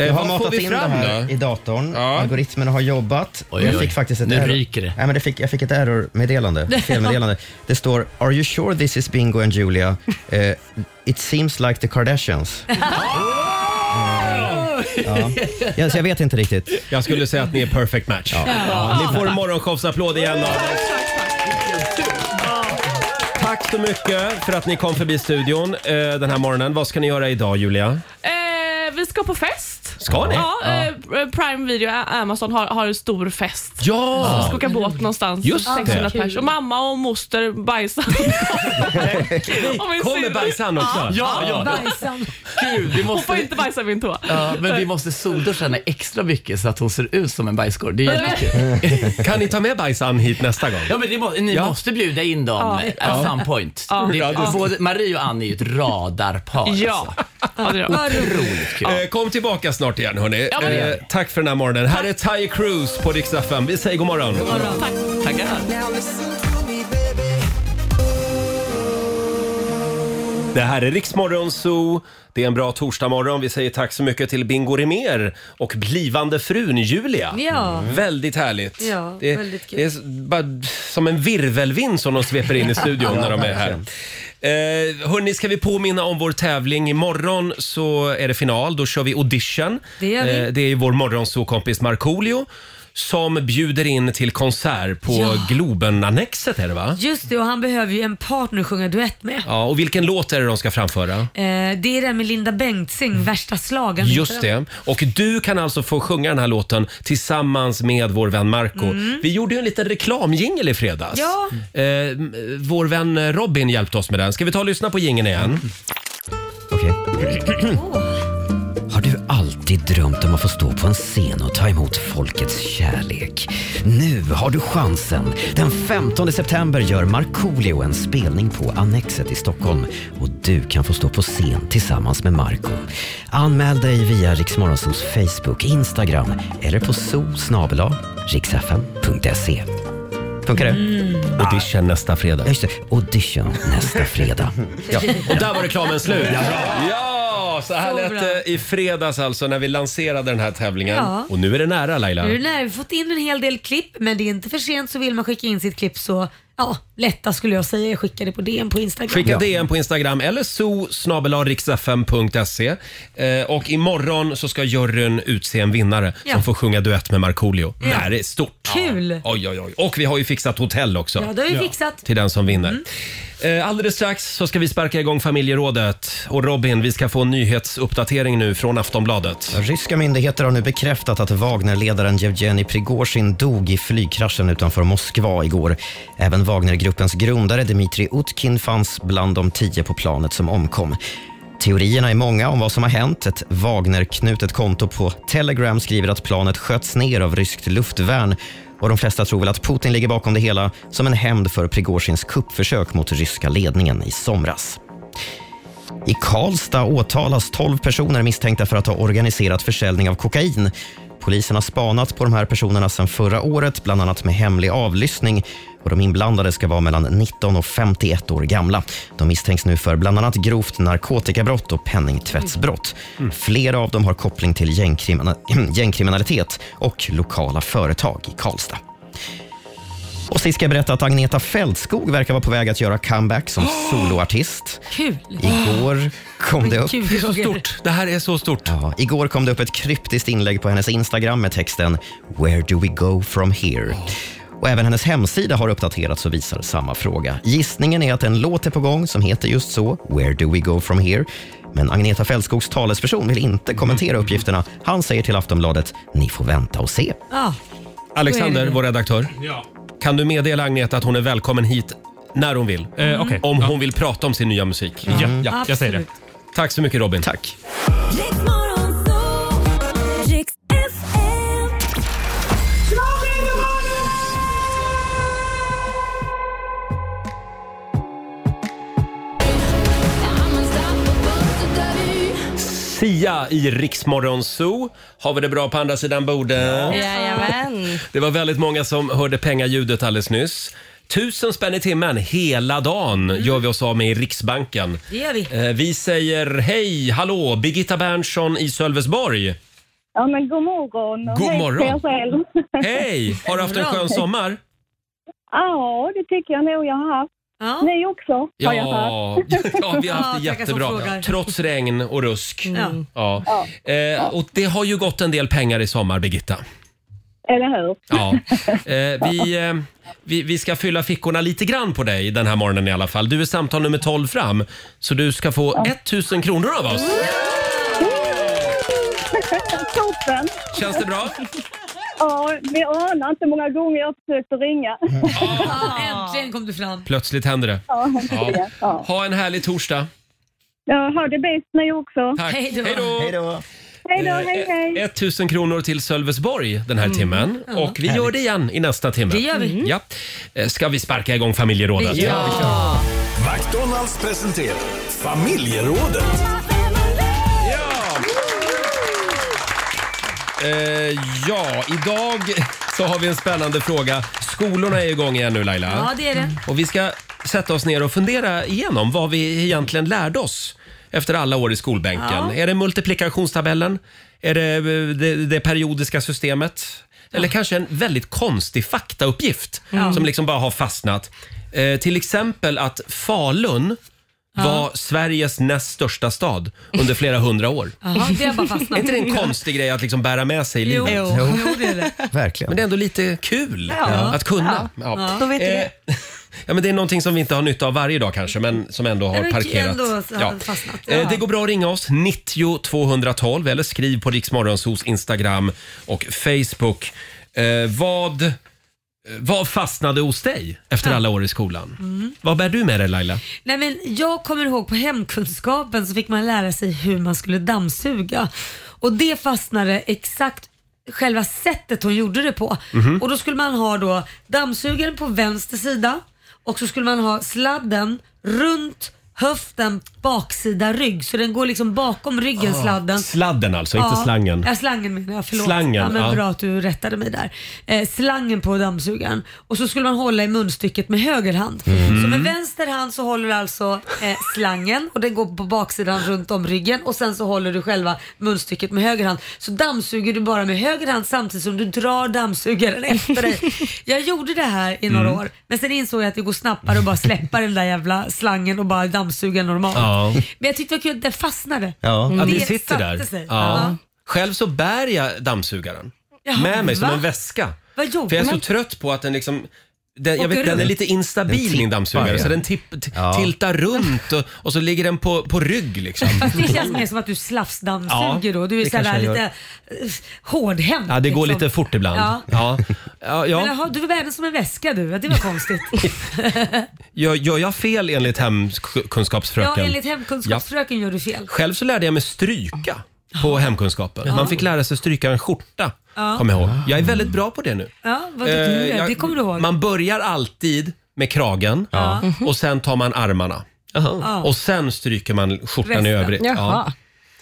[SPEAKER 2] Jag har
[SPEAKER 1] vad får
[SPEAKER 2] matat
[SPEAKER 1] vi
[SPEAKER 2] in det
[SPEAKER 1] fram
[SPEAKER 2] här
[SPEAKER 1] då?
[SPEAKER 2] i datorn.
[SPEAKER 1] Ja.
[SPEAKER 2] Algoritmerna har jobbat.
[SPEAKER 12] Oj,
[SPEAKER 2] jag
[SPEAKER 12] oj,
[SPEAKER 2] fick faktiskt ett
[SPEAKER 12] nu
[SPEAKER 2] error-
[SPEAKER 12] ryker det.
[SPEAKER 2] Nej, men det fick, jag fick ett error-meddelande. Felmeddelande. Det står “Are you sure this is Bingo and Julia? Eh, it seems like the Kardashians”. Eh, Ja. Ja, så jag vet inte riktigt.
[SPEAKER 1] Jag skulle säga att ni är perfect match.
[SPEAKER 2] Ja.
[SPEAKER 1] Ni får en morgonshowsapplåd igen av oss. Tack så mycket för att ni kom förbi studion eh, den här morgonen. Vad ska ni göra idag Julia?
[SPEAKER 11] Eh, vi ska på fest.
[SPEAKER 1] Ska ni?
[SPEAKER 11] Ja, Eh, Prime Video Ä- Amazon har, har en stor fest.
[SPEAKER 1] Ja!
[SPEAKER 11] Så vi ska åka båt någonstans.
[SPEAKER 1] Just det.
[SPEAKER 11] 600
[SPEAKER 1] Kul.
[SPEAKER 11] pers. Och mamma och moster bajsar. Och min
[SPEAKER 1] Kommer
[SPEAKER 11] syrra-
[SPEAKER 1] bajsan också?
[SPEAKER 12] Ja, ja. Gud, vi
[SPEAKER 11] Hon får
[SPEAKER 12] måste...
[SPEAKER 11] inte bajsa i min toa.
[SPEAKER 12] Ja, men vi måste solduscha henne extra mycket så att hon ser ut som en bajskorv. Det är
[SPEAKER 11] Eh,
[SPEAKER 12] jättekul.
[SPEAKER 1] Kan ni ta med bajsan hit nästa gång?
[SPEAKER 12] Ja, men det må, ni
[SPEAKER 1] Ja.
[SPEAKER 12] måste bjuda in dem eh,
[SPEAKER 11] Ja.
[SPEAKER 12] at
[SPEAKER 1] Ja.
[SPEAKER 12] some point.
[SPEAKER 11] Ja.
[SPEAKER 12] Det,
[SPEAKER 1] Ja.
[SPEAKER 12] Både Marie och Annie är ju ett radarpar. alltså.
[SPEAKER 11] Ja. ja det gör jag.
[SPEAKER 12] Otroligt kul.
[SPEAKER 1] Eh, Kom tillbaka snart igen hörni.
[SPEAKER 11] Ja, men det gör
[SPEAKER 1] Eh, Tack för den här morgonen. Här är Ty Cruz på Rix FM. Vi säger god morgon.
[SPEAKER 11] Tack.
[SPEAKER 12] Tackar.
[SPEAKER 4] Now listen to me, baby. Ooh.
[SPEAKER 1] Det här är Riksmorgon Zoo. Det är en bra torsdagmorgon. Vi säger tack så mycket till Bingo Rimér och blivande frun Julia.
[SPEAKER 3] Ja.
[SPEAKER 1] Mm. Väldigt härligt.
[SPEAKER 3] Ja,
[SPEAKER 1] det,
[SPEAKER 3] väldigt kul.
[SPEAKER 1] det är s- bara som en virvelvind som de sveper in i studion
[SPEAKER 12] Ja,
[SPEAKER 1] när de är här.
[SPEAKER 12] verkligen.
[SPEAKER 1] Eh, hörni, ska vi påminna om vår tävling. Imorgon så är det final. Då kör vi audition. Eh,
[SPEAKER 3] Det gör vi.
[SPEAKER 1] det är ju vår morgonsokompis Markoolio som bjuder in till konsert på
[SPEAKER 3] Ja.
[SPEAKER 1] Globen-annexet är det va?
[SPEAKER 3] Just det, och han behöver ju en partner att sjunga duett med.
[SPEAKER 1] Ja, och vilken låt är det de ska framföra?
[SPEAKER 3] Eh, det är den med Linda Bengtzing, Värsta slagen.
[SPEAKER 1] Just det. Och du kan alltså få sjunga den här låten tillsammans med vår vän Marco.
[SPEAKER 3] Mm.
[SPEAKER 1] Vi gjorde ju en liten reklamjingel i fredags.
[SPEAKER 3] Ja.
[SPEAKER 1] Eh, vår vän Robin hjälpte oss med den. Ska vi ta och lyssna på jingeln igen?
[SPEAKER 13] Har du alltid drömt om att få stå på en scen och ta emot folkets kärlek? Nu har du chansen! Den 15 september gör Markoolio en spelning på Annexet i Stockholm och du kan få stå på scen tillsammans med Marco. Anmäl dig via Riksmorgonsols Facebook, Instagram eller på zoo.riksfm.se. Funkar det?
[SPEAKER 1] Audition nästa fredag.
[SPEAKER 13] Just det, audition nästa fredag.
[SPEAKER 1] Ja. Och där var reklamen slut.
[SPEAKER 13] Ja,
[SPEAKER 1] Ja, så här
[SPEAKER 3] Så
[SPEAKER 1] lät
[SPEAKER 3] bra.
[SPEAKER 1] det i fredags alltså när vi lanserade den här tävlingen.
[SPEAKER 3] Ja.
[SPEAKER 1] Och nu är det nära Laila.
[SPEAKER 3] Nu är det nära. Vi har fått in en hel del klipp, men det är inte för sent så vill man skicka in sitt klipp så ja, lätta skulle jag säga. Skicka det på DM på Instagram.
[SPEAKER 1] Skicka DM på Instagram eller so.riksfm.se. Eh, och imorgon så ska juryn utse en vinnare
[SPEAKER 3] Ja.
[SPEAKER 1] som får sjunga duett med Markoolio.
[SPEAKER 3] Ja.
[SPEAKER 1] Det här är stort.
[SPEAKER 3] Kul!
[SPEAKER 1] Oj, oj, oj. Och vi har ju fixat hotell också.
[SPEAKER 3] Ja, det Mm. har vi Ja. fixat.
[SPEAKER 1] Till den som vinner. Eh, Alldeles strax så ska vi sparka igång familjerådet. Och Robin, vi ska få en nyhetsuppdatering nu från Aftonbladet.
[SPEAKER 2] Ryska myndigheter har nu bekräftat att Wagnerledaren Jevgenij Prigozjin dog i flygkraschen utanför Moskva igår. Även Wagnergruppens grundare Dmitrij Utkin fanns bland de tio på planet som omkom. Teorierna är många om vad som har hänt. Ett Wagner-knutet konto på Telegram skriver att planet sköts ner av ryskt luftvärn och de flesta tror väl att Putin ligger bakom det hela som en hämnd för Prigozjins kuppförsök mot ryska ledningen i somras. I Karlstad åtalas 12 personer misstänkta för att ha organiserat försäljning av kokain. Polisen har spanat på de här personerna sedan förra året, bland annat med hemlig avlyssning. Och de inblandade ska vara mellan 19 och 51 år gamla. De misstänks nu för bland annat grovt narkotikabrott och penningtvättsbrott. Flera av dem har koppling till gängkrimina- gängkriminalitet och lokala företag i Karlstad. Och sist ska jag berätta att Agneta Fältskog verkar vara på väg att göra comeback som soloartist.
[SPEAKER 3] Kul!
[SPEAKER 2] Igår kom det upp...
[SPEAKER 3] kul Det är så fråga. stort.
[SPEAKER 1] Det här är så stort.
[SPEAKER 2] Ja, igår kom det upp ett kryptiskt inlägg på hennes Instagram med texten “Where do we go from here?” Och även hennes hemsida har uppdaterats och visar samma fråga. Gissningen är att en låt är på gång som heter just så, “Where do we go from here?” Men Agneta Fältskogs talesperson vill inte kommentera uppgifterna. Han säger till Aftonbladet “Ni får vänta och se”.
[SPEAKER 3] Ja.
[SPEAKER 1] Alexander,
[SPEAKER 3] Då är det.
[SPEAKER 1] vår redaktör.
[SPEAKER 7] Ja.
[SPEAKER 1] Kan du meddela Agneta att hon är välkommen hit när hon vill?
[SPEAKER 7] Mm. okej.
[SPEAKER 1] Om hon vill prata om sin nya musik.
[SPEAKER 7] Ja, Mm. ja, jag säger det.
[SPEAKER 1] Absolut. Tack så mycket Robin.
[SPEAKER 2] Tack.
[SPEAKER 1] Sia i Riksmorgon Zoo. Har vi det bra på andra sidan bordet?
[SPEAKER 8] Jajamän.
[SPEAKER 1] Det var väldigt många som hörde pengaljudet alldeles nyss. Tusen spänn i timmen hela dagen gör vi oss av med i Riksbanken.
[SPEAKER 3] Det gör vi.
[SPEAKER 1] Eh, Vi säger hej, hallå, Birgitta Berntsson i Sölvesborg.
[SPEAKER 6] Ja, men god morgon.
[SPEAKER 1] God
[SPEAKER 6] Hej
[SPEAKER 1] morgon.
[SPEAKER 6] till er själv.
[SPEAKER 1] Hej! Har du haft en
[SPEAKER 6] Bra.
[SPEAKER 1] skön sommar?
[SPEAKER 6] Ja, det tycker jag nog jag har haft. Ni också, har jag
[SPEAKER 1] Ja,
[SPEAKER 6] hört.
[SPEAKER 1] ja, vi har haft det
[SPEAKER 6] Ja, tackar som
[SPEAKER 1] jättebra.
[SPEAKER 6] frågar.
[SPEAKER 1] Trots regn och rusk.
[SPEAKER 6] Mm.
[SPEAKER 1] Ja. Eh, och det har ju gått en del pengar i sommar, Birgitta.
[SPEAKER 6] Eller hur?
[SPEAKER 1] Ja. Eh, vi, eh, vi, vi ska fylla fickorna lite grann på dig den här morgonen i alla fall. Du är samtal nummer 12 fram, så du ska få 1000 kronor av oss.
[SPEAKER 6] Toppen!
[SPEAKER 1] Känns det bra?
[SPEAKER 6] Ja, ni anar inte hur många gånger jag har försökt att ringa.
[SPEAKER 3] Ja, äntligen kom du fram.
[SPEAKER 1] Plötsligt händer det.
[SPEAKER 6] Ja, ja. ja.
[SPEAKER 1] Ha en härlig torsdag.
[SPEAKER 6] Jag har det bäst ni också.
[SPEAKER 1] Tack. Hej då. Hej då. Eh, Hej
[SPEAKER 6] Hej då, hej hej.
[SPEAKER 1] 1000 kronor till Sölvesborg den här timmen.
[SPEAKER 6] Mm. Ja.
[SPEAKER 1] Och vi gör det igen i nästa timme.
[SPEAKER 6] Det gör vi.
[SPEAKER 1] Ja. Eh, Ska vi sparka igång familjerådet?
[SPEAKER 14] McDonalds presenterar Familjerådet.
[SPEAKER 1] Eh, ja, idag så har vi en spännande fråga. Skolorna är igång igen nu Laila.
[SPEAKER 3] Ja, det är det.
[SPEAKER 1] Och vi ska sätta oss ner och fundera igenom vad vi egentligen lärde oss efter alla år i skolbänken.
[SPEAKER 11] Ja.
[SPEAKER 1] Är det multiplikationstabellen? Är det eh, det, det periodiska systemet? Eller kanske en väldigt konstig faktauppgift
[SPEAKER 11] Ja.
[SPEAKER 1] som liksom bara har fastnat. Eh, till exempel att Falun
[SPEAKER 11] Ja.
[SPEAKER 1] var Sveriges näst största stad under flera hundra år.
[SPEAKER 3] Jaha, det har bara
[SPEAKER 1] Är
[SPEAKER 3] fastnat.
[SPEAKER 1] inte det en konstig grej att liksom bära med sig i
[SPEAKER 3] Jo,
[SPEAKER 1] livet?
[SPEAKER 3] jo, jo, det är det.
[SPEAKER 1] Verkligen. Men det är ändå lite kul
[SPEAKER 3] Ja.
[SPEAKER 1] att kunna.
[SPEAKER 3] Ja. Då vet
[SPEAKER 1] Eh,
[SPEAKER 3] vi.
[SPEAKER 1] ja, men det är någonting som vi inte har nytta av varje dag kanske, men som ändå har
[SPEAKER 3] Men
[SPEAKER 1] parkerat.
[SPEAKER 3] Ändå så har
[SPEAKER 1] Ja.
[SPEAKER 3] den fastnat.
[SPEAKER 1] Eh, Det går bra att ringa oss, 90 212 eller skriv på Riksmorgonsos Instagram och Facebook. Eh, vad, eh, vad fastnade hos dig efter alla år i skolan?
[SPEAKER 3] Mm.
[SPEAKER 1] Vad bär du med dig Laila?
[SPEAKER 3] Nej, men jag kommer ihåg på hemkunskapen så fick man lära sig hur man skulle dammsuga. Och det fastnade exakt själva sättet hon gjorde det på.
[SPEAKER 15] Mhm.
[SPEAKER 3] Och då skulle man ha då dammsugaren på vänster sida och så skulle man ha sladden runt höften baksida rygg. Så den går liksom bakom ryggen,
[SPEAKER 1] Ah,
[SPEAKER 3] sladden.
[SPEAKER 1] Sladden alltså, inte slangen.
[SPEAKER 3] Ja, slangen menar jag. Förlåt.
[SPEAKER 1] Slangen,
[SPEAKER 3] ja, men
[SPEAKER 1] ja.
[SPEAKER 3] Bra att du rättade mig där. Eh, slangen på dammsugaren. Och så skulle man hålla i munstycket med höger hand.
[SPEAKER 15] Mm.
[SPEAKER 3] Så med vänster hand så håller du alltså eh, slangen och den går på baksidan runt om ryggen och sen så håller du själva munstycket med höger hand. Så dammsuger du bara med höger hand samtidigt som du drar dammsugaren efter dig. Jag gjorde det här i några
[SPEAKER 15] Mm.
[SPEAKER 3] år men sen insåg jag att det går snabbare att bara släppa den där jävla slangen och bara dammsuga normalt.
[SPEAKER 1] Ja.
[SPEAKER 3] Men jag tyckte det var kul att det fastnade.
[SPEAKER 1] Ja,
[SPEAKER 3] Mm.
[SPEAKER 1] att det sitter
[SPEAKER 3] satte
[SPEAKER 1] där.
[SPEAKER 3] sig.
[SPEAKER 1] Ja. Själv så bär jag dammsugaren
[SPEAKER 3] Jaha,
[SPEAKER 1] med mig som
[SPEAKER 3] va?
[SPEAKER 1] en väska.
[SPEAKER 3] Vad gjorde
[SPEAKER 1] För jag är så
[SPEAKER 3] man?
[SPEAKER 1] trött på att den liksom den, jag
[SPEAKER 3] Åker
[SPEAKER 1] vet, den är
[SPEAKER 3] runt.
[SPEAKER 1] lite
[SPEAKER 3] Den
[SPEAKER 1] instabil
[SPEAKER 3] tippar,
[SPEAKER 1] min dammsugare
[SPEAKER 3] ja.
[SPEAKER 1] så den tipp, t- tiltar runt och, och så ligger den på, på rygg liksom.
[SPEAKER 3] Fast det känns mer som att du slafsdammsuger
[SPEAKER 1] Ja,
[SPEAKER 3] då. Du är
[SPEAKER 1] det
[SPEAKER 3] såhär
[SPEAKER 1] kanske jag
[SPEAKER 3] lite eh, hårdhänt.
[SPEAKER 1] Ja, det går
[SPEAKER 3] liksom.
[SPEAKER 1] lite fort ibland.
[SPEAKER 3] Ja.
[SPEAKER 1] Ja. Ja. Ja,
[SPEAKER 3] Men jaha, du var värden som en väska du. Det var konstigt.
[SPEAKER 1] Gör, gör jag fel enligt
[SPEAKER 3] ja,
[SPEAKER 1] hemkunskapsfröken?
[SPEAKER 3] enligt hemkunskapsfröken gör du fel.
[SPEAKER 1] Själv så lärde jag mig stryka på hemkunskapen.
[SPEAKER 3] Ja.
[SPEAKER 1] Man fick lära sig stryka en skjorta,
[SPEAKER 3] Ja.
[SPEAKER 1] kommer jag ihåg. Jag är väldigt bra på det nu.
[SPEAKER 3] Ja, vad duktig du
[SPEAKER 1] Eh,
[SPEAKER 3] är.
[SPEAKER 1] jag-
[SPEAKER 3] Det kommer du ihåg.
[SPEAKER 1] Man börjar alltid med kragen
[SPEAKER 3] Ja.
[SPEAKER 1] och sen tar man armarna.
[SPEAKER 3] Jaha.
[SPEAKER 1] Och sen stryker man skjortan i
[SPEAKER 3] Resten.
[SPEAKER 1] övrigt.
[SPEAKER 3] Jaha.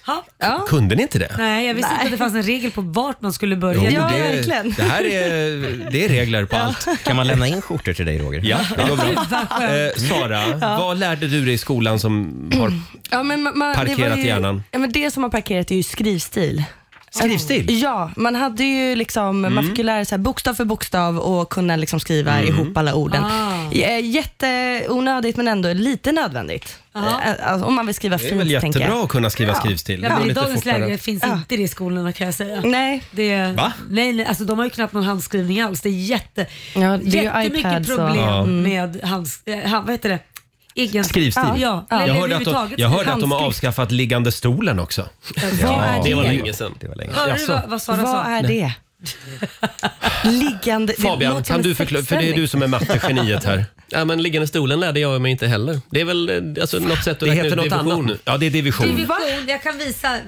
[SPEAKER 3] Ha, ja.
[SPEAKER 1] Kunde ni inte det?
[SPEAKER 3] Nej, jag visste Ah. inte att det fanns en regel på vart man skulle börja.
[SPEAKER 1] det, det här är, det är regler på allt. Kan man lämna in skjortor till dig Roger? Ja, det går
[SPEAKER 3] Gud,
[SPEAKER 1] bra.
[SPEAKER 3] vad skönt.
[SPEAKER 1] Eh, Sara,
[SPEAKER 8] Ja.
[SPEAKER 1] vad lärde du dig i skolan som har...
[SPEAKER 8] Ja, men man, man, det, var
[SPEAKER 1] Parkerat
[SPEAKER 8] ju,
[SPEAKER 1] i hjärnan.
[SPEAKER 8] Ja, men det som har parkerat är ju skrivstil.
[SPEAKER 1] Skrivstil?
[SPEAKER 8] Ja, man hade ju liksom, man
[SPEAKER 1] Mm.
[SPEAKER 8] fick ju lära sig bokstav för bokstav och kunna liksom skriva
[SPEAKER 1] Mm.
[SPEAKER 8] ihop alla orden.
[SPEAKER 1] Ah.
[SPEAKER 8] J- Jätteonödigt men ändå lite nödvändigt. Eh, alltså, om man vill skriva
[SPEAKER 1] Det är
[SPEAKER 8] fint
[SPEAKER 1] väl jättebra
[SPEAKER 8] tänker jag.
[SPEAKER 1] att kunna skriva skrivstil. Det
[SPEAKER 3] Ja,
[SPEAKER 1] går
[SPEAKER 3] men I
[SPEAKER 1] lite
[SPEAKER 3] dagens
[SPEAKER 1] fortare.
[SPEAKER 3] läge finns inte det i skolorna kan jag säga.
[SPEAKER 8] Nej.
[SPEAKER 3] Det,
[SPEAKER 1] Va?
[SPEAKER 3] Nej, nej alltså, de har ju knappt någon handskrivning alls. Det är jätte,
[SPEAKER 8] det är ju
[SPEAKER 3] jättemycket
[SPEAKER 8] iPads och-
[SPEAKER 3] problem
[SPEAKER 1] Ja. Mm.
[SPEAKER 3] med hands, eh, han, vad heter det? Egen
[SPEAKER 1] Skrivstil?
[SPEAKER 3] Ja.
[SPEAKER 1] Jag
[SPEAKER 3] Eller
[SPEAKER 1] hörde, att de,
[SPEAKER 3] överhuvudtaget
[SPEAKER 1] jag hörde att de har
[SPEAKER 3] handskrift.
[SPEAKER 1] avskaffat liggande stolen också.
[SPEAKER 8] vad är
[SPEAKER 1] Det var
[SPEAKER 8] det?
[SPEAKER 1] länge sedan. Det var länge.
[SPEAKER 3] Hörde du vad, vad Sara sa?
[SPEAKER 8] Vad är det? Liggande... det
[SPEAKER 1] Fabian,
[SPEAKER 8] låter som
[SPEAKER 1] kan
[SPEAKER 8] en
[SPEAKER 1] du förklara? För det är du som är mattegeniet här.
[SPEAKER 9] Ja, men liggande stolen lärde jag mig inte heller. Det är väl eh, alltså, något sätt att
[SPEAKER 1] Det
[SPEAKER 9] räkna
[SPEAKER 1] heter
[SPEAKER 9] ut
[SPEAKER 1] något
[SPEAKER 9] division.
[SPEAKER 1] annat nu. Ja, det är division.
[SPEAKER 3] Division, jag kan visa eh,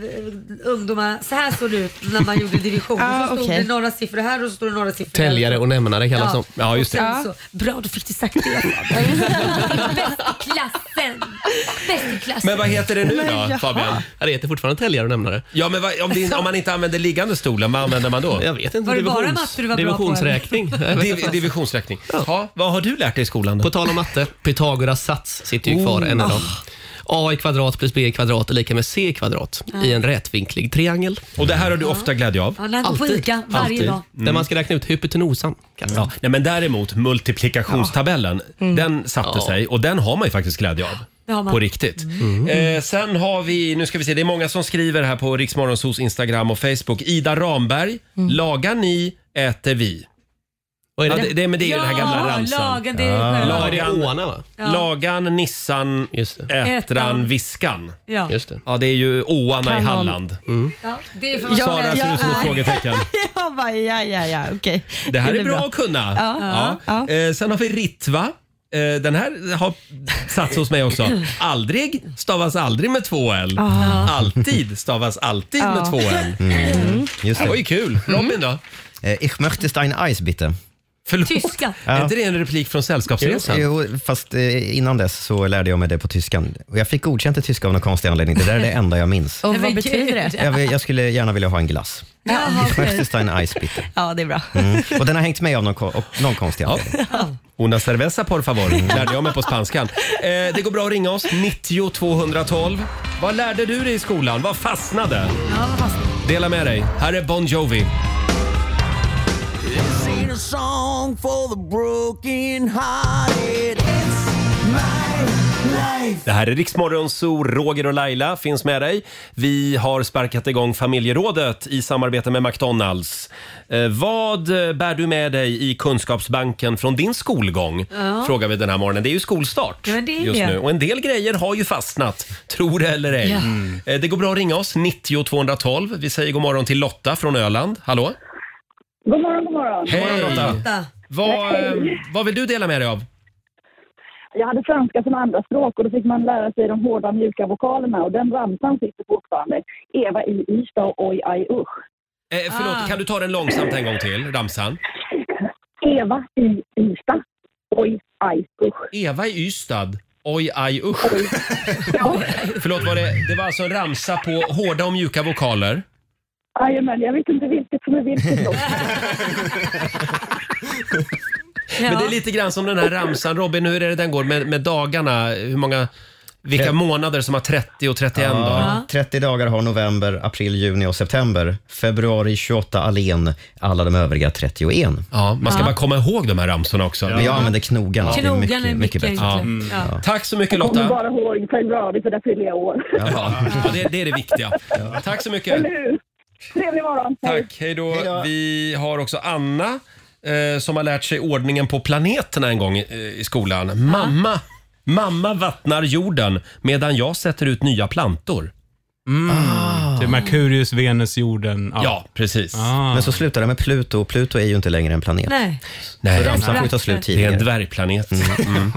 [SPEAKER 3] ungdomar. Så här såg det ut när man gjorde division.
[SPEAKER 8] Ah,
[SPEAKER 3] så stod
[SPEAKER 8] okej.
[SPEAKER 3] det några siffror här och så stod det några siffror där.
[SPEAKER 9] Täljare och nämnare kallas
[SPEAKER 3] Ja.
[SPEAKER 9] de.
[SPEAKER 1] Ja, just
[SPEAKER 3] Sen Så, bra, då fick du sagt det. Bäst i klassen. Bäst i klassen.
[SPEAKER 1] Men vad heter det nu då, Fabian?
[SPEAKER 9] Ja, det heter fortfarande täljare och nämnare.
[SPEAKER 1] Ja, men vad, om, det, om man inte använder liggande stolen, vad använder man då?
[SPEAKER 9] Jag vet inte.
[SPEAKER 3] Var det bara matte du var bra på,
[SPEAKER 9] divisionsräkning.
[SPEAKER 1] eller?
[SPEAKER 9] Jag vet
[SPEAKER 1] Div-
[SPEAKER 9] inte.
[SPEAKER 1] divisionsräkning. Ja, vad har du lärt dig i skolan? Då?
[SPEAKER 9] På tal om matte, Pythagoras sats sitter ju kvar
[SPEAKER 1] Oh.
[SPEAKER 9] än idag.
[SPEAKER 1] Ah.
[SPEAKER 9] a i kvadrat plus b i kvadrat är lika med c i kvadrat
[SPEAKER 3] Ja.
[SPEAKER 9] i en rätvinklig triangel.
[SPEAKER 1] Och det här har du ofta glädje av?
[SPEAKER 3] Ja, när jag går på ICA varje dag.
[SPEAKER 9] Där man ska räkna ut hypotenusan.
[SPEAKER 1] Ja, nej, men däremot multiplikationstabellen,
[SPEAKER 8] Mm.
[SPEAKER 1] den satte sig och den har man ju faktiskt glädje av.
[SPEAKER 3] Det har man.
[SPEAKER 1] På riktigt.
[SPEAKER 8] Mm.
[SPEAKER 1] Eh, sen har vi, nu ska vi se, det är många som skriver här på Riksmorgonsos Instagram och Facebook. Ida Ramberg,
[SPEAKER 8] Mm.
[SPEAKER 1] lagar ni, äter vi.
[SPEAKER 9] är
[SPEAKER 1] Ja,
[SPEAKER 9] det?
[SPEAKER 1] det, det, men det är ju den här
[SPEAKER 9] Ja,
[SPEAKER 1] gamla ramsan.
[SPEAKER 3] lagen, det är själva-
[SPEAKER 9] Ja, det är åarna, va?
[SPEAKER 3] Ja.
[SPEAKER 1] lagan, nissan, ätran,
[SPEAKER 3] Ätran.
[SPEAKER 1] viskan.
[SPEAKER 3] Ja. Just
[SPEAKER 9] det.
[SPEAKER 1] ja, det är ju åarna i
[SPEAKER 8] Kanon.
[SPEAKER 1] Halland.
[SPEAKER 3] Ja, det är för
[SPEAKER 8] Jag-
[SPEAKER 1] Sara ser
[SPEAKER 8] jag
[SPEAKER 1] ut som ett
[SPEAKER 8] är-
[SPEAKER 1] frågetecken.
[SPEAKER 8] Jag bara, ja, ja, ja, okej.
[SPEAKER 1] Det här är,
[SPEAKER 8] blir
[SPEAKER 1] bra, att kunna.
[SPEAKER 8] Ja. Ja.
[SPEAKER 1] Eh, sen har vi Ritva. Eh, den här har satts hos mig också. Aldrig stavas aldrig med två L.
[SPEAKER 13] Ja.
[SPEAKER 1] Alltid stavas alltid med
[SPEAKER 13] Ja.
[SPEAKER 1] två L.
[SPEAKER 13] Mm. Just
[SPEAKER 1] Det var ju kul. Robin då?
[SPEAKER 2] Eh, Ich möchte ein Eis bitte.
[SPEAKER 1] Förlåt.
[SPEAKER 3] Tyska.
[SPEAKER 1] Är inte det en replik från Sällskapsresan?
[SPEAKER 2] Jo, fast eh, innan dess så lärde jag mig det på tyskan. Och jag fick godkänt i tyska av någon konstig anledning. Det där är det enda jag minns.
[SPEAKER 8] Och vad betyder det?
[SPEAKER 2] Jag, vill- jag skulle gärna vilja ha en glass.
[SPEAKER 8] Jaha, okej.
[SPEAKER 2] Schweppestein Ice Bitter.
[SPEAKER 8] Ja, det är bra.
[SPEAKER 2] Mm. Och den har hängt med av någon, ko- och någon konstig anledning.
[SPEAKER 1] Una cerveza por favor, lärde jag mig på spanskan. Eh, det går bra att ringa oss, 90 212. Vad lärde du dig i skolan? Vad fastnade?
[SPEAKER 3] Ja, vad fast.
[SPEAKER 1] Dela med dig. Här är Bon Jovi.
[SPEAKER 4] Sing a song for the broken hearted. It's my life.
[SPEAKER 1] Det här är Riksmorgon, så Roger och Laila finns med dig. Vi har sparkat igång familjerådet i samarbete med McDonalds. Eh, vad eh, bär du med dig i kunskapsbanken från din skolgång?
[SPEAKER 3] Ja.
[SPEAKER 1] Frågar vi den här morgonen. Det är ju skolstart
[SPEAKER 3] Ja, men det är
[SPEAKER 1] just
[SPEAKER 3] det.
[SPEAKER 1] nu. Och en del grejer har ju fastnat, tror det eller ej.
[SPEAKER 3] Ja.
[SPEAKER 1] Mm. Eh, det går bra att ringa oss, 90 212. Vi säger god morgon till Lotta från Öland. Hallå?
[SPEAKER 6] God morgon, god morgon.
[SPEAKER 1] Hej. God morgon, Lotta. Vad, eh, vad vill du dela med dig av?
[SPEAKER 6] Jag hade franska som andraspråk och då fick man lära sig de hårda mjuka vokalerna och den ramsan sitter fortfarande. Eva i Ystad och oj aj usch.
[SPEAKER 1] Eh, förlåt, kan du ta den långsamt en gång till, ramsan?
[SPEAKER 6] Eva i Ystad. Oj aj usch.
[SPEAKER 1] Eva i Ystad. Oj, aj, usch. Förlåt, var det, det var alltså en ramsa på hårda och mjuka vokaler.
[SPEAKER 6] Jajamän, jag vet inte vilket som är vilket. dock.
[SPEAKER 1] Men det är lite grann som den här ramsan, Robin, hur är det den går med, med dagarna? Hur många, vilka månader som har 30 och 31 dagar?
[SPEAKER 2] Ja, 30 dagar har november, april, juni och september. Februari 28 allén, alla de övriga 31.
[SPEAKER 1] Ja, man ska
[SPEAKER 2] Ja.
[SPEAKER 1] bara komma ihåg de här ramsorna också.
[SPEAKER 2] Men jag använder knogarna. Det är
[SPEAKER 3] Knogarna
[SPEAKER 2] mycket,
[SPEAKER 3] är
[SPEAKER 2] mycket,
[SPEAKER 3] mycket
[SPEAKER 2] bättre.
[SPEAKER 1] enklare.
[SPEAKER 2] Mm.
[SPEAKER 1] Ja. Tack så mycket
[SPEAKER 6] Jag kommer
[SPEAKER 1] Lotta.
[SPEAKER 6] bara ihåg februari för där fyller jag år.
[SPEAKER 1] Ja, det, det är det viktiga. Tack så mycket.
[SPEAKER 6] Eller hur? Trevlig morgon.
[SPEAKER 1] Tack, hej då. Vi har också Anna eh, som har lärt sig ordningen på planeterna en gång i, i skolan. Mamma, mamma vattnar jorden medan jag sätter ut nya plantor.
[SPEAKER 7] Mm. Det är Merkurius, Venus, jorden.
[SPEAKER 1] Ah.
[SPEAKER 7] Ah.
[SPEAKER 1] Ja, precis.
[SPEAKER 2] Men så slutar det med Pluto och Pluto är ju inte längre en planet.
[SPEAKER 3] Nej.
[SPEAKER 2] Så ramsan får ju ta slut
[SPEAKER 1] Det är
[SPEAKER 2] tidigare.
[SPEAKER 1] en dvärgplanet. Mm.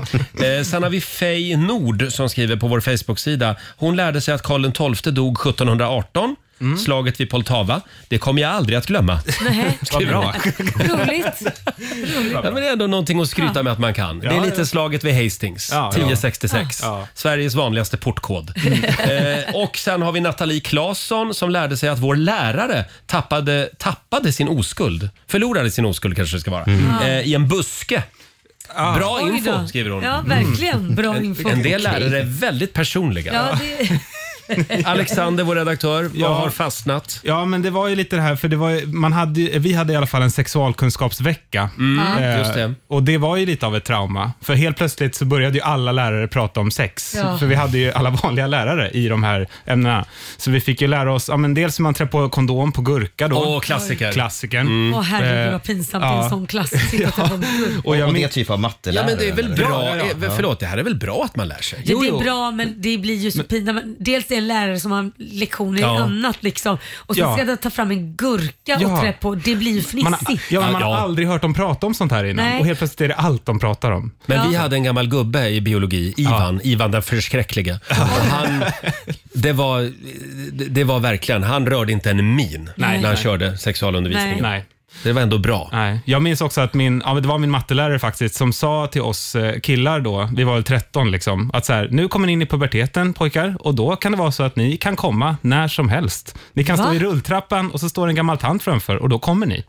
[SPEAKER 1] Eh, sen har vi Fej Nord som skriver på vår Facebook-sida. Hon lärde sig att Karl XII dog 1718. Slaget vid Poltava. Det kommer jag aldrig att glömma.
[SPEAKER 3] Nej.
[SPEAKER 1] Vad bra.
[SPEAKER 3] Roligt.
[SPEAKER 1] Ja, men det är ändå någonting att skryta med att man kan. det
[SPEAKER 7] Ja,
[SPEAKER 1] är lite slaget vid Hastings,
[SPEAKER 7] Ja, ja.
[SPEAKER 1] 1066.
[SPEAKER 7] Ja.
[SPEAKER 1] Sveriges vanligaste portkod. eh, och sen har vi Nathalie Claesson som lärde sig att vår lärare tappade, tappade sin oskuld. Förlorade sin oskuld kanske det ska vara. Eh, I en buske. Bra
[SPEAKER 3] Oj
[SPEAKER 1] info
[SPEAKER 3] då.
[SPEAKER 1] skriver hon. Mm.
[SPEAKER 3] Ja, verkligen bra info.
[SPEAKER 1] En, en del lärare Mm. är väldigt personliga.
[SPEAKER 3] Ja, det...
[SPEAKER 1] Alexander, vår redaktör, vad
[SPEAKER 7] Ja.
[SPEAKER 1] har fastnat?
[SPEAKER 7] Ja, men det var ju lite det här, för det var, ju- man hade, ju- vi hade i alla fall en sexualkunskapsvecka. Eh,
[SPEAKER 1] Mm, just det.
[SPEAKER 7] Och det var ju lite av ett trauma, för helt plötsligt så började ju alla lärare prata om sex.
[SPEAKER 1] Ja.
[SPEAKER 7] För vi hade ju alla vanliga lärare i de här ämnena. Så vi fick ju lära oss, ja, men dels hur man trär på kondom på gurka då.
[SPEAKER 1] Åh, klassiker. Mm.
[SPEAKER 7] Klassikern.
[SPEAKER 3] Åh herregud
[SPEAKER 7] Eh,
[SPEAKER 3] vad pinsamt i
[SPEAKER 7] ja.
[SPEAKER 3] en sån klass. Sitta och ta på en burk.
[SPEAKER 2] Och, och det typ av
[SPEAKER 1] Ja,
[SPEAKER 2] mattelärare.
[SPEAKER 1] men det är väl
[SPEAKER 2] eller?
[SPEAKER 1] bra. eh, Förlåt, det här är väl bra att man lär sig?
[SPEAKER 3] Det, det är bra men det blir ju så pinsamt. Dels det är en lärare som har lektioner
[SPEAKER 1] Ja.
[SPEAKER 3] i annat liksom. Och sen
[SPEAKER 7] Ja.
[SPEAKER 3] ska jag ta fram en gurka och
[SPEAKER 7] Ja.
[SPEAKER 3] trä på. Det blir ju
[SPEAKER 7] Man har,
[SPEAKER 3] fnissigt.
[SPEAKER 7] ja, men man har aldrig hört dem prata om sånt här innan
[SPEAKER 3] Nej.
[SPEAKER 7] och helt plötsligt är det allt de pratar om.
[SPEAKER 1] Men
[SPEAKER 3] Ja.
[SPEAKER 1] vi hade en gammal gubbe i biologi, Ivan, Ivan den förskräcklige. Och Han, det, var, det var verkligen, han rörde inte en min
[SPEAKER 7] Nej.
[SPEAKER 1] när han
[SPEAKER 7] Nej.
[SPEAKER 1] körde sexualundervisningen.
[SPEAKER 7] Nej.
[SPEAKER 1] Det var ändå bra.
[SPEAKER 7] Nej. Jag minns också att min, ja, men det var min mattelärare faktiskt som sa till oss eh, killar då, vi var väl 13, liksom, att så här, nu kommer ni in i puberteten pojkar och då kan det vara så att ni kan komma när som helst. Ni kan stå
[SPEAKER 3] Va?
[SPEAKER 7] i rulltrappan och så står en gammal tant framför och då kommer ni.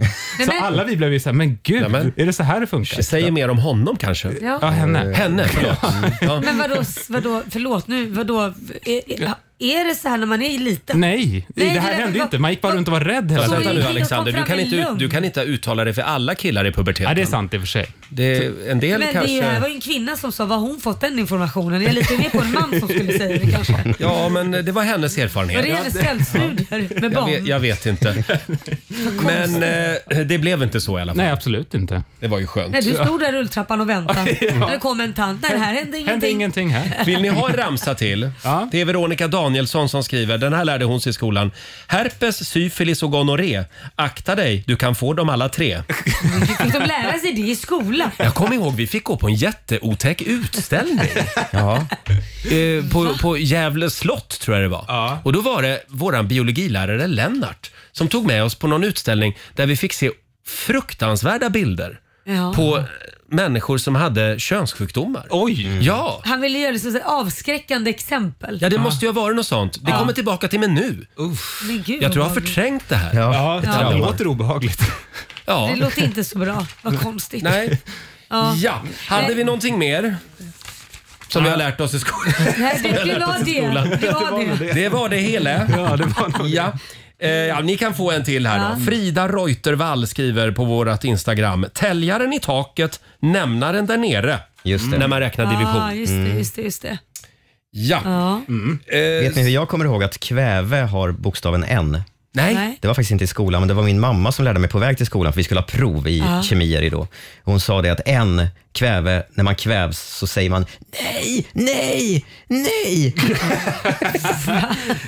[SPEAKER 7] så
[SPEAKER 3] men-
[SPEAKER 7] alla vi blev ju så här, men gud, är det så här det funkar? Det
[SPEAKER 1] säger mer om honom kanske.
[SPEAKER 3] Ja.
[SPEAKER 7] ja henne.
[SPEAKER 1] Henne, förlåt. Ja.
[SPEAKER 3] Men vadå, vadå, förlåt nu, vadå, är, är- är det så här när man är liten?
[SPEAKER 7] Nej,
[SPEAKER 3] Nej,
[SPEAKER 7] det
[SPEAKER 3] det
[SPEAKER 7] här
[SPEAKER 3] där-
[SPEAKER 7] hände ju inte. Man gick bara runt och var rädd hela
[SPEAKER 3] alltså,
[SPEAKER 1] Fast
[SPEAKER 7] tiden.
[SPEAKER 1] vänta nu Alexander, du kan,
[SPEAKER 3] i
[SPEAKER 1] inte, ut-
[SPEAKER 3] lugn.
[SPEAKER 1] du kan inte uttala dig för alla killar i puberteten. Ja, det är
[SPEAKER 7] sant i och för sig.
[SPEAKER 1] Det, en del
[SPEAKER 3] Men det
[SPEAKER 1] kanske...
[SPEAKER 3] här var ju en kvinna som sa, var hon fått den informationen? Jag litar ju mer på en man som skulle säga det kanske.
[SPEAKER 1] Ja, men det var hennes
[SPEAKER 3] Var
[SPEAKER 1] erfarenhet.
[SPEAKER 3] det hennes självstudier med
[SPEAKER 1] Jag
[SPEAKER 3] barn?
[SPEAKER 1] vet, jag vet inte. Men eh, det blev inte så i alla fall.
[SPEAKER 7] Nej, absolut inte.
[SPEAKER 1] Det var ju skönt.
[SPEAKER 3] Nej, du stod där i rulltrappan och väntade. När det kom en tant. Nej, det här hände ingenting.
[SPEAKER 7] Hände ingenting här.
[SPEAKER 1] Vill ni ha en ramsa till? Det är Veronica Danielsson som skriver. Den här lärde hon sig i skolan. Herpes, syfilis och gonorré. Akta dig, du kan få dem alla tre.
[SPEAKER 3] Fick de lära sig det i skolan?
[SPEAKER 1] Jag kommer ihåg vi fick gå på en jätteotäck utställning. Eh, på, på Gävle slott tror jag det var. Och då var det våran biologilärare Lennart som tog med oss på någon utställning där vi fick se fruktansvärda bilder
[SPEAKER 3] Ja.
[SPEAKER 1] på människor som hade könssjukdomar. Oj! Ja!
[SPEAKER 3] Han ville göra det som ett avskräckande exempel.
[SPEAKER 1] Ja, det måste ju ha varit något sånt. Det
[SPEAKER 3] Ja.
[SPEAKER 1] kommer tillbaka till mig nu.
[SPEAKER 3] Men gud,
[SPEAKER 1] Jag tror jag har
[SPEAKER 3] vad-
[SPEAKER 1] förträngt det här.
[SPEAKER 3] Ja, det Ja. låter
[SPEAKER 1] obehagligt. Ja.
[SPEAKER 3] Det låter inte så bra. Vad konstigt.
[SPEAKER 1] Nej.
[SPEAKER 3] Ja.
[SPEAKER 1] Ja, hade
[SPEAKER 3] Nej.
[SPEAKER 1] vi någonting mer? Som vi har lärt oss i skolan.
[SPEAKER 3] Nej,
[SPEAKER 1] Som
[SPEAKER 3] det,
[SPEAKER 1] vi
[SPEAKER 3] det,
[SPEAKER 1] har lärt
[SPEAKER 3] var
[SPEAKER 1] oss i skolan.
[SPEAKER 3] det. det var det.
[SPEAKER 1] Det var det hela. Ja, det var ja. Eh, ja, ni kan få en till här då.
[SPEAKER 3] Ja.
[SPEAKER 1] Frida Reutervall skriver på vårt Instagram. Täljaren i taket, nämnaren där nere. Just
[SPEAKER 2] det.
[SPEAKER 1] När man räknar division.
[SPEAKER 3] Ah, just det, just det, just det.
[SPEAKER 1] Ja.
[SPEAKER 2] Vet ni hur jag kommer ihåg att kväve har bokstaven N?
[SPEAKER 1] Nej.
[SPEAKER 3] Nej.
[SPEAKER 2] Det var faktiskt inte i skolan, men det var min mamma som lärde mig på väg till skolan, för vi skulle ha prov i
[SPEAKER 13] Ja.
[SPEAKER 2] kemier idag. Hon sa det att N, kväve, när man kvävs så säger man Nej, nej, nej!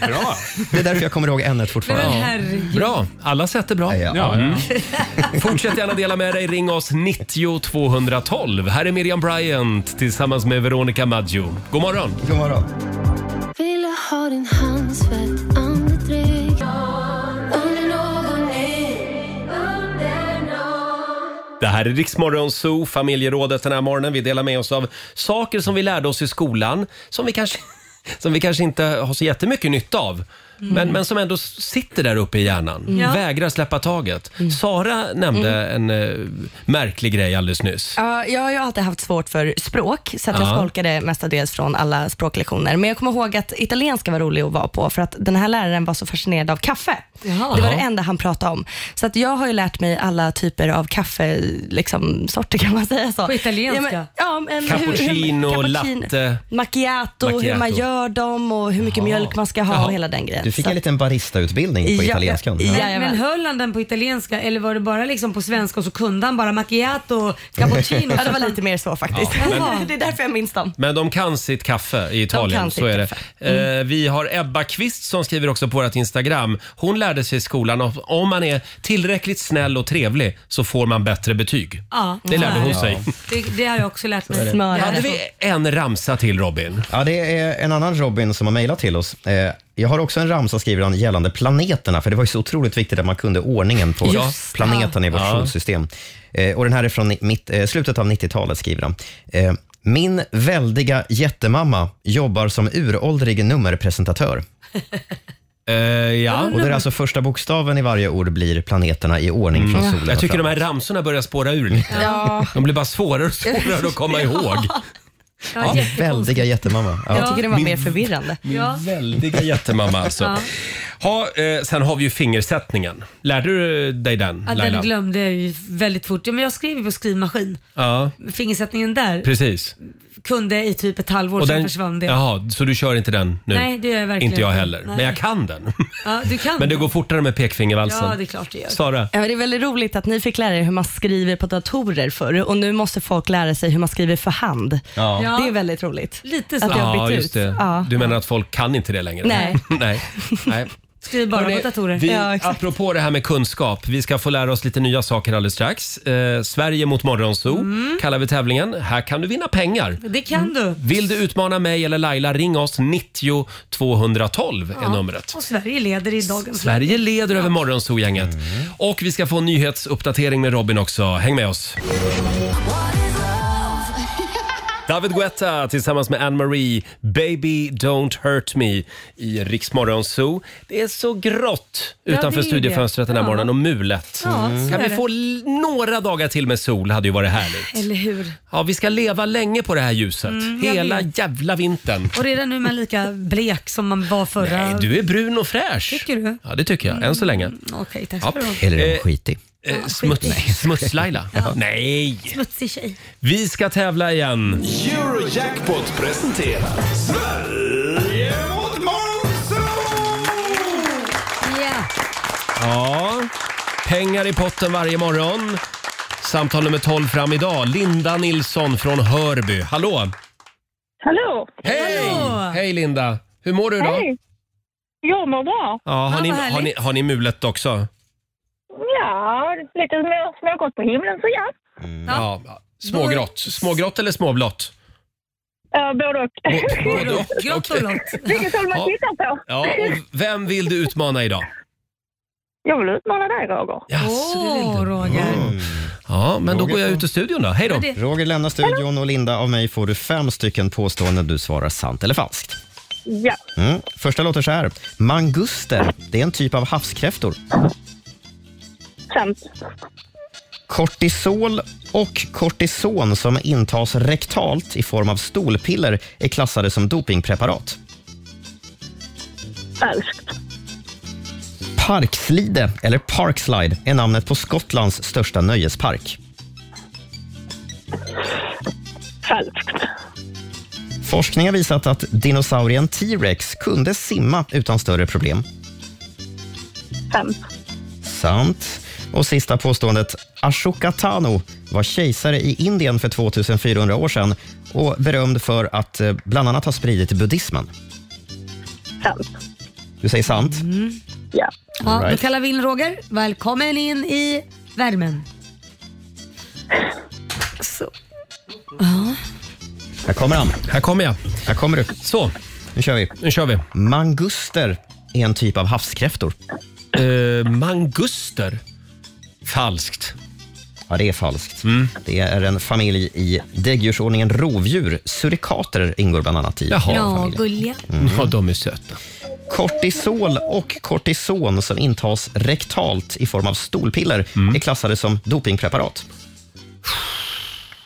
[SPEAKER 1] Bra.
[SPEAKER 2] Det är därför jag kommer ihåg N fortfarande.
[SPEAKER 1] Men herregud. Bra. Alla sätt är bra. Ja, Mm. Fortsätt gärna dela med dig. Ring oss 90 212. Här är Miriam Bryant tillsammans med Veronica Maggio. God morgon!
[SPEAKER 2] God morgon.
[SPEAKER 4] Vill jag ha din hand, svett, andedräkt Under någon är under någon
[SPEAKER 1] Det här är Riksmorgon Zoo, familjerådet den här morgonen. Vi delar med oss av saker som vi lärde oss i skolan som vi kanske, som vi kanske inte har så jättemycket nytta av.
[SPEAKER 9] Mm.
[SPEAKER 1] Men, men som ändå s- sitter där uppe i hjärnan.
[SPEAKER 8] Ja.
[SPEAKER 1] Vägrar släppa taget. Sara nämnde en eh, märklig grej alldeles nyss.
[SPEAKER 8] Ja, jag har ju alltid haft svårt för språk, så att jag
[SPEAKER 1] Ja.
[SPEAKER 8] skolkade mestadels från alla språklektioner. Men jag kommer ihåg att italienska var rolig att vara på, för att den här läraren var så fascinerad av kaffe.
[SPEAKER 3] Jaha.
[SPEAKER 8] Det var det
[SPEAKER 3] Jaha.
[SPEAKER 8] enda han pratade om. Så att jag har ju lärt mig alla typer av kaffesorter, liksom, sorter, kan man säga så.
[SPEAKER 3] På italienska?
[SPEAKER 8] Ja, men, ja, men hur-
[SPEAKER 1] Cappuccino,
[SPEAKER 8] hur,
[SPEAKER 1] latte.
[SPEAKER 8] Macchiato, hur
[SPEAKER 2] Macchiato.
[SPEAKER 8] man gör dem och hur mycket mjölk man ska ha och hela den grejen.
[SPEAKER 2] Du fick
[SPEAKER 8] Så
[SPEAKER 2] en liten baristautbildning på
[SPEAKER 8] Ja.
[SPEAKER 2] italienskan.
[SPEAKER 3] Men, men höll han den på italienska eller var det bara liksom på svenska och så kunde han bara macchiato, cappuccino?
[SPEAKER 8] Ja, det var lite mer så faktiskt.
[SPEAKER 1] Ja, men-
[SPEAKER 8] det är därför jag minns dem.
[SPEAKER 1] Men de kan sitt kaffe i Italien.
[SPEAKER 8] kan
[SPEAKER 1] Så
[SPEAKER 8] sitt
[SPEAKER 1] är det.
[SPEAKER 8] kaffe.
[SPEAKER 1] Eh, vi har Ebba Kvist som skriver också på vårt Instagram. Hon lärde sig i skolan att om man är tillräckligt snäll och trevlig så får man bättre betyg.
[SPEAKER 3] Ja,
[SPEAKER 1] Det lärde hon sig.
[SPEAKER 3] Det, det har jag också lärt mig.
[SPEAKER 1] Hade vi en ramsa till Robin?
[SPEAKER 2] Ja, det är en annan Robin som har mejlat till oss. Eh, Jag har också en ramsa, skriver han, gällande planeterna, för det var ju så otroligt viktigt att man kunde ordningen på
[SPEAKER 13] Just det.
[SPEAKER 2] planeterna i vårt
[SPEAKER 13] Ja.
[SPEAKER 2] solsystem. Eh, Och den här är från ni- mitt, eh, slutet av 90-talet, skriver han. Eh, Min väldiga jättemamma jobbar som uråldrig nummerpresentatör.
[SPEAKER 1] Eh, ja.
[SPEAKER 2] Och det är alltså första bokstaven i varje ord blir planeterna i ordning från solen
[SPEAKER 1] Mm. Jag
[SPEAKER 2] och
[SPEAKER 1] tycker de
[SPEAKER 2] framåt.
[SPEAKER 1] här ramsorna börjar spåra ur lite.
[SPEAKER 8] Ja.
[SPEAKER 1] De blir bara svårare och svårare att komma ihåg.
[SPEAKER 8] Ja, jättekonstigt.
[SPEAKER 2] Väldiga jättemamma.
[SPEAKER 8] Jag tycker det var
[SPEAKER 1] Min-
[SPEAKER 8] mer förvirrande.
[SPEAKER 1] Väldiga jättemamma alltså.
[SPEAKER 8] Ja.
[SPEAKER 1] Ha, eh, sen har vi ju fingersättningen. Lärde du dig den
[SPEAKER 3] Ja,
[SPEAKER 1] Laila?
[SPEAKER 3] den glömde jag ju väldigt fort. Ja, men jag skrev ju på skrivmaskin.
[SPEAKER 1] Ja,
[SPEAKER 3] Fingersättningen där
[SPEAKER 1] precis.
[SPEAKER 3] kunde i typ ett halvår, sen försvann det.
[SPEAKER 1] Jaha, så du kör inte den nu?
[SPEAKER 3] Nej, det gör jag verkligen
[SPEAKER 1] Inte jag
[SPEAKER 3] inte.
[SPEAKER 1] heller.
[SPEAKER 3] Nej.
[SPEAKER 1] Men jag kan den.
[SPEAKER 3] Ja, du kan
[SPEAKER 1] Men det går fortare med pekfingervalsen.
[SPEAKER 8] Ja, det är klart det gör.
[SPEAKER 1] Sara?
[SPEAKER 8] Ja, men det är väldigt roligt att ni fick lära er hur man skriver på datorer förr och nu måste folk lära sig hur man skriver för hand.
[SPEAKER 1] Ja.
[SPEAKER 8] Det är väldigt roligt.
[SPEAKER 3] Lite
[SPEAKER 8] så. Att jag har
[SPEAKER 1] ja,
[SPEAKER 8] bytt
[SPEAKER 1] just
[SPEAKER 8] ut.
[SPEAKER 1] det.
[SPEAKER 8] Ja.
[SPEAKER 1] Du menar att folk kan inte det längre?
[SPEAKER 8] Nej.
[SPEAKER 1] Nej. Nej.
[SPEAKER 3] Skriv bara
[SPEAKER 1] Hörrni,
[SPEAKER 3] på datorer.
[SPEAKER 1] Vi,
[SPEAKER 3] Ja, exakt.
[SPEAKER 1] apropå det här med kunskap, vi ska få lära oss lite nya saker alldeles strax. Eh, Sverige mot Morgonzoo
[SPEAKER 3] Mm.
[SPEAKER 1] kallar vi tävlingen. Här kan du vinna pengar.
[SPEAKER 3] Det
[SPEAKER 1] Mm.
[SPEAKER 3] kan du.
[SPEAKER 1] Vill du utmana mig eller Laila, ring oss. 90 212 är
[SPEAKER 3] Ja.
[SPEAKER 1] numret.
[SPEAKER 3] Och Sverige leder i dagens läge.
[SPEAKER 1] Sverige leder över Morgonzoo-gänget.
[SPEAKER 9] Mm.
[SPEAKER 1] Och vi ska få en nyhetsuppdatering med Robin också. Häng med oss. David Guetta tillsammans med Anne-Marie, Baby Don't Hurt Me i Rix Morgon Zoo. Det är så grått
[SPEAKER 9] Ja,
[SPEAKER 1] utanför
[SPEAKER 9] det är ju
[SPEAKER 1] studiofönstret den här
[SPEAKER 9] det. Ja.
[SPEAKER 1] morgonen och mulet. Mm.
[SPEAKER 9] Ja, så
[SPEAKER 1] Kan
[SPEAKER 9] är
[SPEAKER 1] vi
[SPEAKER 9] det.
[SPEAKER 1] få l- några dagar till med sol hade ju varit härligt.
[SPEAKER 3] Eller hur?
[SPEAKER 1] Ja, vi ska leva länge på det här ljuset.
[SPEAKER 3] Mm, jag
[SPEAKER 1] Hela
[SPEAKER 3] vet.
[SPEAKER 1] jävla vintern.
[SPEAKER 3] Och redan nu är man lika blek som man var förra...
[SPEAKER 1] Nej, du är brun och fräsch.
[SPEAKER 3] Tycker du?
[SPEAKER 1] Ja, det tycker jag. Än så länge.
[SPEAKER 9] Mm.
[SPEAKER 3] Okej, tack ska du ha.
[SPEAKER 2] Eller är de
[SPEAKER 1] Eh,
[SPEAKER 2] skitig?
[SPEAKER 1] Eh, smuts, Smuts-Laila? Nej!
[SPEAKER 3] Smutsig tjej.
[SPEAKER 1] Vi ska tävla igen.
[SPEAKER 14] Eurojackpot presenterar Sverige mot Monzo!
[SPEAKER 3] Ja.
[SPEAKER 1] Ja, pengar i potten varje morgon. Samtal nummer 12 fram idag. Linda Nilsson från Hörby. Hallå!
[SPEAKER 15] Hallå!
[SPEAKER 1] Hej! Hej Linda! Hur mår du idag?
[SPEAKER 15] Hej! Jag mår bra.
[SPEAKER 1] Ja, har, ni, har, ni, har ni mulet också?
[SPEAKER 15] Ja, lite små, smågott på himlen, så ja.
[SPEAKER 1] Ja. Smågrått. Smågrått eller småblått?
[SPEAKER 15] Uh, både och.
[SPEAKER 1] både och, Grått och okej. blått.
[SPEAKER 15] Vilket håll
[SPEAKER 1] Ja.
[SPEAKER 15] man tittar på.
[SPEAKER 1] Ja, och vem vill du utmana idag?
[SPEAKER 15] Jag vill utmana dig, Roger.
[SPEAKER 1] Åh,
[SPEAKER 3] Roger.
[SPEAKER 1] Mm. Ja, men då går jag ut ur studion då. Hej då!
[SPEAKER 2] Roger lämnar studion och Linda, av mig får du fem stycken påståenden du svarar sant eller falskt.
[SPEAKER 15] Ja.
[SPEAKER 2] Mm. Första låter så här. Manguster, det är en typ av havskräftor.
[SPEAKER 15] Sant.
[SPEAKER 2] Kortisol och kortison som intas rektalt i form av stolpiller är klassade som dopingpreparat.
[SPEAKER 15] Falskt.
[SPEAKER 2] Parkslide, eller Parkslide, är namnet på Skottlands största nöjespark.
[SPEAKER 15] Falskt.
[SPEAKER 2] Forskning har visat att dinosaurien T-rex kunde simma utan större problem.
[SPEAKER 15] Sant.
[SPEAKER 2] Sant. Och sista påståendet. Ashoka Tano var kejsare i Indien för 2400 år sedan och berömd för att eh, bland annat ha spridit buddhismen.
[SPEAKER 15] Sant.
[SPEAKER 2] Du säger sant?
[SPEAKER 15] Ja.
[SPEAKER 3] Ja, Då
[SPEAKER 2] Alright.
[SPEAKER 3] kallar vi in Roger. Välkommen in i värmen. Så. Ja.
[SPEAKER 2] Här kommer han.
[SPEAKER 1] Här kommer jag.
[SPEAKER 2] Här kommer du.
[SPEAKER 1] Så.
[SPEAKER 2] Nu kör vi.
[SPEAKER 1] Nu kör vi.
[SPEAKER 2] Manguster är en typ av havskräftor.
[SPEAKER 1] Eh, manguster? Falskt.
[SPEAKER 2] Ja, det är falskt. Det är en familj i däggdjursordningen rovdjur. Surikater ingår bland annat i
[SPEAKER 3] Jaha.
[SPEAKER 2] den
[SPEAKER 3] Ja,
[SPEAKER 2] familjen.
[SPEAKER 3] gulliga.
[SPEAKER 1] Ja, de är söta.
[SPEAKER 2] Kortisol och kortison som intas rektalt i form av stolpiller är klassade som dopingpreparat.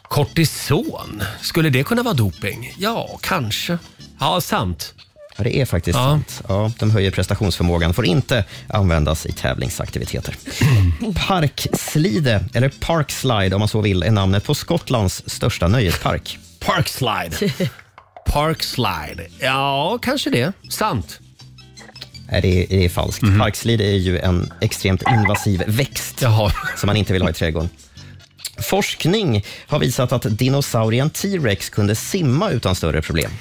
[SPEAKER 1] Kortison? Skulle det kunna vara doping? Ja, kanske. Ja, sant.
[SPEAKER 2] Ja, det är faktiskt
[SPEAKER 1] Ja.
[SPEAKER 2] sant. Ja, de höjer prestationsförmågan, får inte användas i tävlingsaktiviteter. Parkslide, eller Parkslide om man så vill, är namnet på Skottlands största nöjespark.
[SPEAKER 1] Parkslide. Parkslide. Ja, kanske det. Sant.
[SPEAKER 2] Nej, det är, det är falskt.
[SPEAKER 3] Mhm.
[SPEAKER 2] Parkslide är ju en extremt invasiv växt som man inte vill ha i trädgården. Forskning har visat att dinosaurien T-rex kunde simma utan större problem.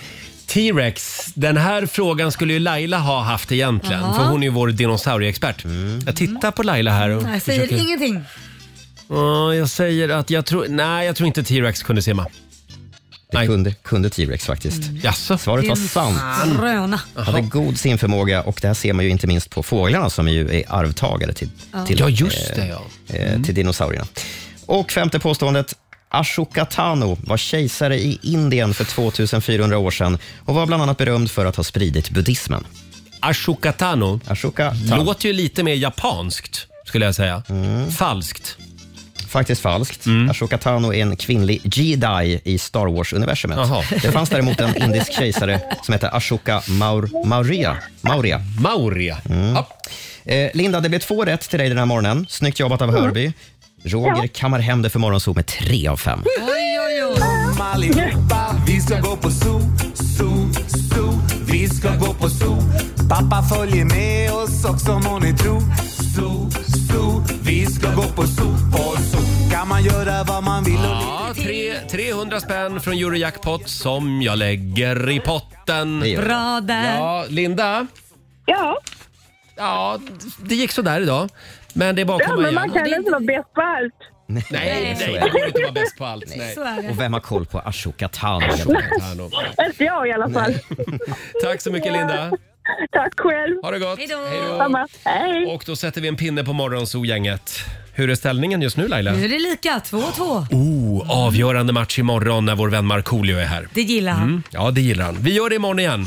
[SPEAKER 1] T-Rex, den här frågan skulle ju Laila ha haft egentligen,
[SPEAKER 3] Jaha. Mm.
[SPEAKER 1] för hon är ju vår dinosaurieexpert. Jag tittar på Laila här och
[SPEAKER 3] Jag säger
[SPEAKER 1] försöker-
[SPEAKER 3] ingenting.
[SPEAKER 1] Ja, jag säger att jag tror... Nej, jag tror inte T-Rex kunde simma.
[SPEAKER 2] Det kunde, kunde T-rex faktiskt.
[SPEAKER 3] Mm.
[SPEAKER 1] Jaså?
[SPEAKER 2] Svaret var
[SPEAKER 3] Din
[SPEAKER 2] sant.
[SPEAKER 3] Gröna.
[SPEAKER 2] Han hade god simförmåga och det här ser man ju inte minst på fåglarna som ju är arvtagare till,
[SPEAKER 3] Ja.
[SPEAKER 2] till,
[SPEAKER 3] Ja, Mm. just
[SPEAKER 2] eh,
[SPEAKER 3] det, ja.
[SPEAKER 2] eh, till dinosaurierna. Och femte påståendet. Ashoka Tano var kejsare i Indien för 2400 år sedan och var bland annat berömd för att ha spridit buddhismen.
[SPEAKER 3] Eh.
[SPEAKER 1] Ashoka Tano
[SPEAKER 2] Ashoka Tano.
[SPEAKER 1] låter ju lite mer japanskt, skulle jag säga. Falskt.
[SPEAKER 2] Faktiskt falskt. Ashoka Tano är en kvinnlig jedi i Star Wars-universumet.
[SPEAKER 1] Jaha.
[SPEAKER 2] Det fanns däremot en indisk kejsare som hette Ashoka Maur- Maurya. Maurya.
[SPEAKER 1] Maurya.
[SPEAKER 2] Mm. Eh, Linda, det blev två rätt till dig den här morgonen. Snyggt jobbat
[SPEAKER 1] Mm.
[SPEAKER 2] av Hörby. Roger kammar hem det för morgonzoo med tre av fem.
[SPEAKER 4] Oj, oj, oj. Kom allihopa, vi ska gå på zoo, zoo, zoo. Vi ska gå på zoo. Pappa följer med oss också må ni tro. Zoo, zoo. Vi ska gå på zoo, på zoo. Kan man göra vad man vill och
[SPEAKER 1] Ja, tre, 300 spänn från Eurojackpot som jag lägger i potten.
[SPEAKER 3] gör du. Bra där.
[SPEAKER 1] Ja, Linda,
[SPEAKER 15] Ja.
[SPEAKER 1] Ja. det gick sådär idag. Men det är bara att
[SPEAKER 15] Ja,
[SPEAKER 1] komma
[SPEAKER 15] men
[SPEAKER 1] igen.
[SPEAKER 15] man kan inte vara bäst på allt.
[SPEAKER 2] Nej,
[SPEAKER 1] Nej,
[SPEAKER 2] så
[SPEAKER 1] nej,
[SPEAKER 2] är
[SPEAKER 1] det
[SPEAKER 2] det.
[SPEAKER 1] går inte att vara bäst på allt. Nej.
[SPEAKER 3] Så är det.
[SPEAKER 2] Och vem har koll på Ashoka Tano?
[SPEAKER 15] Inte jag i alla fall.
[SPEAKER 1] Tack så mycket Linda.
[SPEAKER 15] Tack själv.
[SPEAKER 1] Ha det gott.
[SPEAKER 15] Hej då.
[SPEAKER 1] Samma. Och då sätter vi en pinne på morgonsogänget. Hur är ställningen just nu Laila?
[SPEAKER 3] Nu är det lika, 2-2.
[SPEAKER 1] Oh, avgörande match imorgon när vår vän Markoolio är här.
[SPEAKER 3] Det gillar han.
[SPEAKER 1] Mm, ja, det gillar han. Vi gör det imorgon igen.